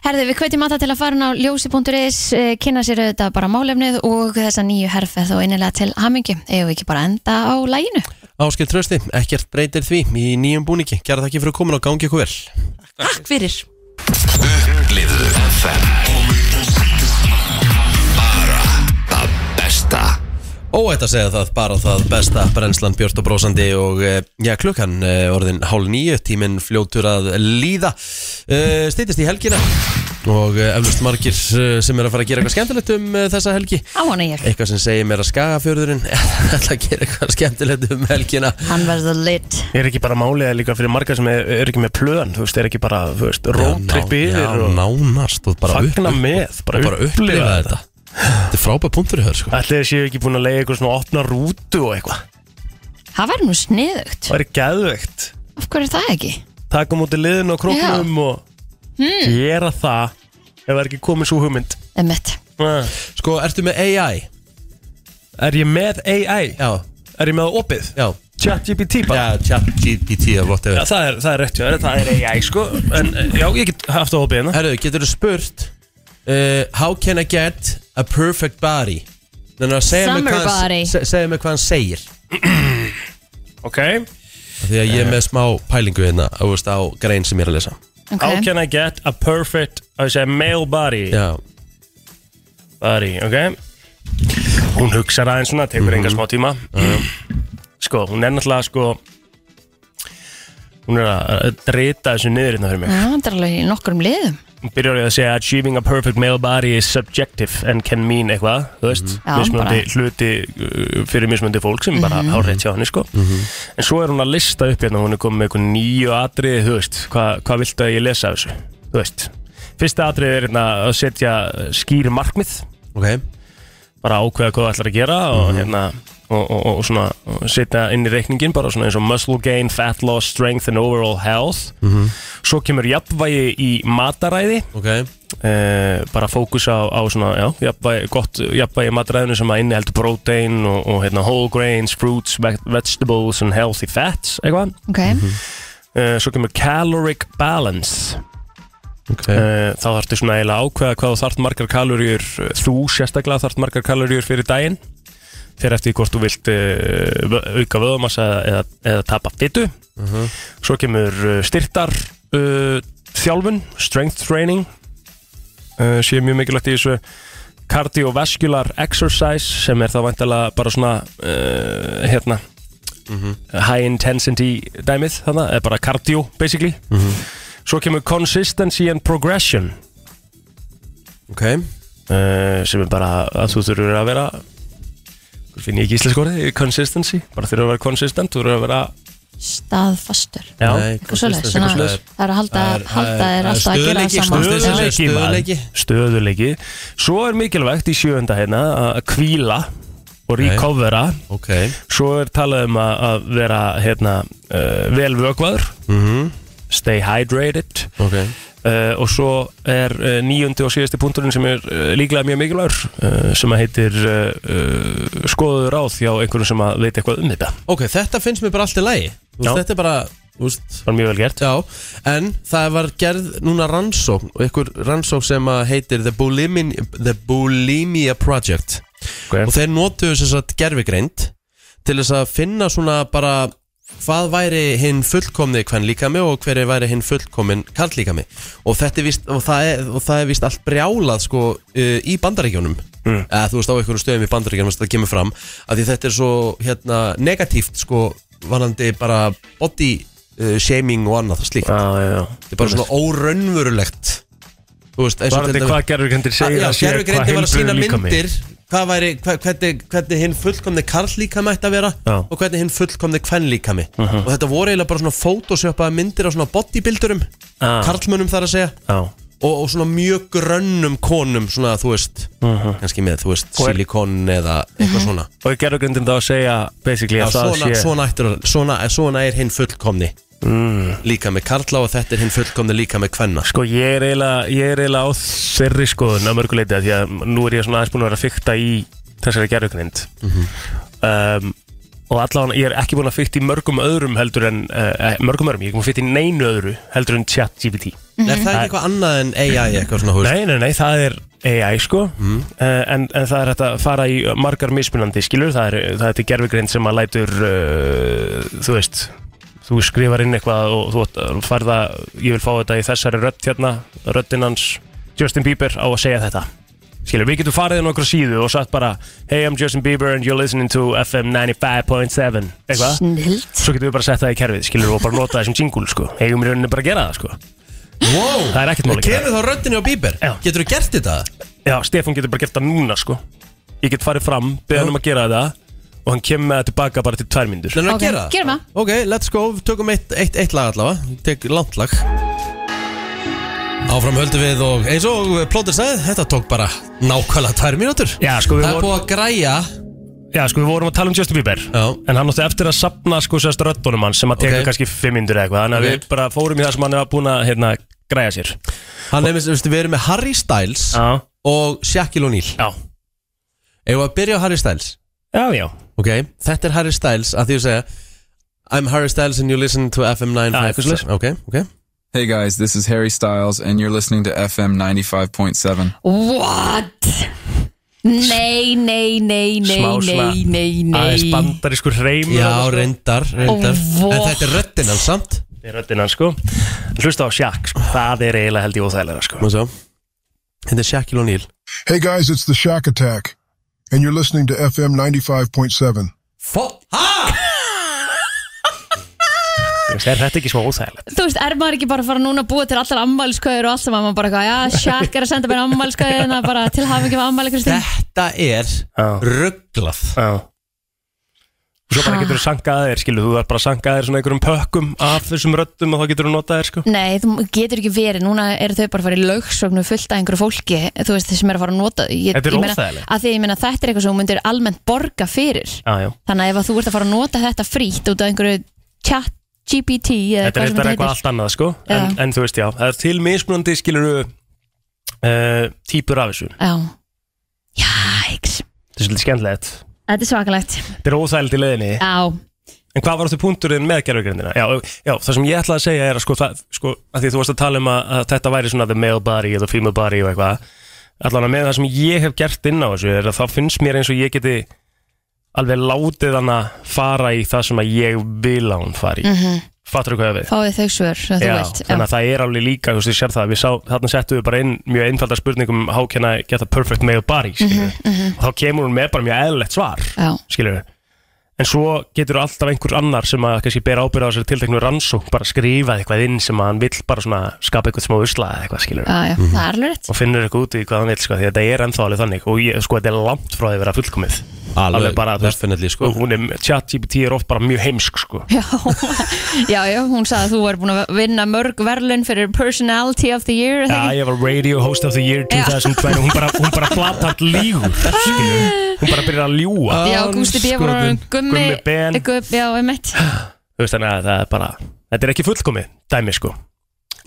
Speaker 3: Herði, við hvetjum alltaf til að fara inn á ljósi.is, eh, kynna sér auðvitað bara málefnið og þessa nýju herfið og innilega til hamingi. Eða ekki bara að enda á læginu.
Speaker 1: Áskil trösti, ekkert breytir því í nýjum búningi. Gerða takk fyrir komin og gangi ykkur vel.
Speaker 6: Takk fyrir
Speaker 5: Upplifðu FM Bara það besta
Speaker 1: Óætt að segja það, bara það besta brennslan Björn og brósandi og eh, já, klukkan eh, orðin hálf nýju, tíminn fljótur að líða Eh, Styttist í helgina og eh, eflust margir eh, sem er að fara að gera eitthvað skemmtilegt um eh, þessa helgi
Speaker 3: Á hana ég.
Speaker 1: Eitthvað sem segir mér að skagafjörðurinn ætla að gera eitthvað skemmtilegt um helgina
Speaker 3: Hann verður lit.
Speaker 2: Er ekki bara málið líka fyrir marga sem er, er ekki með plön Þú veist, er ekki bara, þú veist, rótrippi
Speaker 1: Já,
Speaker 2: yfir
Speaker 1: ná-
Speaker 2: og
Speaker 1: Já, nánast og bara, upp,
Speaker 2: fagna með Bara,
Speaker 1: bara upplifa þetta Þetta er frábæð punktur í höfður sko
Speaker 2: Ætli þessi ekki búin að leiða eitthvað svona opna rútu og eitthvað
Speaker 3: Það verður nú sniðugt.
Speaker 2: Það er geðveikt
Speaker 3: Af hverju er það ekki? Hmm.
Speaker 2: Taka múti liðin og króknum og
Speaker 3: Mm.
Speaker 2: gera það ef það er ekki komið svo hugmynd
Speaker 3: Emmett.
Speaker 1: Sko, ertu með AI?
Speaker 2: Er ég með AI?
Speaker 1: Já,
Speaker 2: Er ég með opið?
Speaker 1: já
Speaker 2: ChatGPT bara?
Speaker 1: Já, chat GPT eða whatever
Speaker 2: Já, það er, það er rétt, já, það er AI sko En eh, já, ég get haft á opið hérna
Speaker 1: Herru, getur þú spurt uh, How can I get a perfect body? Þannig að segja mér
Speaker 3: Summer
Speaker 1: hvað,
Speaker 3: body.
Speaker 1: hann- se- segja mér hvað hann segir
Speaker 2: Ok,
Speaker 1: Af Því að ég er með smá pælingu hérna á, veist, á grein sem ég er að lesa
Speaker 2: how
Speaker 3: Okay.
Speaker 2: can I get a perfect, I say male body
Speaker 1: Já,
Speaker 2: Bari, ok Hún hugsar aðeins svona, tekur mm
Speaker 1: Mhm.
Speaker 2: enga smá tíma Sko, hún er náttúrulega sko Hún er að drita þessu niður hérna fyrir mig
Speaker 3: Já, það er alveg í nokkrum liðum.
Speaker 2: Hún byrjar á því að segja Achieving a perfect male body is subjective and can mean eitthvað Þú veist,
Speaker 3: Já,
Speaker 2: mismunandi hluti uh, fyrir mismunandi fólk sem bara mm rétt hjá henni sko En svo er hún að lista upp hérna Hún er komin með eitthvað nýju atriði, þú veist Hvað hva viltu að ég lesa af þessu, þú veist Fyrsta atriði er hérna að setja skýri markmið
Speaker 1: ok
Speaker 2: bara ákveða hvað það ætlar að gera og, hérna, og, og, og svona setja inn í reikningin bara svona eins og muscle gain, fat loss, strength and overall health svo kemur jafnvægi í mataræði
Speaker 1: Ok,
Speaker 2: eh, bara fókus á, á svona, já, jafnvægi, gott jafnvægi í mataræðinu sem að inniheldur protein og, og hérna, whole grains, fruits, ve- vegetables and healthy fats eitthvað
Speaker 3: Ok.
Speaker 2: eh, svo kemur caloric balance
Speaker 1: okay.
Speaker 2: Eh, þá þarftu svona eiginlega að ákveða hvað þú þarft margar kaloríur eh, þú sérstaklega þarft margar kaloríur fyrir daginn fyrir eftir því hvort þú vilt eh, vö- auka vöðumassa eða, eða tapa fytu svo kemur eh, styrtar uh, þjálfun, strength training uh, sé mjög mikilvægt í þessu cardiovascular exercise sem er þá vantilega bara svona uh, hérna
Speaker 1: mhm.
Speaker 2: high intensity dæmið þarna, eða bara cardio basically
Speaker 1: Mhm.
Speaker 2: Svo kemur consistency and progression
Speaker 1: ok
Speaker 2: uh, sem er bara að þú þurfur að vera hvað finn ég ekki íslensk orðið consistency, bara þurfur að vera consistent þú þurfur að vera
Speaker 3: Staðfastur.
Speaker 2: já,
Speaker 1: Nei,
Speaker 3: Eitthvað svoleiðis,
Speaker 1: eitthvað
Speaker 3: svona-
Speaker 1: svoleiðis.
Speaker 3: Það er að halda,
Speaker 1: Það er-
Speaker 3: halda
Speaker 1: það er-
Speaker 3: er alltaf að gera það
Speaker 1: stuðleiki,
Speaker 3: saman.
Speaker 1: stuðleiki.
Speaker 3: Já.
Speaker 2: stöðuleiki,
Speaker 1: Stöðugleiki.
Speaker 2: maður. stöðuleiki svo er mikilvægt í sjöunda hérna að kvíla og recovera
Speaker 1: Ok,
Speaker 2: svo er talað um að, að vera hérna, uh, vel vögvaður stay hydrated
Speaker 1: Mhm. ok
Speaker 2: Uh, og svo er uh, nýjöndi og síðasti punkturinn sem er uh, líklega mjög mikilvægur uh, sem að heitir uh, uh, skoðuður ráð hjá einhverjum sem að veit eitthvað um þetta
Speaker 1: Ok, þetta finnst mér bara allt í lagi Þú veist,
Speaker 2: Já.
Speaker 1: Þetta er bara, úst,
Speaker 2: var mjög vel gert
Speaker 1: Já, en það var gerð núna rannsókn og einhver rannsókn sem að heitir The, Bulimin, The Bulimia Project og
Speaker 2: okay.
Speaker 1: þeir notuðu þess að gerfigreind til þess að finna svona bara hvað væri hinn fullkomni hvern líkami og hver væri hinn fullkomin kall líkami og þetta er vist og það er, og það er vist allt brjálað sko uh, í bandaríkjónum
Speaker 2: Mm.
Speaker 1: eða þú veist á einhverjum stöðum í bandaríkjónum það kemur fram að því þetta er svo hérna negatíft sko varandi bara body uh, shaming og annað slíkt
Speaker 2: ah, já, já.
Speaker 1: þetta er bara svona óraunvörulegt þú veist eins og
Speaker 2: Varandi
Speaker 1: til dæmis-
Speaker 2: hvað gerðurkendir segir
Speaker 1: Já,
Speaker 2: að sé
Speaker 1: gerfugreindi var að sína
Speaker 2: heilbrigður líkami.
Speaker 1: myndir hvað væri, hva, hvernig, hvernig hinn fullkomni karl líkami ætti að vera
Speaker 2: Já. Mhm.
Speaker 1: og hvernig hinn fullkomni kvenn líkami og þetta voru eiginlega bara svona photoshoppaða myndir á svona bodybuildurum,
Speaker 2: Ah.
Speaker 1: karlmönnum þar að segja
Speaker 2: Já.
Speaker 1: og, og svona mjög grönnum konum svona þú veist,
Speaker 2: Mhm.
Speaker 1: kannski með þú veist
Speaker 2: Og er- Mhm.
Speaker 1: silikon eða eitthvað svona
Speaker 2: og gerðurkendir þá að segja basically
Speaker 1: Já,
Speaker 2: að það
Speaker 1: svona,
Speaker 2: sé
Speaker 1: svona, ættir, svona, svona er hinn fullkomni líka með karla og þetta er hinn fullkomni líka með kvenna
Speaker 2: Mm. Sko ég er eiginlega, ég er eiginlega á þeirri skoðun að mörguleiti að því að nú er ég svona aðeins búin að vera að fykta í þessari gerðugrind
Speaker 1: Mhm.
Speaker 2: um, og allavega ég er ekki búin að fykta í mörgum öðrum heldur en uh, mörgum öðrum, ég er búin að fykta í neinu öðru heldur en chat GPT
Speaker 1: Er það ekki eitthvað annað en AI eitthvað svona Mm. húst?
Speaker 2: Nei, nei, nei, það er AI sko uh, en, en það er hægt að fara í margar mismunandi skilur, það er, það er til gerðugrind sem að lætur uh, þú veist þú skrifar inn eitthvað og þú átt- færð að ég vil fá þetta í þessari rödd hérna röddinn hans Justin Bieber á að segja þetta skilur, við getum farið inn á okkur síðu og sagt bara Hey, I'm Justin Bieber and you're listening to FM 95.7 eitthvað
Speaker 3: Snilt
Speaker 2: svo getum við bara sett það í kerfið, skilur, og bara nota það sem jingle, sko, eigum í rauninni bara að gera það, sko
Speaker 1: Wow!
Speaker 2: Það er ekkert mál að gera.
Speaker 1: Kemur þá röddinni á Bieber?
Speaker 2: Já.
Speaker 1: Getur þú gert þetta?
Speaker 2: Já, Stefán getur bara gert það núna sko Ég get farið fram, beða hann um að gera þetta Og hann kemur með það tilbaka bara til tvær myndur
Speaker 1: Nennar
Speaker 3: Ok,
Speaker 1: að gera það?
Speaker 3: gerum það.
Speaker 1: Ok, let's go, tökum eitt, eitt, eitt lag allavega Tek langt lag Áfram höldum við og eins og plótið sagði, þetta tók bara nákvæmlega tvær mínútur
Speaker 2: Já, sko, við
Speaker 1: Það er
Speaker 2: vorum-
Speaker 1: búið að græja
Speaker 2: Já, sko, við vorum að tala um Justin Bieber
Speaker 1: Já.
Speaker 2: En hann átti eftir að sapna sko sérst röddunum hans Sem að teka
Speaker 1: Ok.
Speaker 2: kannski fimm myndur eitthvað Þannig að
Speaker 1: Ok.
Speaker 2: við bara fórum í það sem hann var búin að hérna, græja sér
Speaker 1: Hann nefnist, þú veist, við erum með Harry Styles
Speaker 2: Já,
Speaker 1: og Shaquille O'Neal
Speaker 2: já,
Speaker 1: Eða að byrja á Harry Styles
Speaker 2: já, já,
Speaker 1: Ok, þetta er Harry Styles að því að segja I'm Harry Styles and you listen to FM 9
Speaker 2: Já, eitthvað svoleiðis.
Speaker 1: Ok, ok
Speaker 10: Hey guys, this is Harry Styles, and you're listening to FM 95.7.
Speaker 3: What? Nei, nei, nei, nei,
Speaker 2: Smá svona
Speaker 3: nei, nei,
Speaker 2: aðeins
Speaker 3: nei
Speaker 2: bandarískur sko. hreim
Speaker 1: Já, reyndar, reyndar
Speaker 3: Ó, vó.
Speaker 1: En þetta er röddinn hans samt
Speaker 2: Í röddina sko Hlusta á Shaq, sko, það er eiginlega held ég óþægilega sko
Speaker 1: Má sjá Þetta er Shaquille O'Neal
Speaker 11: Hey guys, it's the Shack Attack, and you're listening to FM 95.7.
Speaker 1: Fó- Ha?
Speaker 2: Þú veist, Er þetta ekki smá óþægilegt?
Speaker 3: Þú veist, er maður ekki bara að fara núna að búa til allar ammælskauður og allt sem að maður bara eitthvað, já, Shaq er að senda mér ammælskauðina bara til hafa ekki með ammæli Kristín
Speaker 1: Þetta er
Speaker 2: Já.
Speaker 1: rugglað
Speaker 2: Já Og Svo bara getur þú sankað þér, skilur, þú verður bara sankað þér svona einhverjum pökkum af þessum röddum og þá getur þú notað þér, sko
Speaker 3: Nei, þú getur ekki verið, núna eru þau bara að fara í laugsögnu fullt af einhverju fólki þú veist, þeir sem er að fara að nota ég,
Speaker 2: Þetta er
Speaker 3: ég meina,
Speaker 2: óþægilegt.
Speaker 3: að því, ég meina, Þetta er eitthvað sem þú myndir almennt borga fyrir
Speaker 2: Já, já
Speaker 3: þannig að ef að þú ert að fara að nota þetta frítt út af einhverju chat GPT eða
Speaker 2: Þetta er
Speaker 3: hvað sem
Speaker 2: eitthvað, eitthvað
Speaker 3: þetta heitir
Speaker 2: allt annað, sko en, en þú veist, já, það er til mismunandi, skilur þú uh, típur af þessu
Speaker 3: Já, jæks
Speaker 2: Þetta er svolítið skemmtilegt
Speaker 3: Þetta er svakalegt
Speaker 2: Þetta er óþægilegt í leiðinni
Speaker 3: Já,
Speaker 2: En hvað var þetta punkturinn með gerfugrindina? Já, já, það sem ég ætlaði að segja er að sko, það, sko að því þú varst að tala um að, að þetta væri svona the male body eða female body og eitthvað allan að með það sem ég hef gert inn á þessu er að það finnst mér eins og ég geti alveg látið hann að fara í það sem að ég vil að hún fari mm -hmm. Fattur hvað ég við?
Speaker 3: fáið þau svör sem Mhm. þú
Speaker 2: Já,
Speaker 3: vilt
Speaker 2: þannig að það er alveg líka, þú veist, ég sér það, við sá, þarna settum við bara inn mjög einfalda spurningum how can I get a perfect male body, skilju og þá kemur hún með bara mjög eðlilegt svar
Speaker 3: Já.
Speaker 2: skilju, en svo getur alltaf einhver annar sem að kannski bera ábyrða á þessari tilteknu rannsók, bara skrifa eitthvað inn sem að hann vill bara svona skapa eitthvað smá usla eða eitthvað, skilju,
Speaker 3: Já, já, það er alveg rétt
Speaker 2: og finnur eitthvað út í hvað hann vill, sko, því að þetta er ennþá alveg þannig og ég, sko, þetta er langt frá því að vera fullkomið Alveg bara, þú veist,
Speaker 1: definitely, sko.
Speaker 2: og hún er, chat GPT er oft bara mjög heimsk, sko
Speaker 3: Já, já, já, hún sagði að þú var búin að vinna mörg verðlun fyrir personality of the year er það
Speaker 2: Já,
Speaker 3: ekki?
Speaker 2: ég var radio host of the year
Speaker 3: Já.
Speaker 2: 2020 Hún bara, hún bara flatart lígur skilur. Hún bara byrjar að ljúa
Speaker 3: Já, Gústi B. var orðinn gummi
Speaker 2: Gummi Ben.
Speaker 3: Gummi, já, einmitt
Speaker 2: Þú veist þannig að það er bara Þetta er ekki fullkomið, dæmi sko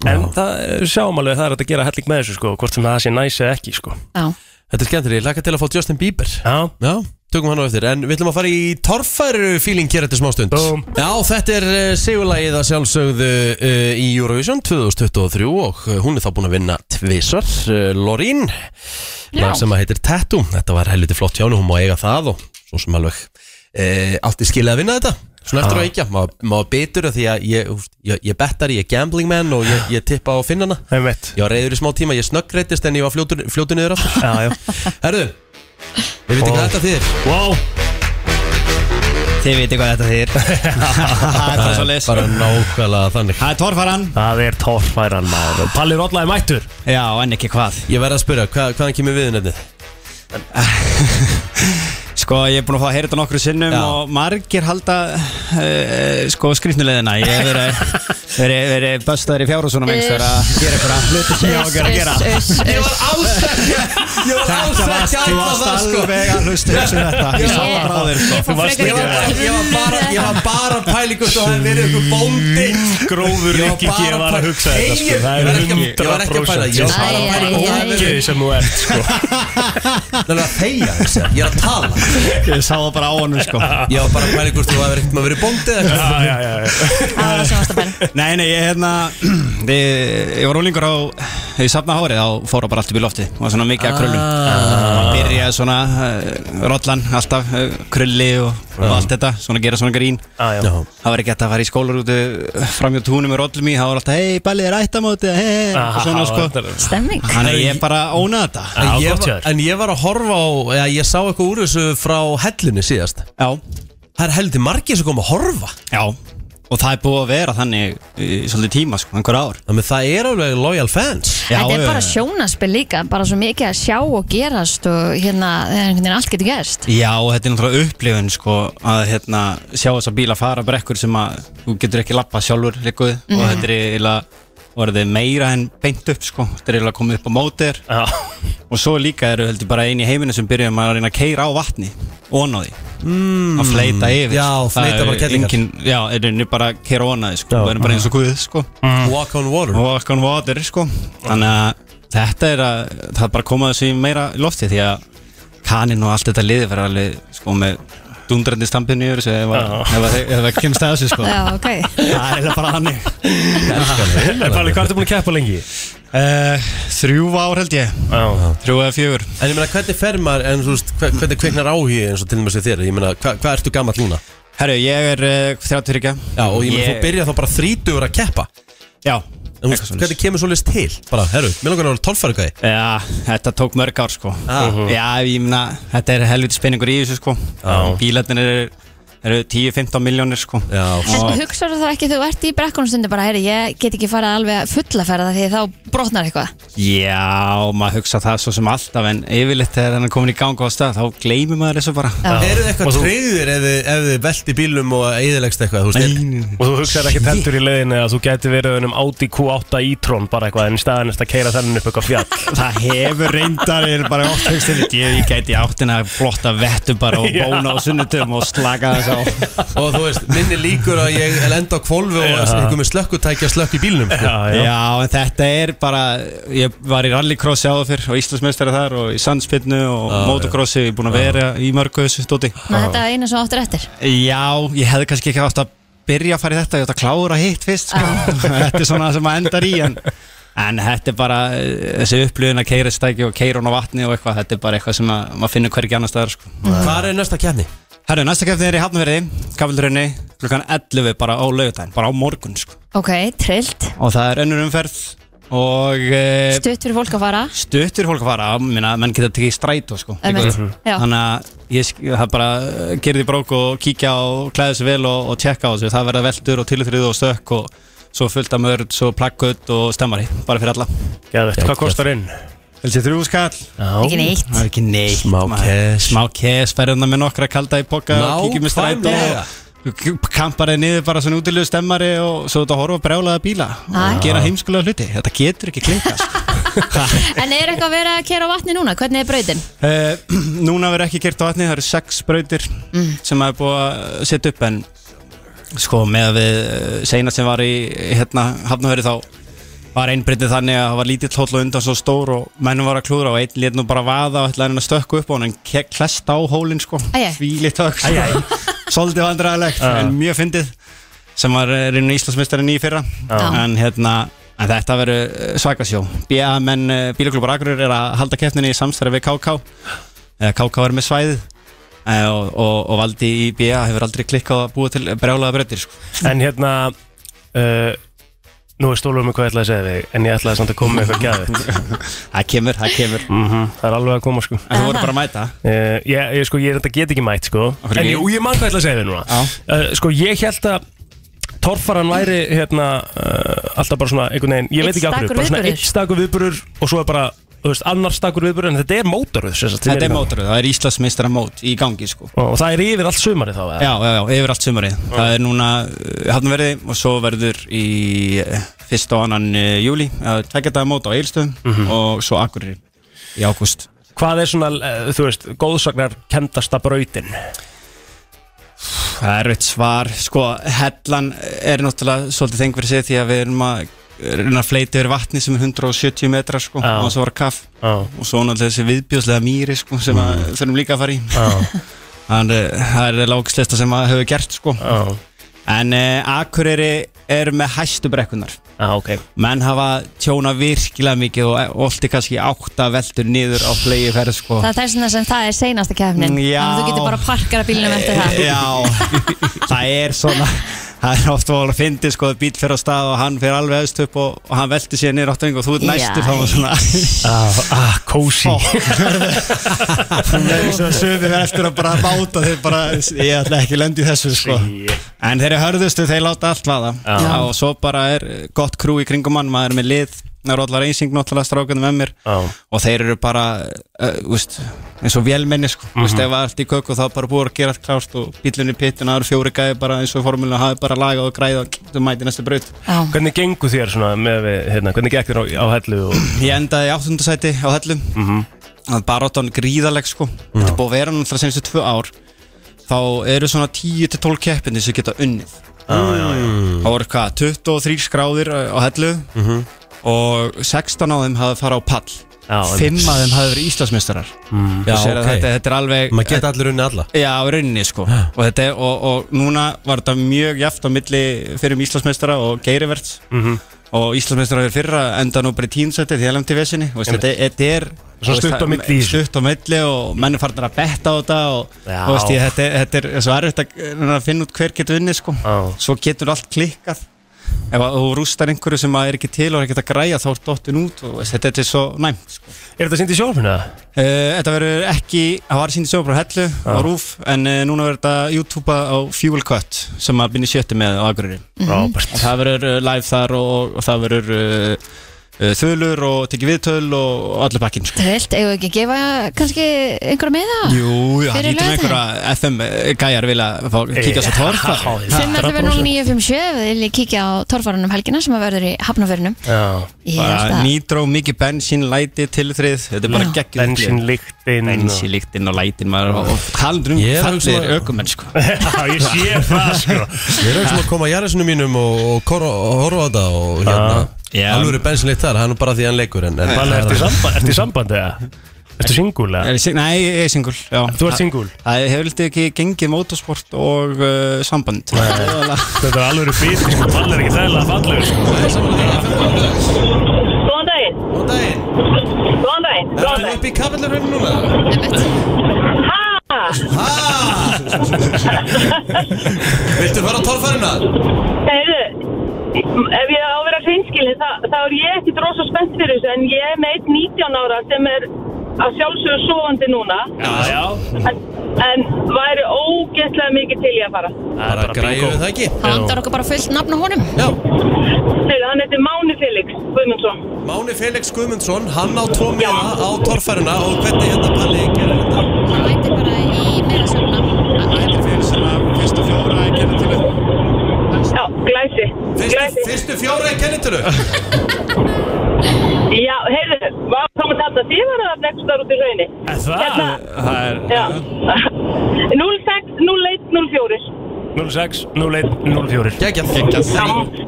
Speaker 2: En það er- sjáum alveg að það er hægt að gera helling með þessu sko Hvort sem það sé næs eða ekki sko
Speaker 3: Já,
Speaker 1: Þetta er skemmtilega, ég laka til að fá Justin Bieber
Speaker 2: Já,
Speaker 1: Já, tökum hann á eftir En við ætlum að fara í torfæru feeling hér eftir smástund
Speaker 2: Búm.
Speaker 1: Já, þetta er uh, sigurlagið að sjálfsögðu uh, í Eurovision 2023 og uh, hún er þá búin að vinna tvisvar uh, Lorín lag sem að heitir Tattoo Þetta var helviti flott hjá henni, hún má eiga það og svo sem alveg uh, átti skilið að vinna þetta Svona eftir á ekki, maður maður bitur af því að ég, úst, ég, ég bettar, ég er gambling man og ég, ég tippa á finnana
Speaker 2: það er mitt
Speaker 1: Ég var reyður í smá tíma, ég snöggreitist en ég var fljótur, fljótur niður aftur
Speaker 2: Já, já
Speaker 1: Herðu, við veitum hvað þetta þýðir
Speaker 2: Wow,
Speaker 12: Þið viti hvað þetta þýr Það er bara svo leys
Speaker 1: Bara nákvæmlega þannig
Speaker 12: Það er torfaran
Speaker 2: það er torfæran maður Palli Rolla er mættur
Speaker 12: Já, en ekki hvað
Speaker 1: Ég verð að spyrja, hva, hvaðan kemur við nefnið?
Speaker 12: Sko, ég er búin að fá að heyra þetta nokkru sinnum og margir halda uh, sko skrýtnulegðina Ég hef verið, verið, verið böstaður í fjárhúsunum einhvers staðar að gera eitthvað að hluti sem ég á að gera
Speaker 1: Ég var alls ekki Ég var alls
Speaker 12: Þetta varst,
Speaker 1: ekki
Speaker 12: þú
Speaker 1: ætlað
Speaker 12: varst
Speaker 1: það sko
Speaker 12: alveg að hlusta þessu þetta Ég sá það frá þér sko
Speaker 1: Ég var, ég var bara, ég var bara pælingu og það hefði verið einhver bóndi
Speaker 2: Grófur
Speaker 1: Ég var
Speaker 2: ykkingi
Speaker 1: bara
Speaker 2: að var að hugsa þetta sko.
Speaker 1: Ég
Speaker 2: Það
Speaker 1: var ekki að- ég var ekki að pæla, ég var bara
Speaker 2: er 100% Ég
Speaker 3: að pæla í ógeði
Speaker 2: sem þú ert sko.
Speaker 1: Það er að þegja þessi, ég er að tala
Speaker 12: Ég sá það bara á honum sko
Speaker 1: Ég var bara pælingu þú hefði ekkert maður verið bóndi eða eitthvað.
Speaker 2: Já, já, já, já.
Speaker 3: Það var það sem varst að bæla
Speaker 12: Nei, nei, ég hérna Ég, ég var ólingur á Ég safna hárið á fóra bara allt upp í lofti Og var svona mikið að krullum ah. Byrjaði svona uh, rollan alltaf uh, Krulli og, og allt þetta Svona gera svona grín
Speaker 2: Já, já.
Speaker 1: Já.
Speaker 12: Það var ekki hægt að fara í skólarútu Framjá túnum með rollum í Það var alltaf Hei, ballið er ættamóti Hei, og
Speaker 1: Ah,
Speaker 12: svona sko
Speaker 2: Þetta er-
Speaker 3: Stemming
Speaker 12: Þannig að ég bara ónaði þetta
Speaker 2: Já,
Speaker 1: En ég
Speaker 2: gott
Speaker 1: var-
Speaker 2: hjá þér.
Speaker 1: En ég var að horfa á, já, ég sá eitthvað úr þessu frá hellunni síðast
Speaker 12: Já,
Speaker 1: Það er heldur margir sem kom að horfa
Speaker 12: já Og það er búið að vera þannig í svolítið tíma sko, einhver ár
Speaker 1: Þannig að það er alveg loyal fans
Speaker 12: Já,
Speaker 3: Þetta er
Speaker 12: já,
Speaker 3: bara
Speaker 12: já.
Speaker 3: sjónaspil líka, bara svo mikið að sjá og gerast og hérna, það er einhvern veginn allt getur gerst
Speaker 12: Já, og þetta er náttúrulega upplifun sko, að hérna, sjá þess að bíla fara brekkur sem að þú getur ekki lappa sjálfur líkuð og þetta er eiginlega orðið meira en beint upp sko. þetta er eiginlega komið upp á mótir
Speaker 2: Já.
Speaker 12: og svo líka eru heldur bara eini í heiminu sem byrjum að reyna að keira á vatni ón á því mm. að fleita yfir
Speaker 1: Já,
Speaker 12: Það
Speaker 1: fleyta bara
Speaker 12: er
Speaker 1: kellingar.
Speaker 12: engin, Já, er einu bara að keira ón á því sko.
Speaker 2: Já.
Speaker 12: það er bara eins og guð sko.
Speaker 3: Mm.
Speaker 1: Walk on water
Speaker 12: og okkar water sko. þannig að þetta er að það er bara að koma þessu í meira í lofti því að kaninn og allt þetta liði verður alveg sko með dundrandi stampinu yfir þessu ef að- ef að- ef það kemst að þessu sko
Speaker 3: Já, ok
Speaker 12: það er eiginlega bara hannig
Speaker 2: En Palli, hvað ertu búin að keppa lengi?
Speaker 12: uh, þrjú ár held ég
Speaker 2: Já.
Speaker 12: þrjú eða fjögur
Speaker 1: En ég meina, hvernig fer maður, en þú veist, hve- hvernig kveiknar áhugi eins og til og með sér þér? Ég meina, hva, hvað ertu gammal núna?
Speaker 12: herru ég er uh, 33
Speaker 1: Já, og ég meina, þú byrjar þá bara þrítugur að keppa
Speaker 12: já
Speaker 1: En þú veist,
Speaker 12: Eitthvað
Speaker 1: hvernig kemur svo list til? Bara, herru, mér langar að vera tólfæri gæði
Speaker 12: Já, þetta tók mörg ár sko
Speaker 1: Ah.
Speaker 12: Já, ég meina, þetta er helviti spenningur í þessu sko
Speaker 2: Já.
Speaker 12: Bílarnir eru, eru 10-15 miljónir sko
Speaker 1: Já,
Speaker 12: Og-
Speaker 3: En hugsaðu þá ekki, þú ert í brekkunum stundu bara, heyri, ég get ekki farið alveg að fullaferða því þá brotnar eitthvað
Speaker 12: Já, maður hugsa það svo sem alltaf en yfirleitt þegar hann er komin í ganga á stað þá gleymir maður þessu bara
Speaker 1: eru þið
Speaker 2: Og
Speaker 1: eitthvað
Speaker 2: þú-
Speaker 1: treyðir ef þið- ef þið velti bílum og eðilegst eitthvað, þú veist? er-
Speaker 2: Og þú hugsaðir ekkert heldur í leiðinu að þú gæti verið um Audi Q8 e-tron bara eitthvað en í staðan eftir að keira þennan upp eitthvað fjall
Speaker 12: Það hefur reyndar, ég er bara oft hugst ég, ég gæti áttina að flotta vettu bara og bóna á sunnutum og slaka þess á
Speaker 1: Og þú veist, minni líkur að ég lenda á kvolfi og einhver með slökkutækja slökk í bílnum sko.
Speaker 2: Já, já.
Speaker 12: Já, en þetta er bara ég var í rallycrossi áður fyrr og Íslandsmeistari þar og í sandspinnu og motocrossi, ég er búin að vera í mörgu þessu stóti
Speaker 3: Ná, Þetta er eina sem áttur eftir
Speaker 12: Já, ég hefði kannski ekki átt að byrja að fara í þetta, ég átt að klára hitt fyrst sko. Þetta er svona það sem maður endar í en, en þetta er bara eh, þessi upplöðin að keira stæki og keira hún á vatni og eitthvað, þetta er bara eitthvað sem að, maður finnur hvergi annar staðar sko.
Speaker 1: Hvar er næsta kefni?
Speaker 12: Herru, næsta kefnið er í Hafnverði, Kafildrunni klukkan 11 bara á laugardaginn, bara á morgun sko.
Speaker 3: Ok, trillt,
Speaker 12: og það er önnur umferð og e,
Speaker 3: stutt fyrir fólk að fara
Speaker 12: stuttur fólk að fara, ég meina, menn geta tekið strætó sko.
Speaker 3: Einmitt. Já.
Speaker 12: þannig að ég sk- það bara gerði brók og kíkja og klæði sér vel og, og tjekka á þessu það verða veldur og tilþrið og stök og svo fullt af mörd, svo plakkut og stemmari bara fyrir alla
Speaker 2: Geðveikt. Hvað kostar inn?
Speaker 12: Helsi þrjú skall
Speaker 3: Ekki neitt
Speaker 12: Það er ekki neitt
Speaker 1: Smá
Speaker 12: maður.
Speaker 1: cash.
Speaker 12: Smá kes, ferðina með nokkra kalda í boka og kíkjum með strætó
Speaker 1: Nákvæmlega.
Speaker 12: og kampar þeir niður bara svona útilegu stemmari og svo þetta horfa brjálaða bíla
Speaker 3: Æ.
Speaker 12: og gera heimskulega hluti, þetta getur ekki sko. klinkast
Speaker 3: En er eitthvað að vera að kera á vatni núna? Hvernig er brautin?
Speaker 12: Uh, núna verður ekki gert á vatni, það eru sex brautir
Speaker 3: Mm.
Speaker 12: sem maður er búið að setja upp en sko með að við seinast sem var í hérna hafnaveri þá var einbrytið þannig að það var lítill hóll og undan svo stór og mennum var að klúðra og einn lét nú bara vaða og ætlaði hann að stökku upp á hann en ke- klest á hólinn sko,
Speaker 3: Æ, æ.
Speaker 12: svílitt högg sko. svolítið vandræðilegt en mjög fyndið sem var reynir Íslandsmeistarinn í fyrra
Speaker 3: Já.
Speaker 12: en hérna En þetta verður eh, svaka sjó BA menn bílaklubur Akurur er að halda keppninni í samstarfi við KK eða KK er með svæðið eh, og, og, og valdi í BA hefur aldrei klikkað að búa til brjálaða breytir sko.
Speaker 2: En hérna uh, Nú er stólum með hvað ég ætlaði að segja þig En ég ætlaði samt að koma með eitthvað gæðið
Speaker 12: Það kemur, það kemur
Speaker 2: mm Það er alveg að koma sko
Speaker 12: En þú voru bara að mæta
Speaker 2: Uh, ég, ég, sko, ég er þetta get ekki mætt sko
Speaker 12: hverju
Speaker 2: En
Speaker 12: ekki?
Speaker 2: ég, og ég mann hvað ég ætla að segja þér núna uh, Sko ég held að Torfaran væri hérna uh, Alltaf bara svona einhvern veginn Ég
Speaker 3: Einn
Speaker 2: veit ekki af hverju
Speaker 3: stakur
Speaker 2: Bara svona
Speaker 3: viðburður.
Speaker 2: eitt stakur viðburur Og svo er bara þú veist, annar stakur viðbörð en þetta er mótoröð sem sagt, sem
Speaker 12: Þetta
Speaker 2: í
Speaker 12: er
Speaker 2: gangi.
Speaker 12: mótaröð, það er Íslandsmeistara mót í gangi sko
Speaker 2: Ó, og það er yfir allt sumari þá eða?
Speaker 12: Já, já, já, yfir allt sumarið Það er núna hafnverði og svo verður í eh, fyrsta og annan eh, júli að tækja dagar mót á Egilstöðum
Speaker 2: Mhm.
Speaker 12: og svo Akureyri í ágúst
Speaker 2: hvað er svona, eh, þú veist, góðsagnar kendasta brautin
Speaker 12: Það er erfitt svar, sko, hellan er náttúrulega svolítið þeng fyrir sig því að við erum að reyna að fleita yfir vatni sem er 170 metrar sko,
Speaker 2: Já.
Speaker 12: og svo var kaff
Speaker 2: Já. Mm.
Speaker 12: og svo náttúrulega þessi viðbjóðslega mýri sko, sem að þurfum líka að fara í Þannig að það er lágslista sem að hefur gert sko. en eh, Akureyri er með hæstu brekkunar
Speaker 2: ah, okay.
Speaker 12: menn hafa tjóna virkilega mikið og olti kannski átta veldur niður á flegi ferð sko.
Speaker 3: Það er þess vegna sem það er seinasta kefnin
Speaker 12: Mm, já.
Speaker 3: Þannig að þú getur bara að parkara bílnum eftir það
Speaker 12: Já, það er svona Það er ofta að fyndi sko að bíl fyrir á stað og hann fyrir alveg aðst upp og, og hann velti sér niður áttöng og þú ert næstu
Speaker 3: Já.
Speaker 12: þá var svona
Speaker 2: ah, ah, kósi
Speaker 12: Það er svona sögum við eftir að bara báta þeir bara, ég ætla ekki að lenda í þessu sko En þeir eru hörðustu, þeir láta allt vaða Já, og svo bara er gott krú í kringum mann, maður er með lið Það eru allar einsing náttúrulega strákunum með mér
Speaker 2: Já.
Speaker 12: og þeir eru bara uh, úst, eins og vélmenni sko. mm
Speaker 2: Mhm.
Speaker 12: -hmm. ef það er allt í köku þá er bara búið að gera allt klárt og bílunni pittin, það eru fjóri gæði bara eins og formúlinu hafi bara lagað og græða og þú mæti næstu braut
Speaker 3: Já.
Speaker 2: hvernig gengur þér svona með við, hérna, hvernig gekk þér á, á hellu og, Mhm.
Speaker 12: Ég endaði í áttundasæti á hellum mm -hmm. Baróttan gríðaleg sko Þetta er búið að vera náttúrulega senstu tvö ár Þá eru svona 10-12 keppinni sem geta unnið mm. Það voru hvað, 23 skráðir á hellu Og 16 á þeim hafði farið á pall
Speaker 2: Mhm. Já, en-
Speaker 12: 5 af þeim hafði verið Íslandsmeistarar mm.
Speaker 1: Já,
Speaker 12: okay.
Speaker 1: ok.
Speaker 12: þetta, þetta er alveg
Speaker 1: Maður geta allir unni alla
Speaker 12: Já, í rauninni sko og, þetta, er- og, og núna var þetta mjög jaft á milli fyrir um Íslandsmeistara og Geirivert
Speaker 2: Mhm.
Speaker 12: -hmm. og Íslandsmeistara fyrir fyrra enda nú bara í tínsætti því LMT vesinni og veist, þetta, þetta er
Speaker 2: Svona
Speaker 12: þú veist,
Speaker 2: stutt á
Speaker 12: það-
Speaker 2: milli í þessu.
Speaker 12: stutt á milli og menn er farnar að betta á þetta og
Speaker 2: Já.
Speaker 12: þú veist, ég, þetta, er- þetta er svo erfitt að, reyna að finna út hver getur unnið sko
Speaker 2: Já.
Speaker 12: svo getur allt klikkað ef að þú rústar einhverju sem að er ekki til og er ekki að græja þá er dottin út og veist, þetta þetta er svo næmt sko.
Speaker 2: er þetta sýnt í sjófinu?
Speaker 12: Eh, Þetta verður ekki, það var síndi sjófrá Hellu á Rúf en uh, núna verður þetta YouTube á Fuel Cut sem að byrja sjötti með á Akureyri
Speaker 2: Mhm. Robert
Speaker 12: Það verður uh, live þar og, og, og það verður uh, uh, þölur og tekið viðtöl og, og allir bakkinn sko.
Speaker 3: Það er vilt, eigum við ekki að gefa kannski einhverja með það?
Speaker 12: Jú, já, það
Speaker 3: Fyrir
Speaker 12: lítum
Speaker 3: laugardaginn?
Speaker 12: einhverja FM gæjar vilja fá
Speaker 2: Eh,
Speaker 12: kíkja svo torf
Speaker 2: Já, já.
Speaker 3: 5.09.57 ef þið viljið kíkja á torfarunum helgina sem að verður í hafnaförunum
Speaker 2: Já.
Speaker 3: Ég held að
Speaker 12: Nýtró, mikið bensín, læti, tilþrið Þetta er bara
Speaker 3: Já.
Speaker 12: geggjum
Speaker 2: Bensínlyktin
Speaker 12: Bensínlíktinn og lætin maður, og, og talandrum
Speaker 1: Ég er að hugsa
Speaker 12: fallir
Speaker 1: að-
Speaker 12: ökumenn sko.
Speaker 2: Já, ég sé það sko
Speaker 1: Ég er ekki sem að koma að jarðisinu mínum og, og, kor- og horfa á þetta og hérna
Speaker 12: Já.
Speaker 1: Alveg er bensinleitt þar, það er nú bara því hann leikur en, en
Speaker 2: Þannig, ertu í sambandi, ertu í sambandi eða? Ertu singul eða?
Speaker 12: Er ég sing- Nei, ég er singul já.
Speaker 2: Þú ert singul
Speaker 12: Það hefur lítið ekki gengið mótorsport og uh, samband
Speaker 2: Þetta er alveg fyrir sko, Ball er ekki þærlega fallur sko
Speaker 8: Góðan daginn,
Speaker 1: Góðan daginn,
Speaker 8: góðan dinn, góðan
Speaker 1: ertu upp í kapillurinn núna?
Speaker 8: dinn. Ha!
Speaker 1: Ha! Viltu fara á torfærina?
Speaker 8: Heyrðu, ef ég á að vera hreinskilin, þá, þá er ég ekkit rosa spennt fyrir þessu, en ég er með eitt 19 ára sem er að sjálfsögðu sofandi núna,
Speaker 2: Já, já
Speaker 8: en, en væri ógeðslega mikið til ég að fara.
Speaker 2: Það er
Speaker 1: Bara græjum við það ekki?
Speaker 3: það vantar okkur bara fullt nafn á honum
Speaker 1: Já,
Speaker 8: Heyrðu, hann heitir Máni Felix Guðmundsson.
Speaker 1: Máni Felix Guðmundsson, hann á tvo miða á torfærina og hvernig hérna Palli gerir þetta?
Speaker 3: hann mætir bara í meira sjófna
Speaker 12: Fyrsta fjóra ekki henni til
Speaker 8: Já, glæsi,
Speaker 1: Fyrstu,
Speaker 8: glæsi.
Speaker 1: fyrstu fjóra í kennitölu?
Speaker 8: Já, heyrðu, hvað komum þetta? Þið var það nefnst þar út í hraunni.
Speaker 2: Er Það
Speaker 8: Hérna.
Speaker 2: Það er
Speaker 8: Já. 06, 01, 04.
Speaker 2: 06, 01, 04
Speaker 1: Gægjað Gægjað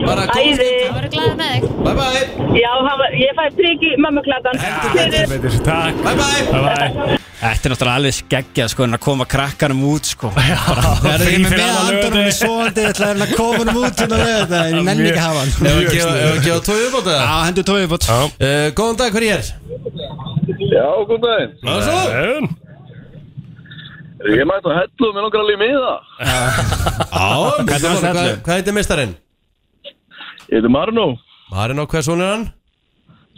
Speaker 1: Bara góð
Speaker 8: Æði.
Speaker 3: það verður glæðið með þig
Speaker 1: Bye bye
Speaker 8: Já, hann var- ég fæ priki mömmuklatan. Fyrir.
Speaker 2: Beitir, Takk
Speaker 1: Bye bye
Speaker 2: Bye bye
Speaker 12: Þetta er náttúrulega alveg skeggjað sko en að koma krakkanum út sko Það er
Speaker 2: frí
Speaker 12: ekki með
Speaker 2: fyrir
Speaker 12: með
Speaker 2: alla
Speaker 12: andanum
Speaker 2: laugardegi.
Speaker 12: í svoandi Það er að koma hann út hérna við þetta Ég nenni ekki að hafa hann
Speaker 1: Ef að gefa- ef að gefa tóið upp á
Speaker 12: Já,
Speaker 1: þetta
Speaker 12: hendur tóið bort
Speaker 2: Já.
Speaker 1: Eh, Góðan dag, hver ég er?
Speaker 13: Já, góð daginn.
Speaker 1: Hvað er svo?
Speaker 2: En,
Speaker 13: Ég mætti að hellu með langar að líma í það.
Speaker 1: Já, hvað-
Speaker 12: Hvernig varst það
Speaker 1: hvað
Speaker 12: allu?
Speaker 1: hvað heitir mistarinn?
Speaker 13: Ég heiti Marino
Speaker 1: Marino, hvað svona er hann?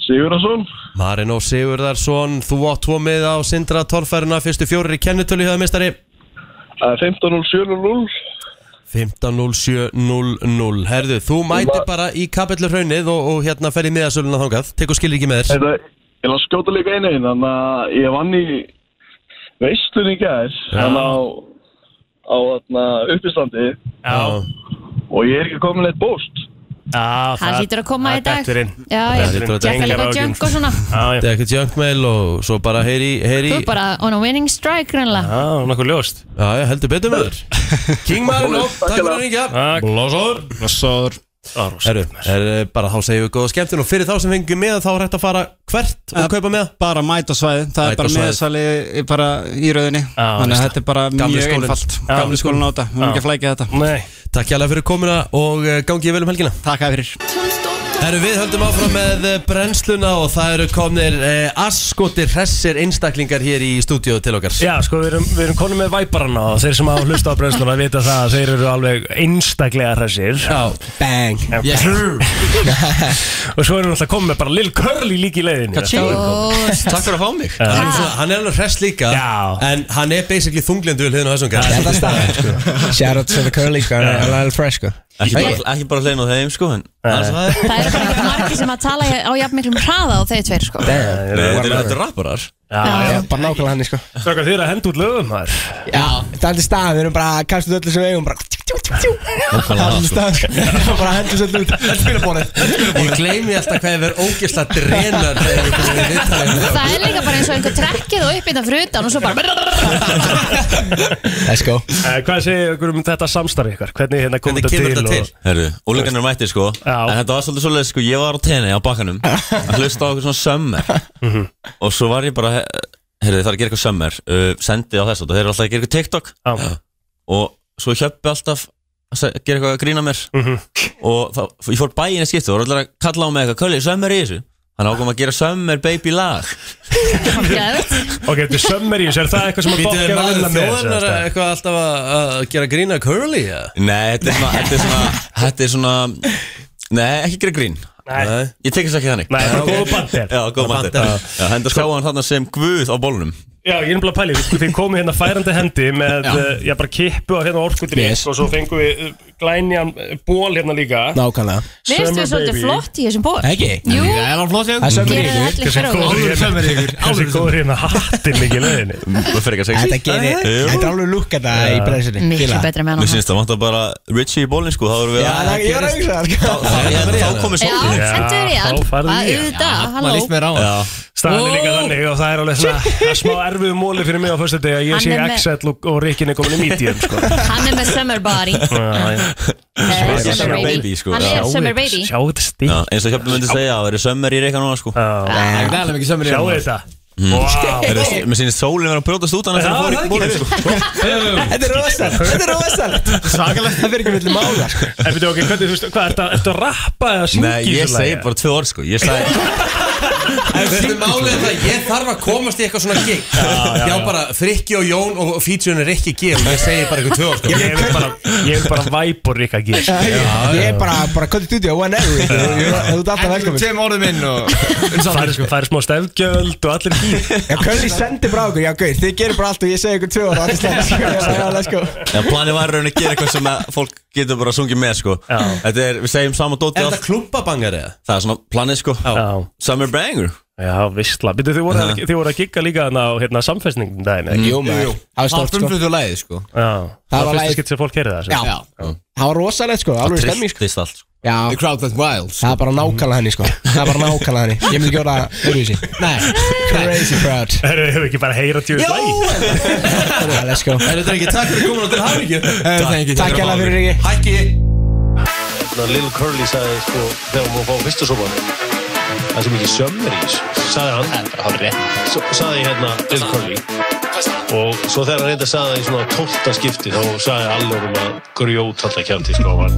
Speaker 13: Sigurðarsson.
Speaker 1: Marino Sigurðarsson, þú átt tvo mið á Sindra Torfæruna, fyrstu fjórir í kennitölu hjá mistari
Speaker 13: Það er 15.07.00.
Speaker 1: 15.07.00 Herðu, þú mæti bara í kapillur hraunið og, og hérna fer í miðasöluna þangað Tekur skilriki með þér
Speaker 13: Þetta, Ég langt skjóta líka einu einn, þannig að ég vann í veistlun í gæðis, hann á, á þarna, uppistandi.
Speaker 2: Já.
Speaker 13: Og ég er ekki komin eitt bóst.
Speaker 2: Já,
Speaker 3: Hann hlýtur að koma í dag Já, já, Gekka líka junk og svona
Speaker 1: Það er ekkert junkmail og svo bara heyri, heyri
Speaker 3: Þú er bara on a winning strike grannlega
Speaker 2: Já, nokkuð ljóst
Speaker 1: Já, já, heldur betur með þér King maður, og takk fyrir að ringja Blásóður Blásóður Herru, er bara þá segjum við góða skemmtun og fyrir þá sem fengum með þá er hægt að fara hvert og kaupa með
Speaker 12: Bara mæta á svæði,
Speaker 1: Mæta
Speaker 12: það er bara
Speaker 1: á svæðið.
Speaker 12: meðsali í- bara í rauðinni Þannig að
Speaker 1: veist
Speaker 12: þetta er bara
Speaker 1: Gamli
Speaker 12: mjög
Speaker 1: skólinn.
Speaker 12: einfalt
Speaker 1: Já.
Speaker 12: Gamli skólinn á þetta, við erum
Speaker 1: Já.
Speaker 12: ekki að flækja þetta
Speaker 2: Nei.
Speaker 1: Takk hjá fyrir komuna og eh, gangi ég vel um helgina
Speaker 12: Takk fyrir
Speaker 1: Herru, við höldum áfram með eh, brennsluna og það eru komnir eh, askotir hressir einstaklingar hér í stúdíu til okkar
Speaker 2: Já, sko, við erum, við erum konum með væparana og þeir sem hafa hlusta á brennsluna vita það að þeir eru alveg einstaklega hressir
Speaker 1: Já, bang
Speaker 2: yes. Og svo erum við alltaf komið með bara Lil Curly líka í leiðinni
Speaker 1: Kaching. Takk fyrir að fá mig hann, er svona, hann er alveg hress líka Já. En hann er basically þunglindu við hliðin á þessum gæl
Speaker 14: Þetta er staðan Shout out to the curly sko hann er
Speaker 1: Já.
Speaker 14: alveg alveg fresh sko
Speaker 15: Ekki bara, ekki bara hlein á þeim sko en annars það er
Speaker 3: Það eru bara ekki margir sem að tala á jafn miklum hraða á þeir tveir sko
Speaker 15: Nei, þetta eru- þetta eru rapparar
Speaker 14: Já, já, bara nákvæmlega hann sko
Speaker 2: Strákar, þið eru að henda út lögum þar
Speaker 14: Já, það er staðan, við erum bara að kasta út öllu sem við eigum bara
Speaker 1: Nákvæmlega
Speaker 14: Það er
Speaker 1: það, sko.
Speaker 14: staðan, sko. bara að hendur sér út Þetta spila bórið
Speaker 1: Ég gleymi alltaf hvað ég verð ógeðslega drenar þegar ég komið í viðtalið
Speaker 3: Það er líka bara eins og einhver trekkið og uppbytta hérna fyrir utan og svo bara
Speaker 14: Let's go
Speaker 2: Hvað segir ykkur um þetta samstarfi ykkur? Hvernig hérna kom þetta til? og-
Speaker 15: Herru, úlingarnir mættir sko En þetta var svolítið svolítið sko Ég var á tenni á bakkanum Að hlusta á okkur svona sömmer
Speaker 2: Mhm.
Speaker 15: Og svo var ég bara Herru, það er að gera eitthvað sömmer uh, Sendið á þess að þeir eru alltaf að gera eitthvað TikTok
Speaker 2: Já.
Speaker 15: Og svo hjöppi alltaf Að se- gera eitthvað að grína mér
Speaker 2: Mhm.
Speaker 15: Og þá, ég fór bæinn í skiptu Og voru allir að kalla á mig eitthvað Kölli, sömmer í þessu Þannig ákvæm að gera sömmer baby lag
Speaker 2: Ok, þetta er sömmer í þessu, er það eitthvað sem að
Speaker 1: Býtu,
Speaker 2: fólk
Speaker 1: er
Speaker 2: er að
Speaker 1: maður
Speaker 2: vinna með?
Speaker 1: þjóðanar
Speaker 2: sem sagt?
Speaker 1: eitthvað alltaf að að gera grína curly? ja?
Speaker 15: Nei, þetta er svona Þetta er svona, þetta er svona Nei, ekki gera grín
Speaker 1: Nei.
Speaker 15: Ég tekist ekki þannig
Speaker 2: Nei, bara góðu bandir.
Speaker 15: Já, góðu
Speaker 2: Bara
Speaker 15: bandir
Speaker 2: bandir.
Speaker 15: Já, Henda skáða hann þarna sem guð á bólunum
Speaker 2: Já, ég er nefnilega að pæli, sko, þið komið hérna færandi hendi með,
Speaker 15: Já.
Speaker 2: já, já bara kippu af hérna orkudrykk
Speaker 14: Yes.
Speaker 2: og svo fengum við eh, glænjan eh, ból hérna líka
Speaker 14: Nákvæmlega
Speaker 3: Mér finnst við svolítið flott í þessum ból
Speaker 14: Ekki?
Speaker 3: Jú,
Speaker 14: er alveg flott
Speaker 3: Það er sömmer í
Speaker 14: Gerið
Speaker 3: ykkur.
Speaker 14: það allir fyrir okkur. Alveg
Speaker 3: Hversu góður hérna-
Speaker 14: sömmer í ykkur.
Speaker 2: Þessi
Speaker 14: Alveg
Speaker 2: góður hérna hattir mikið leiðinni
Speaker 15: Það fyrir ekki að segja
Speaker 14: Þetta gerir, þetta er alveg lúk þetta í brennsinni
Speaker 15: Mér finnst það vantar bara Richie í bólinn sko Þá erum við
Speaker 14: Já, það- ég var að hugsa það, sko.
Speaker 15: það Þá komið
Speaker 3: Já,
Speaker 15: sólinn
Speaker 3: sendu
Speaker 2: Ah,
Speaker 3: þér í hann Það er auðvitað, halló
Speaker 2: Staðan er líka
Speaker 3: Ó.
Speaker 2: þannig og það er alveg svona það er smá erfið móli fyrir mig á fyrstu deg að
Speaker 3: Hann
Speaker 2: ég sé
Speaker 3: er með-
Speaker 2: Axel og, og Rikkin er komin í medium sko.
Speaker 3: Hann er með summer body
Speaker 2: Já, já.
Speaker 3: Hann er
Speaker 15: Summer
Speaker 3: summer
Speaker 15: baby,
Speaker 3: baby
Speaker 15: sko.
Speaker 3: Hann
Speaker 15: Já.
Speaker 3: er summer baby
Speaker 2: Sjá þetta stíl
Speaker 15: Já, eins og Hjöfnum myndi segja Það verður sömmer í reyka núna sko
Speaker 14: Það er alveg ekki sömmer í
Speaker 2: Sjá
Speaker 14: honum.
Speaker 2: þetta
Speaker 15: Mm.
Speaker 2: Vá.
Speaker 15: Heyrðu, Mér sýnist sólinn vera að brjótast út Þannig að
Speaker 2: Já,
Speaker 15: það fór
Speaker 2: það
Speaker 15: í bólinn sko
Speaker 14: Þetta er rosalegt, þetta er rosalegt Svakalegt það fyrir ekki milli mála sko.
Speaker 2: En veitum okkur, hvernig, þú veist, hvað, ertu að- ertu að rappa eða syngja
Speaker 15: Nei,
Speaker 2: í
Speaker 15: ég
Speaker 2: þessu lagi?
Speaker 15: segi bara tvö orð sko Ég segi
Speaker 1: Þetta er málið er það, að ég þarf að komast í eitthvað svona gig
Speaker 15: já,
Speaker 1: Já,
Speaker 15: já.
Speaker 1: bara Frikki og Jón og featurein er ekki G og ég segi bara eitthvað tvö ár, sko.
Speaker 2: Ég vil bara, ég vil bara væpur Rikka G sko.
Speaker 14: Ég er bara, bara kotið út í að one hour Þú ert alltaf velkomin Tveim orðum inn og
Speaker 2: Það er, það er smá stefgjöld og allir gýr
Speaker 14: Já, Curly sendi bara okkur, já gauð, þið gerir bara allt og ég segi ykkur tvö ára, allir slæðis, sko, já, já, let's go.
Speaker 15: Já, planið var raunin að gera eitthvað sem að fólk getur bara að sungja með sko Þetta er, við segjum sama dótið
Speaker 1: Er þetta klubbabangar eða?
Speaker 15: Það er svona planið sko
Speaker 2: Já.
Speaker 15: Summer Banger
Speaker 2: Já, vissla Býttu, þið voru, að- þið voru að gigga líka þarna á hérna, samfestningum daginn ekki?
Speaker 14: Jú, maður. Jú, jú. Það var stórt, sko. Þar frumfluttu lagið,
Speaker 15: sko
Speaker 2: Já,
Speaker 14: Það var
Speaker 2: það var fyrsta
Speaker 14: lagið-
Speaker 2: skipt sem fólk heyrði það
Speaker 14: Já.
Speaker 2: sem-
Speaker 14: Já. Það var rosalegt sko, alveg stemming sko.
Speaker 15: Tristist allt
Speaker 14: Já. The crowd that wild.
Speaker 1: sko.
Speaker 14: Það er bara nákvæmlega henni sko, það er bara nákvæmlega henni. Ég myndi gjóra
Speaker 16: Ah,
Speaker 14: öðruvísi. Nei, crazy crowd.
Speaker 2: Herru, hefur ekki bara heyra tjóðið lagi?
Speaker 14: Já, let's go.
Speaker 1: Er þetta ekki takk fyrir komin og til hafingju?
Speaker 14: Takk, takk hella fyrir Riki.
Speaker 1: Hækki
Speaker 17: Lil Curly sagði sko þegar hún fór fyrstu sopan það er svo mikið sömmer í þessu sagði hann það er bara hár rétt svo sagði ég hérna Lil Curly og svo þegar hann reynda sagði það í svona tólta skipti þá sagði allur um að grjót alltaf kjandi sko hann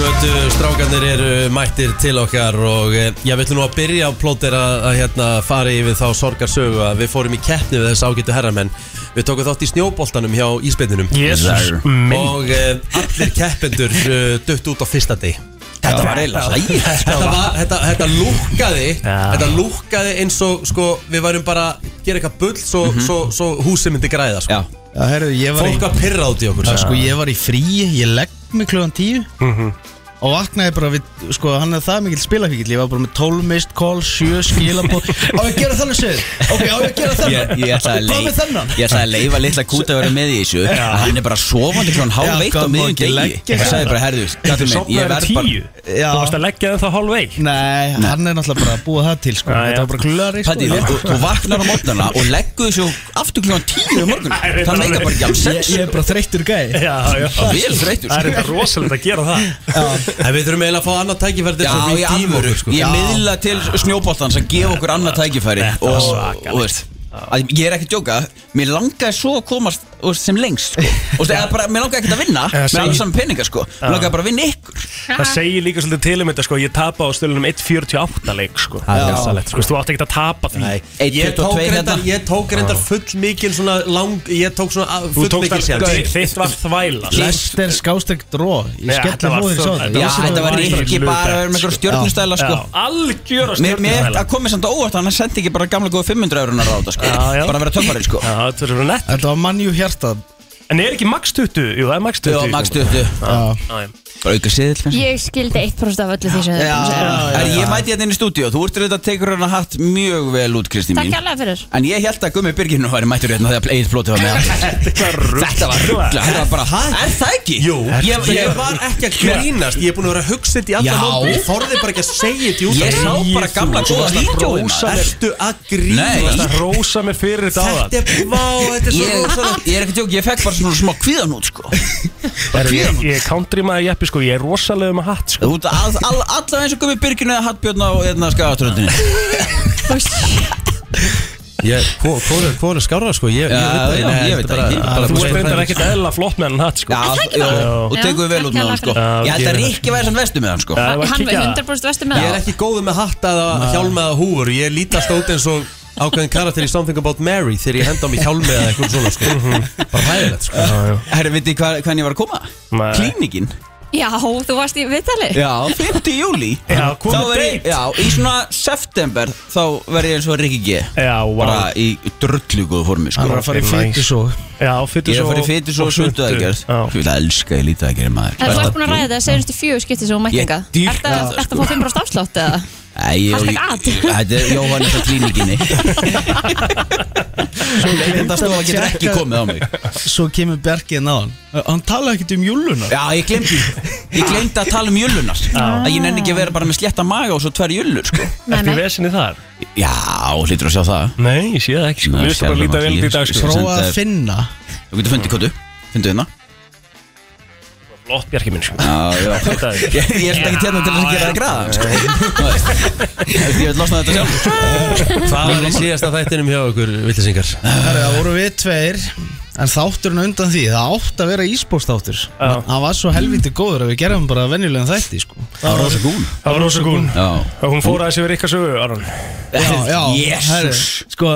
Speaker 1: Götu strákanir eru mættir til okkar og eh, já, við ætlum nú að byrja á plótir að, að hérna, fara yfir þá sorgarsögu að við fórum í keppni við þessu ágættu herramenn við tókum þátt í snjóboltanum hjá Ísbeininum
Speaker 2: Jesus minn.
Speaker 1: og eh, allir keppendur uh, dutt eh, út á fyrsta deg Þetta var eiginlega hlægilegt sko. þetta, var- þetta, þetta lúkkaði Þetta lúkkaði eins og sko, Við værum bara að gera eitthvað bull Svo, svo, svo húsið myndi græða sko.
Speaker 4: Já, herru, ég var
Speaker 1: Fólk var pirrað út í okkur
Speaker 4: Já,
Speaker 1: sagði
Speaker 4: sko,
Speaker 1: hann. Mhm.
Speaker 4: ég var í fríi, ég legg mig klugan tíu Og vaknaði bara við, sko, hann er það mikill spilafíkil Ég var bara með 12 mist call, 7 skilabó Á ég að gera þannig sögur? Ok, á ég að gera
Speaker 18: Ég,
Speaker 4: þannig?
Speaker 18: ég ætla að
Speaker 4: Hvað með
Speaker 18: leifa
Speaker 4: þennan?
Speaker 18: Ég ætla að leifa litla kúta að vera með í þessu
Speaker 4: Já.
Speaker 18: Hann er bara sofandi klón hálf eitt á
Speaker 4: hvað má
Speaker 18: miðjum
Speaker 4: ekki
Speaker 18: degi
Speaker 4: leggja
Speaker 18: Ég
Speaker 4: sig?
Speaker 18: sagði bara, herðu,
Speaker 4: Getur
Speaker 18: gattum minn
Speaker 14: um
Speaker 4: sofnað fyrir
Speaker 18: Ég verð bara
Speaker 4: tíu? Já. Þú varst
Speaker 2: að leggja það þá hálf eitt
Speaker 4: Nei, hann er náttúrulega bara að búa það til, sko Þetta var bara klöðari, sko
Speaker 18: Patti, þú- þú- þú vaknar á mótnarna og leggur þessu aftur klón tíu um morgun
Speaker 4: Nei,
Speaker 18: Það meika bara ekki alveg sens
Speaker 4: Ég- Ég er bara þreyttur gæ
Speaker 2: Já, já.
Speaker 18: Vel þreyttur sko.
Speaker 2: Það er þetta rosalegt að gera það
Speaker 1: En við þurfum eiginlega að fá annað tækifæri til
Speaker 18: Já,
Speaker 1: þess að
Speaker 18: ég
Speaker 1: redeem
Speaker 18: alvöru,
Speaker 1: okkur, sko.
Speaker 18: ég
Speaker 1: Já.
Speaker 18: miðla til snjóboltans að gefa okkur annað tækifæri
Speaker 1: Þetta var
Speaker 18: og,
Speaker 1: svakalegt.
Speaker 18: og veist að ég er ekki að djóka, mér langaði svo að komast þú veist, sem lengst, sko og það er bara, mér langaði ekkert að vinna, með
Speaker 2: segi-
Speaker 18: alveg saman peninga, sko mér langaði bara að vinna ykkur
Speaker 2: Það segir líka svolítið til um þetta sko Ég tapa á stölunum 1.48 leik sko
Speaker 18: Það er
Speaker 2: rosalegt sko Þú átt ekki að tapa því
Speaker 1: Ég tók, reyndar,
Speaker 18: hérna.
Speaker 1: ég tók reyndar full mikil svona lang Ég tók svona að-
Speaker 2: Þú
Speaker 1: full
Speaker 2: tókst
Speaker 1: mikil
Speaker 2: allt- Gaur, þitt var þvæla.
Speaker 4: Lester skástrík dró Ég
Speaker 2: Nei, þetta
Speaker 4: skellir
Speaker 2: var
Speaker 4: móður í
Speaker 2: svo-
Speaker 4: sáðu
Speaker 18: Já, þetta var ekki bara að vera með einhverja stjórnustæla sko.
Speaker 2: Algjöra
Speaker 18: Mér, mér að komið samt á óvart hann sendi ekki bara gamla góða 500 eurunar á þetta sko. bara að vera töfari sko.
Speaker 2: Já, þetta verður nett
Speaker 4: Þetta var mannjú hjarta
Speaker 2: En er ekki max 20? Jú, það er max 20
Speaker 18: Já, max 20.
Speaker 2: Já.
Speaker 18: bara auka siðil
Speaker 3: Ég skildi 1% af öllu því sem
Speaker 18: Já,
Speaker 3: þau
Speaker 18: Herri, Ég mæti hérna inn í stúdíu Þú ert þetta að tekur hérna hatt mjög vel út Kristi mín
Speaker 3: Takk alveg fyrir
Speaker 18: En ég held að Gummi Birgir nú væri mættur hérna þegar Egil Plóti var með Þetta var ruggla Þetta var bara, "Ha, er það ekki? Jú,
Speaker 1: Ég, ég var ekki að grínast, ég er búin að vera að hugsa þetta í
Speaker 18: Já.
Speaker 1: alla nótt Ég þorði bara ekki að segja þetta í út
Speaker 18: Ég sá bara gamla góða vídjóin, maður.
Speaker 1: Ertu að grínast?
Speaker 2: Það rósa mig fyrir þetta áðan
Speaker 1: Þetta er, vá, þetta er svo
Speaker 18: Ég-
Speaker 1: rosalegt
Speaker 18: Ég er ekki tjók, ég fekk bara svona smá kvíðan út sko
Speaker 2: Herru, Ég ég er country maður jeppi sko Ég er rosalega með hatt sko
Speaker 18: Þú ert að- all- Allavega eins og Gummi Birgir eða hattbjörn á hérna skagaströndinni
Speaker 1: Hvor er skára sko? Ég,
Speaker 18: Já,
Speaker 1: það
Speaker 18: já, ég veit það ekki. Bara
Speaker 2: Þú
Speaker 18: bara-
Speaker 2: er reyndar ekkert eðla flott með hann hatt sko
Speaker 18: Já, já, og tekur vel út með hann sko Ég held að Rikki væri sann vestu með hann sko
Speaker 2: Já,
Speaker 3: Hann er 100% vestu með
Speaker 1: Ég er ekki góð með hatta eða hjálma eða húfur Ég lítast út eins og ákveðin karakter í Something About Mary Þegar ég henda á mig hjálmi eða eitthvað svona sko Bara hæðilegt sko
Speaker 18: Mhm. Herri, veit þið hvað- hvernig ég var að koma? Klíningin
Speaker 3: Já, þú varst í viðtali
Speaker 18: Já, 5. júli
Speaker 2: Já,
Speaker 3: komið
Speaker 18: Þá verð ég- Já, í svona september þá verð ég eins og Rikki G
Speaker 2: Já, wow.
Speaker 18: Bara í drullu góðu formi sko
Speaker 4: Hann var að fara í fytusó
Speaker 2: Já,
Speaker 18: Ég er að
Speaker 2: fytusó
Speaker 18: fara í fytis og sundu aðgerð Þú vil elska ég lítið aðgerð maður
Speaker 3: En þú ert búin að ræða það segjumstu fjögur skipti sem hún
Speaker 18: Ég
Speaker 3: mættinga
Speaker 18: dýrka
Speaker 3: Ertu
Speaker 18: það,
Speaker 3: ertu að fá 5% afslátt eða?
Speaker 18: Æ, ég-
Speaker 3: Hashtag at.
Speaker 18: Þetta er Jóhann frá klínikinni Þetta stofa getur ekki komið á mig
Speaker 4: Svo kemur Bjarkið náðan Hann talaði ekkert um júlunar
Speaker 18: Já, ég glemdi Ég glemdi að tala um jöllunar Að ég nenni ekki að vera bara með slétta maga og svo tvær jöllur sko.
Speaker 2: Ertu í vesinni þar?
Speaker 18: Já, hlýtur að sjá það
Speaker 2: Nei, ég sé það ekki sko
Speaker 18: Nei,
Speaker 2: Mér finnst það bara
Speaker 18: skelfum
Speaker 2: líta vel
Speaker 18: allir,
Speaker 2: út í dag
Speaker 18: sko.
Speaker 2: sko
Speaker 4: Prófa að
Speaker 18: Senda-
Speaker 4: finna
Speaker 18: Þú getur fundið kottu Fundið hérna
Speaker 2: Flott bjarki minn sko
Speaker 18: Já, já Ég ég er svolítið ekki tjarnar til þess að gera það græðan sko. Þú veist, Ég vil losna þetta sjálf
Speaker 1: Hvað var í síðasta þættinum hjá okkur, villisingar?
Speaker 4: Herra, það voru við tveir En þátturinn á undan því, það átt að vera íspóstáttur Hann var svo helviti góður að við gerðum bara venjulegan þætti sko.
Speaker 18: Það var rosa gún
Speaker 2: Það var rosa gún
Speaker 18: Já
Speaker 2: Hún fór aðeins yfir ykkar sögu, Aron
Speaker 4: Já, já,
Speaker 18: Jesús.
Speaker 4: herru, Sko,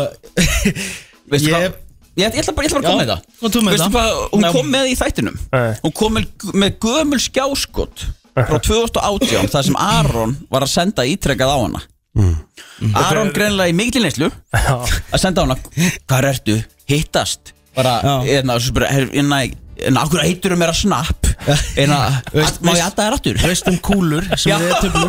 Speaker 18: Veistu
Speaker 4: Ég-
Speaker 18: hvað Ég, ég ætla bara, ég ætla bara að koma
Speaker 4: Já, hvað
Speaker 18: með það
Speaker 4: þú með
Speaker 18: Veistu
Speaker 4: það?
Speaker 18: hvað, hún
Speaker 4: Nei.
Speaker 18: kom með í þættinum Hún kom með, með gömul skjáskot Frá 2018 Það sem Aron var að senda ítrekkað á hana
Speaker 4: Mm.
Speaker 18: Aron greinlega í mikil neinslu Að senda á hana Hvar ertu? Hittast Bara, hérna, svo bara, her- hérna En af hverju heiturum mér að snapp En að, má ég aðta þér aftur?
Speaker 4: Veist um kúlur sem
Speaker 18: Já.
Speaker 4: við töflum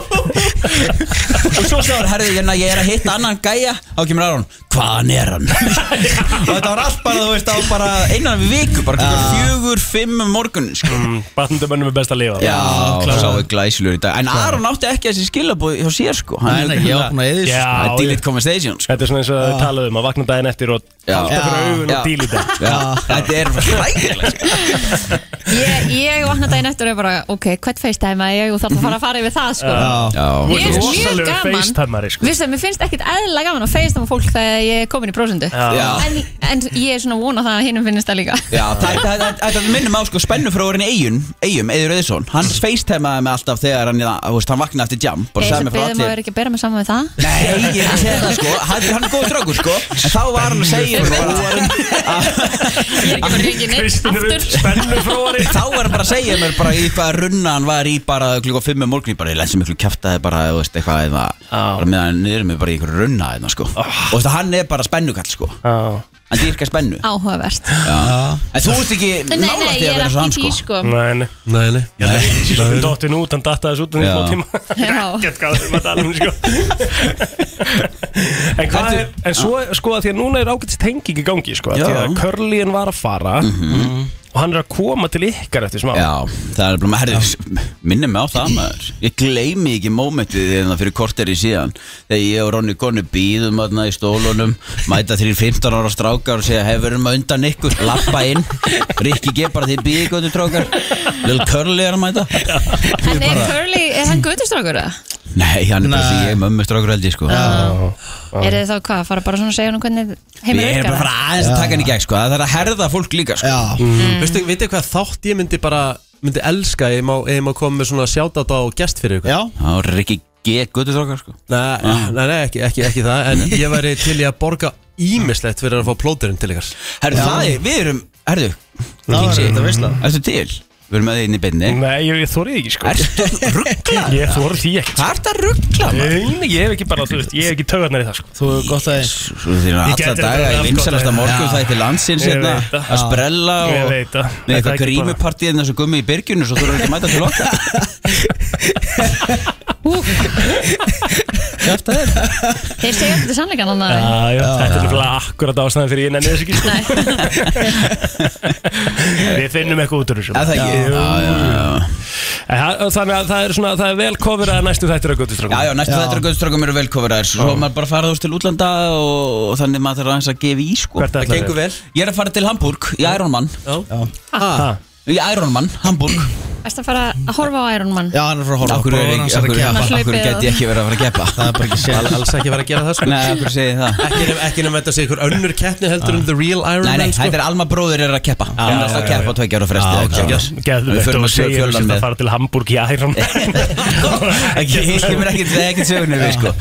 Speaker 18: Og svo sagði hann, herðu, hérna, ég er að hitta annan gæja Þá kemur Aron, hvaðan er hann? og þetta var allt bara, þú veist, á bara einan viku Bara klukkan fjögur, fimm um morgunin, sko
Speaker 2: Batnundamönnum Mm, er best að lifa
Speaker 18: Já,
Speaker 2: klára.
Speaker 18: sá við glæsilur í dag En Aron átti ekki þessi skilabóð hjá sér, sko
Speaker 4: Nei,
Speaker 18: Hann er
Speaker 4: nei, ég opnaði
Speaker 18: greinilega-
Speaker 4: yfir, sko.
Speaker 18: Já, Það er delete conversation, sko
Speaker 2: Þetta er svona eins og þau talaðu um að vakna daginn eftir og halda fyrir augun og díl í dag
Speaker 18: Þetta er hræðilegt
Speaker 3: Ég, ég vakna daginn eftir og er bara Ok, hvern facetime að ég og þarf að fara að fara yfir það sko.
Speaker 2: Já.
Speaker 18: Já.
Speaker 2: Þú
Speaker 3: Mér
Speaker 2: ert
Speaker 3: finnst mjög
Speaker 2: rosalegur
Speaker 3: gaman
Speaker 2: facetimari, sko.
Speaker 3: Veistu, Mér finnst ekkit eðla gaman að facetime fólk þegar að ég er komin í prósundu
Speaker 18: Já.
Speaker 3: en, en ég er svona að vona það að hinnum finnist það líka
Speaker 18: Já, það- það- það- þetta minnum á sko spennufróðurinn Eyjun, Eyjum, Eyður Öðursson Hann
Speaker 2: Mm.
Speaker 18: feistemaði mig alltaf þegar hann, þú veist, hann vaknaði eftir jam Bara sagði
Speaker 3: Ég
Speaker 18: mig frá
Speaker 3: beðum um að vera
Speaker 18: allir
Speaker 3: ekki að bera mig saman við það
Speaker 18: Nei, ég er að segja það sko, hann hann er góð strákur sko En þá var hann að segja mér bara
Speaker 3: Kristinn er upp
Speaker 18: spennufróðurinn Þá var hann bara að segja mér bara í hvað runna hann var í bara klukka 5 um morgunni Bara ég lensi miklu kjaftaði bara, þú veist, eitthvað eða Bara meðan hann niður mig bara í einhverju runna eða sko Og þú veist, hann er bara spennukall sko Hann dýrkar spennu
Speaker 3: Áhugavert
Speaker 18: Já. En þú ert ekki
Speaker 3: Nei, nei,
Speaker 18: nálægt
Speaker 3: ég
Speaker 18: því að
Speaker 3: er
Speaker 18: vera
Speaker 3: ekki
Speaker 18: svo hann
Speaker 3: í
Speaker 18: sko
Speaker 3: því, sko.
Speaker 2: Nei, nei
Speaker 1: Nei, nei
Speaker 2: Ég dótti nú út, hann dattaði þessu út en
Speaker 18: Já.
Speaker 2: ég fóð tíma Gett hvað við erum að tala um sko En hvað er, en svo, sko að því að núna er ágætis tenging í gangi sko að
Speaker 18: Já.
Speaker 2: Því
Speaker 18: Mhm.
Speaker 2: að Curlyin var að fara Og hann er að koma til ykkar eftir smá
Speaker 18: Já, það er bara maður, herri, minnum mig á það maður Ég gleymi ekki mómentið þegar fyrir korteri síðan Þegar ég og Ronny Gonni býðum aðna í stólunum Mæta þrjir 15 ára strákar og segja Hefurum að undan ykkur, lappa inn Rikki G bara þið býði góðu strákar Lil Curly er að mæta
Speaker 3: En er Curly, er hann gutustrákur eða?
Speaker 18: Nei, hann er bara sem ég mömmu strákur held ég sko
Speaker 3: Er þið þá hvað, fara bara svona að segja hann hvernig
Speaker 18: Við
Speaker 3: heimur
Speaker 18: erum bara að fara aðeins að taka hann í gegn sko Það er að herða fólk líka sko
Speaker 1: mm. Veistu, veitu hvað þátt ég myndi bara myndi elska ef ég má, ef ég má koma með svona sjátat á gest fyrir ykkur
Speaker 4: Já,
Speaker 18: Það er ekki G guttu strákar sko
Speaker 1: Nei, nei, nei ekki, ekki, ekki það En ég væri til í að borga ímislegt fyrir að fá plóterinn til ykkar
Speaker 18: Herru, það er, við erum, herru
Speaker 1: Það var
Speaker 18: Kingsi,
Speaker 1: þetta veisla.
Speaker 18: Ertu til? Við erum með þig inn í beinni
Speaker 2: Nei, ég, ég þorði ekki sko
Speaker 18: Ertu ruggla?
Speaker 2: Ég þorði því sko. ekki
Speaker 18: Það er það ruggla
Speaker 2: Nei, ég hef ekki bara, þú veist, ég hef ekki tögarnar í það sko
Speaker 4: Þú hefur gott aðeins
Speaker 18: Þú erum
Speaker 2: Ég gæti
Speaker 18: alla
Speaker 2: þetta
Speaker 18: daga
Speaker 2: verið
Speaker 18: í
Speaker 2: allt
Speaker 18: vinsalasta
Speaker 2: gott.
Speaker 18: morgun
Speaker 2: Já.
Speaker 18: það eitthvað landsins
Speaker 2: Ég
Speaker 18: hérna
Speaker 2: veit það.
Speaker 18: að sprella
Speaker 2: Ég
Speaker 18: og
Speaker 2: veit það.
Speaker 18: með
Speaker 2: Þetta er
Speaker 18: eitthvað
Speaker 2: ekki bara-
Speaker 18: grímupartíð eins og gummi í byrgjunu svo þú eru ekki að mæta til okkar Kjarta þér
Speaker 3: Þeir segja alltaf sannleikan hann að
Speaker 2: Já, já, þetta er líklega akkurat ástæðan fyrir ég nenni þess ekki sko. Við finnum eitthvað út úr þessu
Speaker 18: Það ekki
Speaker 2: Jú.
Speaker 18: Já, já, já.
Speaker 2: En það- Þannig að það er, svona, það er vel kofir að næstu þættir að göttustrákum
Speaker 18: Já, já, næstu þetta er göðstrákum eru velkofraðir Svo maður bara fara úr til útlanda og, og þannig maður þarf aðeins að gefa í sko
Speaker 2: Hvert ætlarðu?
Speaker 18: Ég er að fara til Hamburg í Ironman
Speaker 1: Ha.
Speaker 18: Í Ironman, Hamburg
Speaker 3: Erst að fara að horfa á Iron Man
Speaker 4: Já, hann er frá
Speaker 18: horfa Akkur er ekki, akkur,
Speaker 3: keppa.
Speaker 18: akkur, akkur geti ekki verið að fara að gefa Það er bara ekki
Speaker 1: Al, Alls ekki verið að gera það sko
Speaker 18: Nei, akkur segi það Ah.
Speaker 1: Ekki nefn, ekki nefn að þetta sé ykkur önnur keppni heldur en The Real Iron
Speaker 18: Nei, nei,
Speaker 1: Man sko
Speaker 18: þetta er Alma bróður er að keppa Hann er alltaf að
Speaker 1: já,
Speaker 18: keppa
Speaker 1: já.
Speaker 18: á tveikja ára fresti eða eitthvað svoleiðis. Við
Speaker 2: Geðvegt
Speaker 18: förum
Speaker 2: og
Speaker 18: að sjö-
Speaker 2: segja
Speaker 18: fjöldan
Speaker 2: um að
Speaker 18: með
Speaker 2: fara til Hamburg í Æron
Speaker 18: Ekki, ég kemur ekkert- það er ekkert sögunni við sko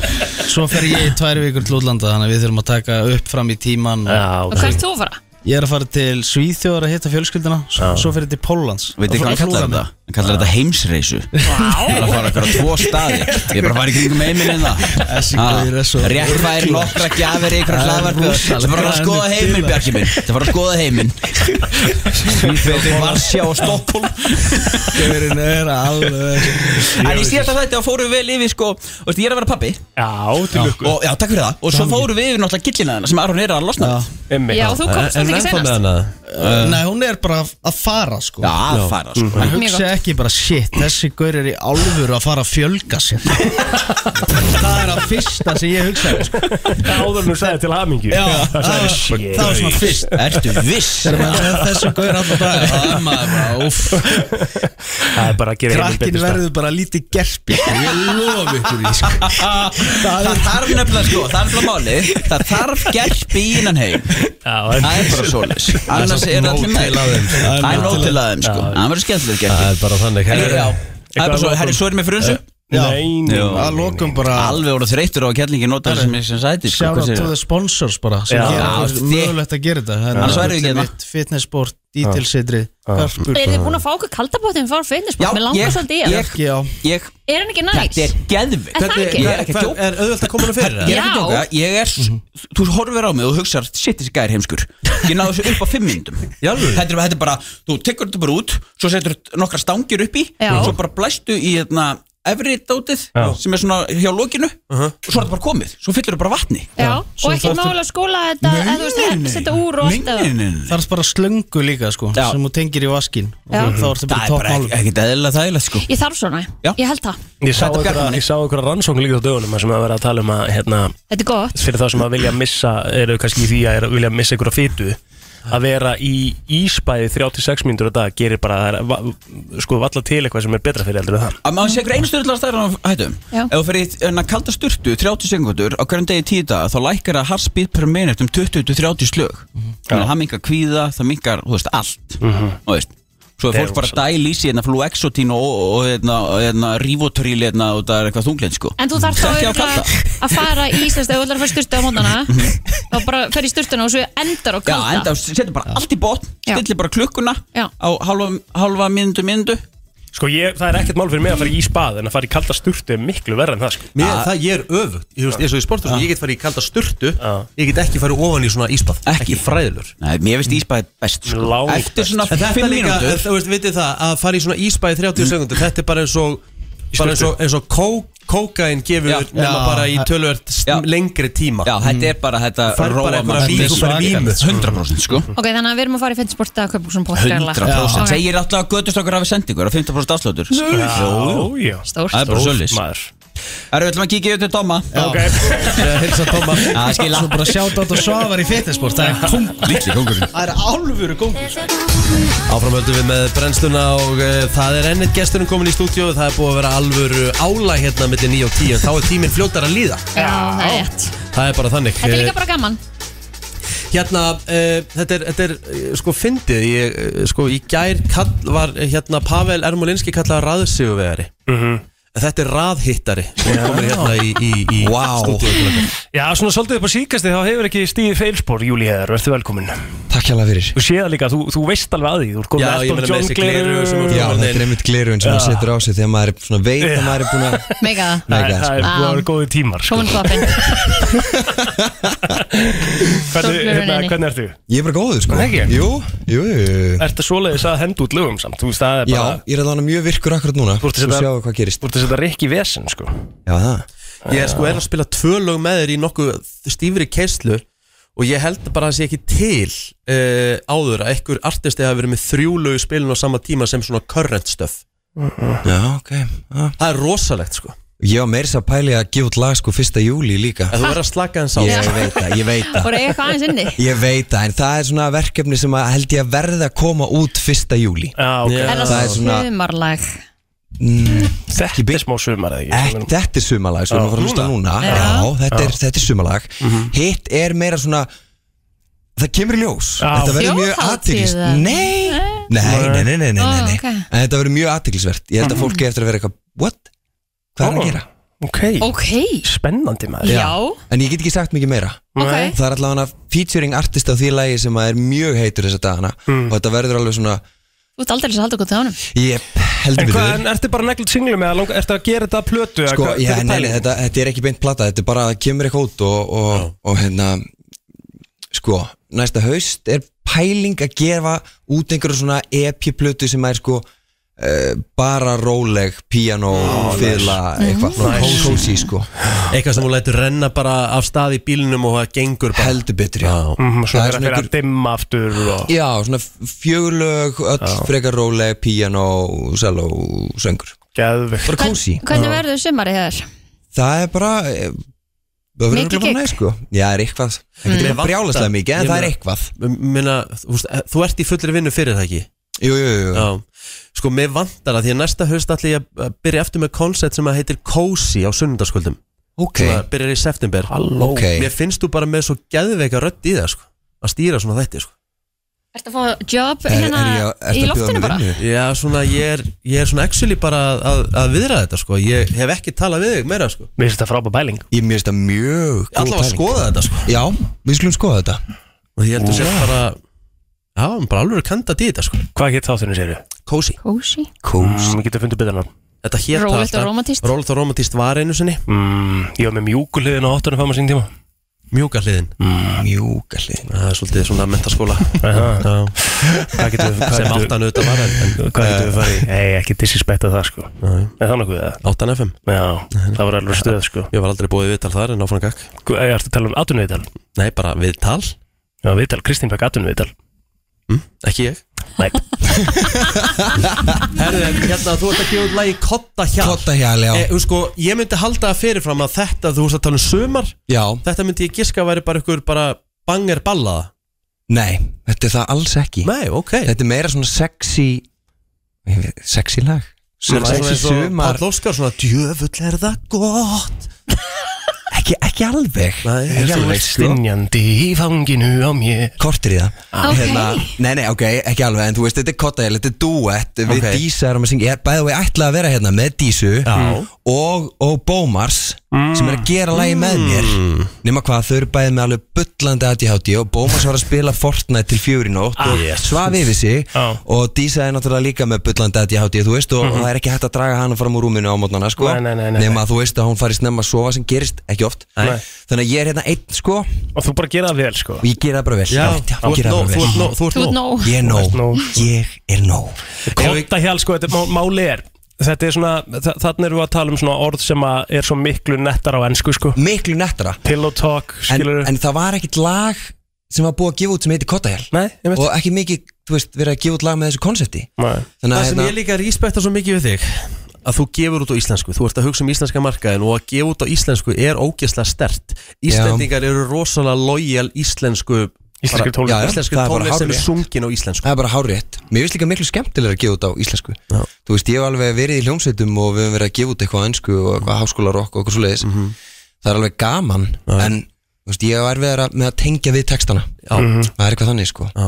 Speaker 4: Svo fer ég í tvær vikur til útlanda Þannig að við þurfum að taka upp fram í tíman
Speaker 2: Já,
Speaker 3: Og hvað ert þú að fara?
Speaker 4: Ég er að fara til Svíþjóðar að hitta fjölskyldina Svo,
Speaker 18: Já.
Speaker 4: svo fer ég til Póllands
Speaker 18: Veitir hvað hann kallar þetta? Hann kallar þetta heimsreisu Hann er að fara okkur á tvo staði Ég er bara að fara í kringum heiminn en
Speaker 4: Þessi gaur er svo
Speaker 18: það Rétt væri nokkra gjafir í ykkur
Speaker 4: Það er
Speaker 18: hlaðvarpu
Speaker 4: rosalega.
Speaker 18: Það fara að skoða
Speaker 4: Hann er
Speaker 18: heiminn,
Speaker 4: dular.
Speaker 18: Bjarki minn Það fara að skoða heiminn Svíþjóð, Varsjá og Stokkólm
Speaker 4: Gaurinn er alveg
Speaker 18: En ég sé þetta þetta og fórum við vel yfir sko Þú veist, ég er að vera pappi
Speaker 2: Já, til lukku
Speaker 18: og, Já, takk fyrir það Og svo fórum við yfir náttúrulega gillinaðina sem Aron er að losna við.
Speaker 3: Já, þú komst þetta ekki senast
Speaker 1: hana?
Speaker 4: Nei, hún er bara að fara sko
Speaker 18: Já, að fara, sko.
Speaker 4: Hann
Speaker 3: Mjög
Speaker 4: hugsa
Speaker 3: gott.
Speaker 4: ekki bara shit, þessi gaur er í alvöru að fara að fjölga sér Það er að fyrsta sem ég hugsaði sko.
Speaker 2: Áður nú sagði til hamingju
Speaker 4: Já,
Speaker 2: Það sagði, shit.
Speaker 4: Það var svona fyrst
Speaker 18: Ertu viss?
Speaker 4: Þegar maður hefði þessu gaur alltaf dag Það er maður bara, uff
Speaker 2: Það er bara að gera heiminn
Speaker 4: Krakkin
Speaker 2: betur stað
Speaker 4: verður bara lítið gerpi sko. Ég lof ykkur í sko.
Speaker 18: Það þarf nefnilega sko, það er nefnilega málið Það þarf gerpi í innan heim
Speaker 2: Já, en-
Speaker 18: Það er bara svolis Annars er allir
Speaker 1: nóg
Speaker 18: með
Speaker 1: til af þeim.
Speaker 18: Það er nóg til að þeim sko Það verður skemmtilegt gerpi
Speaker 1: Það er bara þannig
Speaker 18: Herri, já. Það er bara svo,
Speaker 2: að
Speaker 18: herri, svo erum við frunsu
Speaker 2: Nei, nei,
Speaker 18: Já.
Speaker 4: Að lokum bara
Speaker 18: Alveg voru þreyttur á að kjærlingi nota það sem ég sem sæti sko,
Speaker 4: Shout
Speaker 18: hvað
Speaker 4: out
Speaker 18: segir
Speaker 4: to the
Speaker 18: það?
Speaker 4: sponsors bara sem
Speaker 18: Já,
Speaker 4: gera okkur
Speaker 18: þið-
Speaker 4: mögulegt að gera þetta Hérna,
Speaker 18: Annars væri við ekki
Speaker 4: Gullið
Speaker 18: hérna.
Speaker 4: mitt, Fitness, sport, detailsetri Garpur
Speaker 3: Er þið búin að fá okkur kaldabóttin fyrir
Speaker 18: Já,
Speaker 3: fitnessport? Mér langar
Speaker 18: ég-
Speaker 3: svolítið í hann
Speaker 18: ég-
Speaker 4: Ekki á
Speaker 18: Ég,
Speaker 3: Er hann ekki næs?
Speaker 18: þetta er geðvikt
Speaker 3: Er það ekki?
Speaker 18: Ég er ekki að
Speaker 1: Hvað-
Speaker 18: djóka
Speaker 1: Er auðvöld að koma hana fyrir?
Speaker 18: Ég er ekki að
Speaker 3: Já.
Speaker 18: djóka Ég er, þú horfir á mig og hugsar Shit, þessi gæri heimskur Ég náðu þessu upp á fimm myndum
Speaker 1: Jálfur
Speaker 18: Þetta er, þetta er bara, þú tekur þetta bara út Svo setur nokkra stangir upp í
Speaker 3: Já.
Speaker 18: Svo bara blæstu í hérna Efri dótið,
Speaker 2: Já.
Speaker 18: sem er svona hjá lokinu Og svo er þetta bara komið, svo fyllur þetta bara vatni
Speaker 3: Já, og ekki mála skóla þetta eða þú veist, ekki setja úr og allt eða-
Speaker 18: Minnin
Speaker 4: Það er bara slöngu líka sko
Speaker 18: Já.
Speaker 4: sem þú tengir í vaskin
Speaker 3: Já.
Speaker 4: og þá ertu bara
Speaker 18: Það er bara
Speaker 4: toppmálum
Speaker 18: ekki- ekkert eðlilega þægilegt sko
Speaker 3: Ég þarf svona,
Speaker 18: Já.
Speaker 3: ég held það
Speaker 2: Ég sá
Speaker 18: Þetta bjargar
Speaker 2: einhverja-
Speaker 18: manni.
Speaker 2: ég sá einhverja rannsókn líka á dögunum þar sem að vera að tala um að hérna,
Speaker 3: Þetta er gott
Speaker 2: fyrir þá sem að vilja missa eru kannski í því að er, vilja missa einhverja fytu að vera í íspæði 36 mínútur á dag gerir bara það er va- sko valla til eitthvað sem er betra fyrir heldur en það
Speaker 18: Að maður sé einhver einu styrla stærra en á hættum
Speaker 3: Já.
Speaker 18: Ef þú fyrir hérna kalda sturtu 30 sekundur á hverjum degi tíu dag þá lækkar það harspít per minut um 20-30 slög
Speaker 2: Mhm.
Speaker 18: þannig að það mingar kvíða, það mingar, þú veist, allt þú veist Svo er
Speaker 2: Þetta Mhm. er
Speaker 18: fólk bara að
Speaker 2: rosalegt.
Speaker 18: dæla í sig hérna fluexotín og, og, og hérna, hérna, rivotril hérna og það er eitthvað þunglein sko
Speaker 3: En þú þarf þá
Speaker 18: Það er ekki á
Speaker 3: örugglega að fara í Íslands þegar þú ætlar að fara styrtu á mótana þá bara fer í styrtuna og svo endar á
Speaker 18: Mhm. Já,
Speaker 3: kalda
Speaker 18: enda, setja bara allt í botn, stilli bara klukkuna
Speaker 3: Já.
Speaker 18: á halva, halva mínundu mínundu
Speaker 2: Sko ég, það er ekkert mál fyrir mig að fara í íspæð en að fara í kalda sturtu er miklu verra en það sko
Speaker 1: Mér, það ég er öfugt, ég, þú veist, eins og í sportur ég get farið í kalda sturtu, ég get ekki farið ofan í svona ísbað, ekki, fræðilur
Speaker 18: Nei, mér
Speaker 2: Mm.
Speaker 18: finnst ísbað best sko. Eftir svona
Speaker 1: En þetta
Speaker 18: 5
Speaker 1: líka,
Speaker 18: mínútur Mm.
Speaker 1: þú veist, vitið það, að fara í svona ísbað í 30 sekundur, þetta er bara eins og
Speaker 18: Í
Speaker 1: bara eins og,
Speaker 18: sturtu.
Speaker 1: eins og kó, kókain gefur
Speaker 18: Já.
Speaker 1: nema
Speaker 18: Já.
Speaker 1: bara í tölvöld lengri tíma
Speaker 18: Já,
Speaker 2: Mm.
Speaker 18: þetta er bara þetta
Speaker 1: Þú færð bara
Speaker 18: róa
Speaker 1: einhverja
Speaker 18: mann
Speaker 1: vímu, þú færð vímu.
Speaker 18: 100% sko
Speaker 3: Ok, þannig að við erum að fara í fennsport að kaupa svona pótt
Speaker 18: 100% okay. Segir alltaf að götustrákur hafi sendingur á 50% afsláttur
Speaker 3: Nei.
Speaker 18: Jú,
Speaker 3: Já,
Speaker 2: já.
Speaker 3: Stórt.
Speaker 18: Það er bara
Speaker 2: Stórt,
Speaker 18: svolítið
Speaker 2: maður
Speaker 18: Það eru, við ætlum að kíkja yfir til Dóma
Speaker 2: Ok.
Speaker 4: Hilsa
Speaker 18: Dóma Það skilja
Speaker 4: Svo bara sjátt átt og svafar í fitnessport Það er kongur
Speaker 18: Lítli kongurinn
Speaker 4: Það er álfuru kongur
Speaker 1: Áframöldum við með brennsluna og uh, það er ennett gesturinn komin í stúdíu það er búið að vera alvöru ála hérna millir 9 og 10 en þá er tíminn fljótar að líða
Speaker 3: Já, það er rétt
Speaker 1: Það er bara þannig
Speaker 3: Þetta er
Speaker 1: Eh,
Speaker 3: líka bara gaman
Speaker 1: Hérna, uh, þetta er, þetta er eh, sko fyndið, ég, eh, sko í gær kall, var eh, hérna Pavel Ermolinski kallaða raðsífuvegari mm
Speaker 2: Mhm.
Speaker 1: -hmm. Þetta er raðhittari sem komir hérna í, í, í
Speaker 2: Vá.
Speaker 1: stúdíu
Speaker 2: Já, svona svolítið upp á síkasti þá hefur ekki stíði feilspor, Júli Heðar, verður velkomin
Speaker 16: Takk hjá það fyrir
Speaker 2: Þú séð það líka, þú, þú veist alveg að því Þú ert komið
Speaker 1: Já, ég meina með þessi gleraugu sem
Speaker 16: Já, þetta er einmitt glerun sem maður
Speaker 2: Já.
Speaker 16: setur á sig þegar maður er svona veit að maður er búin að
Speaker 3: Mega það Um,
Speaker 16: Mega það,
Speaker 2: Það er
Speaker 16: sko.
Speaker 2: búið að vera góði tímar
Speaker 3: Komin kloppin
Speaker 2: Hvernig, hérna,
Speaker 3: gleraugunni.
Speaker 2: hvernig ertu?
Speaker 16: Ég er bara góður sko
Speaker 2: Nei, ekki.
Speaker 16: Jú, jú, jú, jú.
Speaker 2: Ertu svoleiðis að henda út lögum samt? Þú veist, það er
Speaker 16: Já,
Speaker 2: bara
Speaker 16: ég er alveg mjög virkur akkurat núna Þú
Speaker 2: ert að setja-
Speaker 16: sjáum hvað gerist
Speaker 2: Þú ert að setja rikki vesen sko
Speaker 16: Já, það
Speaker 1: Ég er sko er að spila tvö lög með þér í nokkuð stífri keislu og ég held bara að það sé ekki til uh, áður að einhver artisti hafi verið með þrjú lög í spilinu á sama tíma sem svona current stuff
Speaker 16: Já, ok já.
Speaker 1: Það er rosalegt sko
Speaker 16: Ég var meira þess að pæli að gefa út lag sko fyrsta júli líka
Speaker 1: En þú verður að slaka hans á
Speaker 16: Ég veit það, ég veit það
Speaker 3: Voru eitthvað aðeins inni
Speaker 16: Ég veit það, en það er svona verkefni sem að held ég að verða að koma út fyrsta júli
Speaker 2: Já, ok.
Speaker 3: Er
Speaker 16: Það er
Speaker 3: það
Speaker 16: svona
Speaker 3: sumarlag
Speaker 16: Þetta
Speaker 2: er smá sumar eða
Speaker 16: ekki? Mm, Ek, þetta er sumarlag, sko,
Speaker 2: Já.
Speaker 16: við fórum að hlusta
Speaker 2: Núna?
Speaker 16: núna
Speaker 2: Já.
Speaker 16: Já, þetta,
Speaker 2: Já. Mhm.
Speaker 16: Er, þetta er sumarlag Hitt er meira svona Það kemur í ljós Þetta verður mjög aðtýrist
Speaker 3: Þjóðhátíð,
Speaker 16: Nei, nei, nei, nei, nei, nei, nei, nei.
Speaker 3: Ó, ok. Mhm.
Speaker 16: En þetta verður mjög aðtýrlisvert Ég held að fólki eftir að vera eitthvað What? Hvað er hann að gera?
Speaker 2: Ok,
Speaker 3: Ok
Speaker 2: Spennandi maður
Speaker 16: En ég get ekki sagt mikið meira
Speaker 2: Ok. Nei.
Speaker 16: Það er allavega featuring artist á því lagi sem að er mjög heitur þessa dagana
Speaker 2: Mm.
Speaker 16: og þetta verður alveg svona
Speaker 3: Þú ert aldrei að halda gott á honum
Speaker 16: Ég heldur
Speaker 2: En
Speaker 16: við
Speaker 2: hvað,
Speaker 16: þér
Speaker 2: en ertu bara neglut singlum eða langa, ertu að gera þetta að plötu? eða
Speaker 16: Sko,
Speaker 2: hvað-
Speaker 16: já,
Speaker 2: hver er
Speaker 16: nei, nei,
Speaker 2: pælingin?
Speaker 16: þetta, þetta er ekki beint plata Þetta er bara að kemur eitthvað út og, og, og hérna Sko, næsta haust er pæling að gefa út einhverju svona EP-plötu sem er sko uh, bara róleg, piano,
Speaker 1: Ó,
Speaker 16: fyrla
Speaker 1: nice.
Speaker 16: eitthvað,
Speaker 1: Mhm. Nice.
Speaker 16: kósi sko
Speaker 1: Eitthvað sem þú lætur renna bara af stað í bílnum og það gengur bara
Speaker 16: Heldur betri,
Speaker 1: já
Speaker 2: Mhm, Svo
Speaker 16: Það er
Speaker 2: er
Speaker 16: svona
Speaker 2: að dimma aftur og...
Speaker 16: Já, svona fjögurlög, öll frekar róleg, piano, cello, söngur
Speaker 2: Geðvegt
Speaker 16: Bara kósi
Speaker 3: Hvernig verður sumarið hér?
Speaker 16: Það er bara eh, Það verður
Speaker 3: Mikið
Speaker 16: örugglega
Speaker 3: gigg.
Speaker 16: bara næ sko Já, er eitthvað
Speaker 1: Mm.
Speaker 16: Það getur bara brjálaslega mikið En það er eitthvað
Speaker 1: Minna, þú, veist, eh, þú ert í fullri vinnu fyrir það ekki
Speaker 16: Jú, jú, jú
Speaker 1: Já. Sko, mér vantar að því að næsta höst ætla ég að byrja eftir með koncept sem að heitir Cozy á sunnundasköldum
Speaker 16: Ok
Speaker 1: Sem að byrjar í september
Speaker 16: Halló. Ok.
Speaker 1: Mér finnst þú bara með svo geðveika rödd í það sko Að stýra svona þetta sko
Speaker 3: Ertu að fá job hérna í loftinu bara?
Speaker 1: Já, svona ég er, ég er svona actually bara að, að, að viðra þetta sko Ég hef ekki talað við þig meira sko
Speaker 2: Mér finnst þetta frábæð bæling
Speaker 16: Ég mér finnst það mjög góð
Speaker 1: Alla var að
Speaker 16: pæling.
Speaker 1: skoða þetta sko
Speaker 16: Já, við skulum skoða þetta
Speaker 1: Og ég held að
Speaker 16: Vá.
Speaker 1: sé bara Já, bara alveg að kanda dýta sko
Speaker 2: Hvað hétt þáttunum séru?
Speaker 1: Cozy
Speaker 3: Cozy
Speaker 16: Cozy
Speaker 2: Mér getur fundið betur nátt
Speaker 1: Þetta hét það
Speaker 3: Rólegt og
Speaker 1: alltaf-
Speaker 3: rómantískt.
Speaker 1: Rólegt og romantíst var einu sinni
Speaker 2: mm, Ég var með mjúkuliðin á hottunum fæma sín tíma
Speaker 1: Mjúka hliðin
Speaker 16: mm, Mjúka hliðin
Speaker 1: Það er svolítið svona mentaskóla Hvað
Speaker 2: Hvað getum við
Speaker 1: Sem áttan auðvitað var en, en Eh.
Speaker 2: Hvað getum við farið? í? Nei, ekki disrespekta það sko
Speaker 1: Nei.
Speaker 2: Er það nokkuð það?
Speaker 1: Áttan FM
Speaker 2: Já, það var alveg stöð sko
Speaker 1: Ég var aldrei búið viðtal þar en áfram gakk
Speaker 2: Hvað er þetta að tala um atvinnuviðtal?
Speaker 1: Nei, bara viðtal Hm?
Speaker 2: Já, viðtal, Kristín fekk atvinnuviðtal
Speaker 1: Ekki ég
Speaker 2: Nei
Speaker 1: Herðu, hérna, þú ert að gefa út lagi Kotta hjál
Speaker 16: Kotta hjál, já
Speaker 1: e, þú sko, Ég myndi halda að fyrirfram að þetta Þú veist að tala um sumar
Speaker 16: Já
Speaker 1: Þetta myndi ég giska að væri bara ykkur bara banger ballaða
Speaker 16: Nei, þetta er það alls ekki Nei, ok Þetta er meira svona sexy ég veit, Sexy lag Svona Sexy sumar
Speaker 1: Páll Óskar svona djöfull er það gott
Speaker 16: Ekki, ekki alveg Nei,
Speaker 2: Þú ert stynjandi í fanginu á mér
Speaker 16: sko.
Speaker 2: Ah.
Speaker 16: Kortir í það Hérna,
Speaker 2: Ok.
Speaker 16: Nei, nei, ok, ekki alveg En þú veist, þetta er kottaðil, þetta er duett Við
Speaker 1: Ok.
Speaker 16: Dísa erum að syngja Ég er bæði og ég ætla að vera hérna með Dísu og, og Bómars Sem er að gera lagi með mér mm. Nefna hvað, þau eru bæði með alveg bullandi ADHD Og Bómars var að spila Fortnite til fjögur í nótt
Speaker 1: Ah,
Speaker 16: Og
Speaker 1: yes.
Speaker 16: svaf yfir sig Og Dísa er náttúrulega líka með bullandi ADHD Þú veist, og
Speaker 1: Mhm.
Speaker 16: það er ekki hægt að draga hana fram úr rúminu á mótnana sko.
Speaker 2: Nei, nei, nei, nei,
Speaker 16: Nema að þú veist að hún fari snemma að sofa sem gerist ekki oft
Speaker 2: Nei.
Speaker 16: Þannig að ég er hérna einn sko
Speaker 2: Og þú bara gera það vel sko
Speaker 16: Og ég gera það bara vel
Speaker 2: Já,
Speaker 16: ég
Speaker 2: þú ert
Speaker 16: gera það
Speaker 2: nóg,
Speaker 16: bara
Speaker 2: þú ert
Speaker 16: vel.
Speaker 2: nóg, þú ert Þú ert nóg. nóg.
Speaker 16: Ég er
Speaker 2: Þú ert nóg.
Speaker 16: nóg Ég er nóg
Speaker 2: Konta hjál sko, þetta er má- máli er Þetta er svona, þa- þarna erum við að tala um svona orð sem að er svo miklu nettara á ennsku sko
Speaker 16: Miklu nettara
Speaker 2: Pillow talk,
Speaker 16: en,
Speaker 2: skilur
Speaker 16: en það var ekkit lag sem var búið að gefa út sem heiti Kottahjál
Speaker 2: Nei,
Speaker 16: Og ekki mikið, þú veist, verið að gefa út lag með þessu konsepti
Speaker 2: Nei.
Speaker 16: Þannig
Speaker 1: Það
Speaker 16: að
Speaker 1: sem ég
Speaker 16: hérna,
Speaker 1: líka respekta svo mikið við þig að þú gefur út á íslensku, þú ert að hugsa um íslenska markaðin og að gefa út á íslensku er ógeðslega stert Íslendingar eru rosalega lojal íslensku
Speaker 16: Íslenskri tónlist.
Speaker 1: Já, já,
Speaker 16: Íslenskri
Speaker 1: það er bara
Speaker 16: tónlist sem er
Speaker 1: hárrétt.
Speaker 16: sungin á íslensku Það er bara hárétt Mér finnst líka miklu skemmtilega að gefa út á íslensku
Speaker 1: Já.
Speaker 16: Þú veist, ég hef alveg verið í hljómsveitum og við hefum verið að gefa út eitthvað á ennsku og eitthvað háskólarokk og eitthvað svoleiðis Það er alveg gaman En, þú veist, ég er verið að, með að tengja við textana
Speaker 1: Já. Mhm.
Speaker 16: Það er eitthvað þannig, sko
Speaker 1: Já.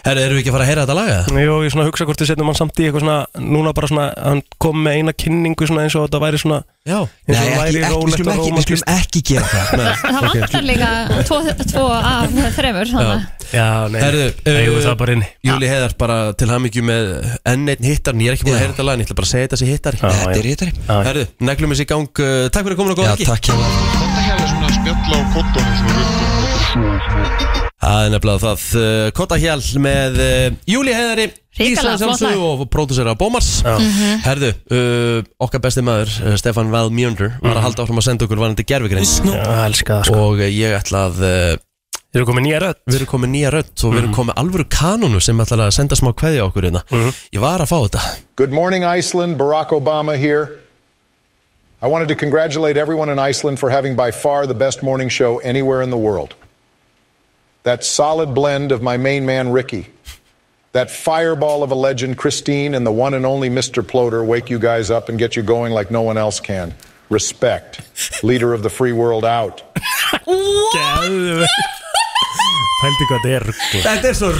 Speaker 1: Herru, erum við ekki að fara að heyra þetta laga?
Speaker 2: Jó, ég svona hugsa hvort við setjum hann samt í eitthvað svona Núna bara svona, hann kom með eina kynningu svona eins og þetta væri svona
Speaker 1: Já,
Speaker 2: eins og
Speaker 16: Nei,
Speaker 2: það
Speaker 16: ekki,
Speaker 2: væri
Speaker 16: ekki, við
Speaker 2: rólegt
Speaker 16: skulum
Speaker 2: og
Speaker 16: ekki, við skulum
Speaker 2: rómantist
Speaker 16: ekki gera það
Speaker 3: Það vantar líka tvo, tvo af þremur þannig.
Speaker 2: Já, nei,
Speaker 1: Herðu,
Speaker 2: eigum við það bara inni
Speaker 1: Júli Heiðar bara til hamingju með enn einn hittar Ég er ekki búin að heyra þetta lag, en ég ætla bara að segja þetta sé hittar
Speaker 16: Þetta er hittari
Speaker 1: Herðu, neglum þessi í gang uh, Takk fyrir að koma og góða
Speaker 16: Já, takk hjá
Speaker 19: Kottahjál er svona spjalla á kottunum svona rutt og
Speaker 1: Það er nefnilega það uh, Kottahjál með uh, Júli Heiðari
Speaker 19: Hrikalega
Speaker 1: Íslands
Speaker 19: flott
Speaker 1: Sjálfsögðu og pródúsera Bómars
Speaker 19: Mhm.
Speaker 1: Herðu, uh, okkar besti maður uh, Stefan Val Mjöndur var að halda áfram að senda okkur varandi gerfigrind
Speaker 2: Já, elska það
Speaker 1: Og uh, ég ætla að uh,
Speaker 2: Við erum komið nýja rödd
Speaker 1: Við erum komið nýja Mhm. rödd og við erum komið alvöru kanonu sem ætlar að senda smá kveðja okkur hérna Ég var að fá þetta
Speaker 20: Good morning, Iceland. Barack Obama here. I wanted to congratulate everyone in Iceland for having by far the best morning show anywhere in the world. That solid blend of my main man, Ricky, that fireball of a legend, Christine, and the one and only Mr. Ploder wake you guys up and get you going like no one else can. Respect. Leader of the free world out.
Speaker 2: Pældi hvað þetta er ruggla
Speaker 1: Þetta er svo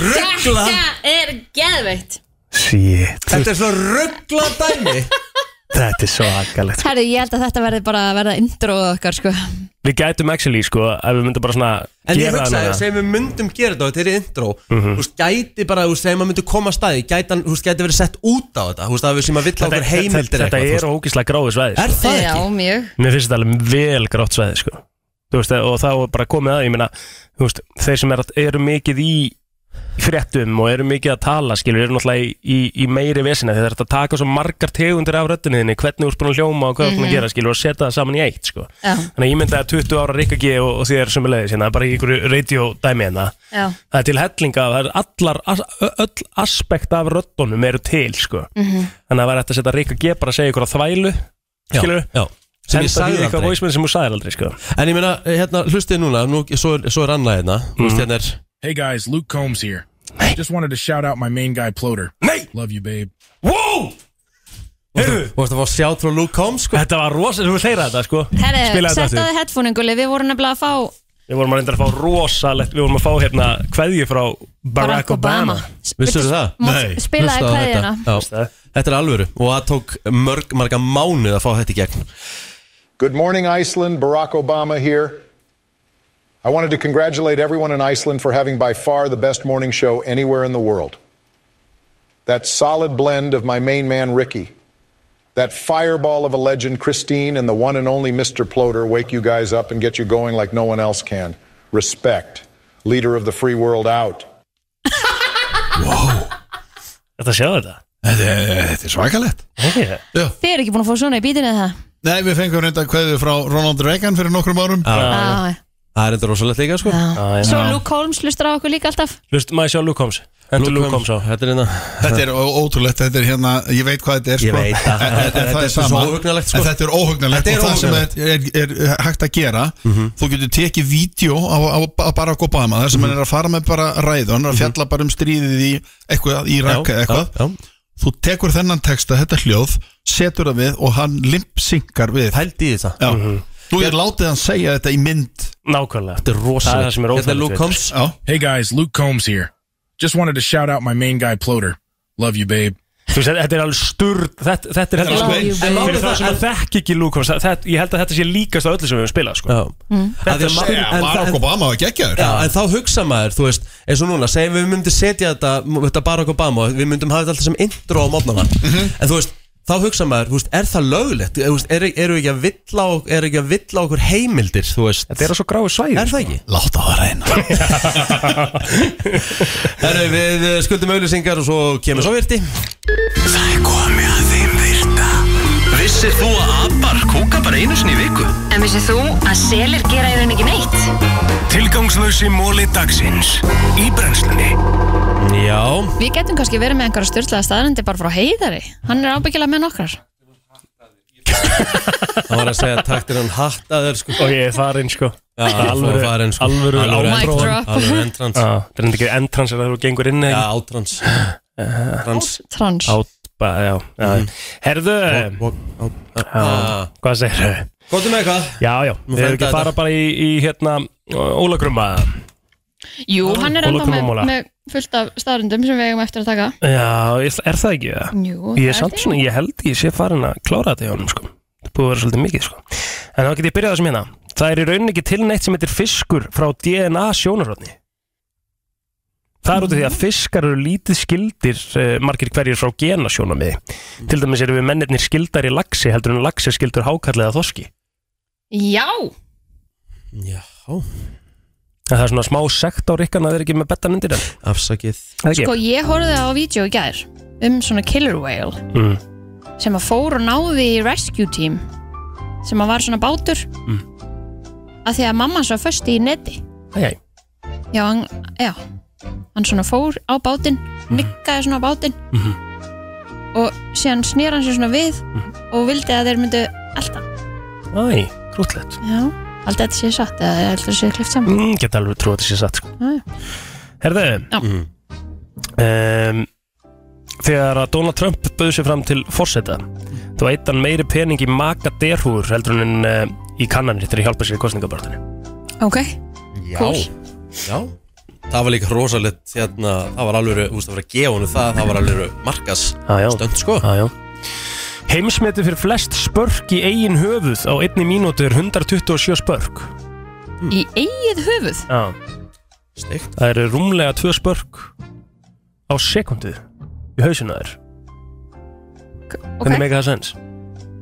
Speaker 3: Þetta er geðveitt
Speaker 2: Shit
Speaker 1: Þetta er svo ruggla dæmi
Speaker 2: Þetta er svo akkalegt
Speaker 3: Herru, ég held að þetta verði bara að verða introð okkar sko Já,
Speaker 2: Við gætum actually sko að við myndum bara svona
Speaker 1: En ég
Speaker 2: gera
Speaker 1: hugsaði,
Speaker 2: hana. Mhm.
Speaker 1: segjum við myndum gera þetta og þetta er í intro Þú veist, gæti bara, þú veist, segjum að myndum koma að staði Gæti, hann- þú veist, gæti verið sett út á þetta Þú veist, að við séum að vill
Speaker 2: Þetta-
Speaker 1: okkur heimildir
Speaker 2: þetta- Þetta er ógíslega gróðu svæði sko.
Speaker 1: Er það ekki?
Speaker 3: mjög
Speaker 2: Mér finnst þetta alveg vel grátt svæði sko. Þú veist, og þá er bara komið að ég meina, þú veist, þeir sem er, eru mikið í fréttum og eru mikið að tala skilur, eru náttúrulega í, í, í meiri vesina þegar þetta taka svo margar tegundir af röttunniðinni hvernig úr spurning hljóma og hvað mm -hmm. að
Speaker 17: Mhm.
Speaker 2: gera skilur, og setja það saman í eitt sko.
Speaker 3: Já.
Speaker 2: þannig að ég myndi að 20 ára Rikka G og, og þér sem er leiðis hérna, bara í einhverju radiodæmi hérna það er til hellinga, það er allar as- ö- öll aspekt af röttunum eru til sko.
Speaker 17: Mhm.
Speaker 2: þannig að það var eftir að setja Rikka G bara að segja ykkur að þvælu skilur,
Speaker 1: já, sem ég sagði aldrei.
Speaker 2: voismenn sem þú sagði aldrei sko.
Speaker 1: En ég meina, hérna, hlustið núna, nú, svo er, svo er annað hérna Þú
Speaker 2: Mhm.
Speaker 1: veist, hérna er
Speaker 21: Hey guys, Luke Combs here. Just wanted to shout out my main guy, Ploder. Love you, babe.
Speaker 2: Wow!
Speaker 1: Heyrðu Þú veist að fá sjátt frá Luke Combs sko
Speaker 2: Þetta var rosa, þú hleyra þetta sko
Speaker 3: Herru,
Speaker 2: Spilaðu þetta
Speaker 3: settaði
Speaker 2: aftur.
Speaker 3: headphoninguli, við vorum nefnilega að fá
Speaker 2: Við vorum að reynda að fá rosalegt Við vorum að fá hérna kveðju frá Barack
Speaker 3: Barack Obama.
Speaker 2: Obama
Speaker 1: Vissu það?
Speaker 3: Má- spilaðu
Speaker 1: Hlustaðu á
Speaker 3: kveðjuna.
Speaker 1: þetta. Já. Þetta er alvöru og það tók mörg, marga mánuð að fá þetta í gegn
Speaker 20: Good morning, Iceland. Barack Obama here. I wanted to congratulate everyone in Iceland for having by far the best morning show anywhere in the world. That solid blend of my main man, Ricky, that fireball of a legend, Christine, and the one and only Mr. Ploder wake you guys up and get you going like no one else can. Respect. Leader of the free world out.
Speaker 2: Þetta sjáðu þetta
Speaker 21: Þetta er- þetta er svakalett.
Speaker 3: Þið eru ekki búin að fá svona í bítinu eða það?
Speaker 21: Nei, við fengum reynda kveðið frá Ronald Reagan fyrir nokkrum árum.
Speaker 3: Já, já.
Speaker 1: Það er þetta rosalegt líka sko
Speaker 3: Svo Luke Holmes lustur á okkur líka alltaf
Speaker 2: Lust, maður sjá Luke Combs Þetta er Luke Combs á Þetta er hérna
Speaker 9: Þetta er ó- ótrúlegt, þetta er hérna, ég veit hvað þetta er
Speaker 2: Ég
Speaker 9: sko.
Speaker 2: veit það.
Speaker 9: En- en- en
Speaker 2: Þetta
Speaker 9: það
Speaker 2: er
Speaker 9: er
Speaker 2: svo
Speaker 9: sama.
Speaker 2: óhugnanlegt, sko.
Speaker 9: En Þetta er óhugnalegt
Speaker 2: Þetta er Mhm.
Speaker 9: og það sem er, er, er hægt að gera þú getur tekið vídeo á, á, á Barack Obama þar sem hann er að fara með bara ræðu
Speaker 2: Mhm.
Speaker 9: hann er að fjalla bara um stríðið í eitthvað, í
Speaker 1: Já,
Speaker 9: rakka eitthvað
Speaker 1: já,
Speaker 9: þú tekur þennan texta, þetta hljóð setur það við og hann limpsingar við
Speaker 1: Hældi í það
Speaker 9: Já Nú ég látið hann segja þetta í mynd
Speaker 2: Mhm. Nákvæmlega Þetta er
Speaker 9: Já.
Speaker 21: Hey guys, Luke Combs here. Just wanted to shout out my main guy Ploder. Love you, babe.
Speaker 2: Þú veist, þetta er alveg sturd Þetta, þetta er heldur
Speaker 21: Já,
Speaker 2: sko
Speaker 21: en málið
Speaker 2: Fyrir
Speaker 21: það-
Speaker 2: það sem að þekki ekki Luke Combs það- þetta- Ég held að þetta sé líkast á öllu sem við höfum spilað sko.
Speaker 1: Mm.
Speaker 2: Þetta er sturd
Speaker 9: var geggjaður
Speaker 1: Já, en þá hugsa maður, þú veist, eins og núna segjum við myndum setja þetta, þetta Barack Obama og við myndum hafa þetta alltaf sem intro á mótnana en þú veist, þá hugsa maður, þú veist, er það löglegt, Þú veist, eru er ekki að villa á, er ekki að villa á okkur heimildir, þú veist
Speaker 2: Þetta er að svo gráu svæði
Speaker 1: Er það ekki?
Speaker 9: Láta það
Speaker 1: reyna Herru, við eh, skuldum auðlýsingar og svo kemur svo virti
Speaker 5: Það er komið að þeim virta Vissir þú að abar kúka bara einu sinni í viku?
Speaker 22: En vissið þú að selir gera í raun ekki neitt?
Speaker 5: Tilgangslösi móli dagsins Í brennslunni
Speaker 1: Já
Speaker 3: Við getum kannski verið með einhverja styrlaða staðrendi bara frá heiðari Hann er ábyggilega með nokkrar
Speaker 1: Það var að segja taktir hann hattaður sko.
Speaker 2: Og ég er farin sko
Speaker 1: alveg farin sko
Speaker 2: Alvöru
Speaker 1: Alvöru
Speaker 2: átrón.
Speaker 1: entrón. Alvöru entrans
Speaker 2: Já, Það er enda ekki entrans Það eru gengur inn
Speaker 1: Já, átrans Trans
Speaker 3: Trans
Speaker 2: Át, ba, já, já.
Speaker 1: Mm.
Speaker 2: Herðu Já, Hvað segir þau?
Speaker 1: Góttum með eitthvað
Speaker 2: Já, já,
Speaker 1: Ah. Nú
Speaker 2: við erum ekki
Speaker 1: frænda
Speaker 2: að fara bara í, í hérna Ólagrumma
Speaker 3: Jú, hann er enda með,
Speaker 2: Ólagrumma
Speaker 3: með fullt af staðrendum sem við eigum eftir að taka
Speaker 2: Já, ég- er það ekki það?
Speaker 3: Jú,
Speaker 2: Ég
Speaker 3: það
Speaker 2: er
Speaker 3: er
Speaker 2: samt svona, ég held ég sé farin að klára þetta hjá honum sko Það er búið að vera svolítið mikið sko En þá get ég byrjað það sem hérna Það er í rauninni ekki til neitt sem heitir fiskur frá DNA sjónarhóðni Það er út af því að
Speaker 3: Mhm.
Speaker 2: fiskar eru lítið skildir uh, margir hverjir frá genasjónamiði
Speaker 3: Mhm.
Speaker 2: Til dæmis eru við mennirnir skildar í laxi heldur en laxi er skildur hákarlega þoski
Speaker 3: Já,
Speaker 1: Já
Speaker 2: En það er svona smá sekt á rikkan að þeir ekki með betta myndir
Speaker 1: Afsakið
Speaker 3: sko ég horfði á vídeo í gær um svona killer whale
Speaker 2: mm.
Speaker 3: sem að fór og náði í rescue team sem að var svona bátur
Speaker 2: Mm.
Speaker 3: að því að mamma svo föst í neti
Speaker 2: Æ, æ.
Speaker 3: já, hann, já, hann svona fór á bátinn
Speaker 2: Mm.
Speaker 3: nikkaði svona á bátinn
Speaker 2: Mhm.
Speaker 3: og síðan snýr hann sér svona við og vildi að þeir myndu elda
Speaker 2: Æ, krútlegt
Speaker 3: já, alltaf þetta sé satt eða alltaf þetta sé klift saman
Speaker 2: mm, Geta alveg trú að þetta sé satt sko
Speaker 3: Já, já.
Speaker 2: Herðu
Speaker 3: Já.
Speaker 2: um, Þegar að Donald Trump bauð sér fram til fórseta þá eitt hann meiri pening í maka derhúður heldur hann uh, í kannanir þegar hjálpa sér í kostningabartinu
Speaker 3: ok,
Speaker 1: Já,
Speaker 3: Cool.
Speaker 1: já Það var líka rosalegt hérna, það var alveg, þú veist að vera að gefa honum það, það var alveg markas
Speaker 2: Stönd sko já, já. Heimsmeti fyrir flest spörk í eigin höfuð á einni mínútu er 127 spörk
Speaker 3: í eigið höfuð
Speaker 2: Já
Speaker 1: Steikt
Speaker 2: Það eru rúmlega tvö spörk á sekundu í hausinu þær
Speaker 3: ok.
Speaker 2: Hvernig make það sens?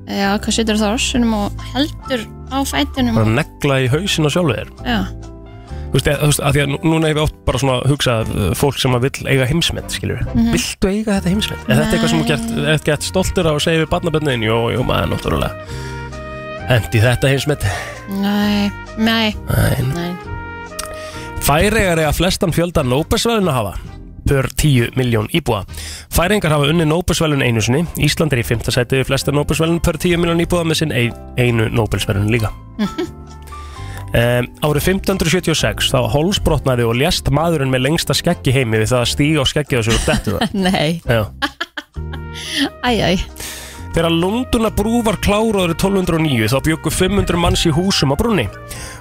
Speaker 3: Eh, já, hvað setur það á rossunum og heldur á fætinum
Speaker 2: Bara
Speaker 3: og,
Speaker 2: negla í hausinu á sjálfu þér
Speaker 3: já,
Speaker 2: Þú veist, eða- þú veist, að því að nú- núna hefur oft bara svona hugsað uh, fólk sem að vill eiga heimsmynd, skilur við.
Speaker 3: Mhm.
Speaker 2: Viltu eiga þetta heimsmynd? Er þetta eitthvað sem þú gert, ert gett stoltur á að segja við barnabönnin? Jó, jú, maður, náttúrulega. Endi þetta heimsmynd.
Speaker 3: nei, nei
Speaker 2: Nei.
Speaker 3: nei
Speaker 2: Færegar eiga flestan fjölda Nóbelsverðin að hafa per 10 miljón íbúa. Færingar hafa unni Nóbelsverðin einu sinni. Ísland er í 5. sæti við flesta Nóbelsverðin per 10 miljón íbúa með sinn ein, einu Nóbelsverðin líka. Um, árið 1576 þá hólsbrotnaði og lést maðurinn með lengsta skeggi heimi við það að stíga á skeggið á sér og dettu það.
Speaker 3: Nei,
Speaker 2: Já.
Speaker 3: æj, æj
Speaker 2: Þegar Lunduna brú var kláru árið 1209 þá bjöggu 500 manns í húsum á brunni.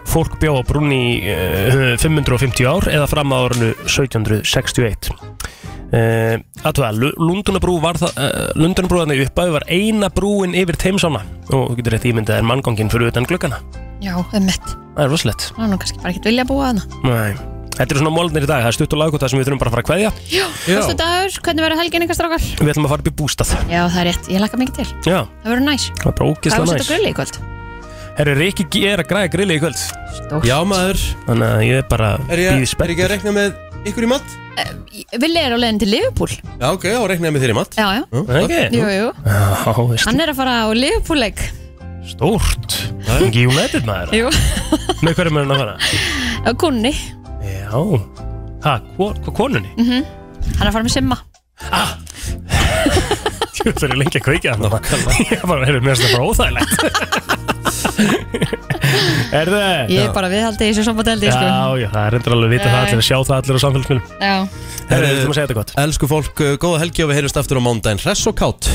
Speaker 2: Fólk bjó á brunni í uh, 550 ár eða fram að árinu 1761. Uh, Aðtöða, Lunduna brú var það, uh, Lunduna brú þannig uppæðu var eina brúin yfir teimsána og þú getur rétt ímyndað er manngangin fyrir utan gluggana.
Speaker 3: Já, emmett,
Speaker 2: Það er rosalegt.
Speaker 3: hann er nú kannski bara ekkert vilja að búa hana
Speaker 2: Nei. Þetta eru svona mólnir í dag, það er stutt og laggóta sem við þurfum bara að fara að kveðja.
Speaker 3: Já, fyrstu dagur, hvernig verður helgin ykkar strákar?
Speaker 2: Við ætlum að fara upp í bústað.
Speaker 3: Já, það er rétt, ég lakka mikið til
Speaker 2: Já,
Speaker 3: Það verður næs
Speaker 2: það er bara
Speaker 3: Hvað
Speaker 2: ógislega
Speaker 3: er að
Speaker 2: næs.
Speaker 3: setja grilli í kvöld?
Speaker 2: Herru, Rikki G er að græða grilli í kvöld
Speaker 3: Stórt.
Speaker 1: Já maður
Speaker 2: Þannig að ég er bara
Speaker 1: Er ég,
Speaker 2: bíð
Speaker 1: er ég að rekna með ykkur í mat?
Speaker 3: Villi Eh, er á leiðin til Liverpool
Speaker 1: Já, ok, þá rekna ég með þér í mat
Speaker 3: Já, já,
Speaker 2: Ekki?
Speaker 3: jú, jú
Speaker 2: Já, veist,
Speaker 3: Hann er að fara á Liverpool-leik
Speaker 2: stórt Það er ekki United maður
Speaker 3: Jú,
Speaker 2: Með hverjum er hann að fara?
Speaker 3: á kunni
Speaker 2: Já Ha, hvo- hvað konunni?
Speaker 3: Mhm. Hann er að fara með simma
Speaker 2: Þú fyrir lengi að kveikja þarna Ég bara, heyrðu, mér finnst það bara óþægilegt Er það?
Speaker 3: Ég er bara viðhaldið í þessu sambandeldi sko.
Speaker 2: Eh. Já, já, það er reyndar alveg að vita það allir að sjá það allir á samfélagsmiðlum
Speaker 3: Já
Speaker 2: Herðu, þú maður segja þetta gott
Speaker 1: Elsku fólk, uh, góða helgi og við heyrjumst aftur á mándaginn Hress og kátt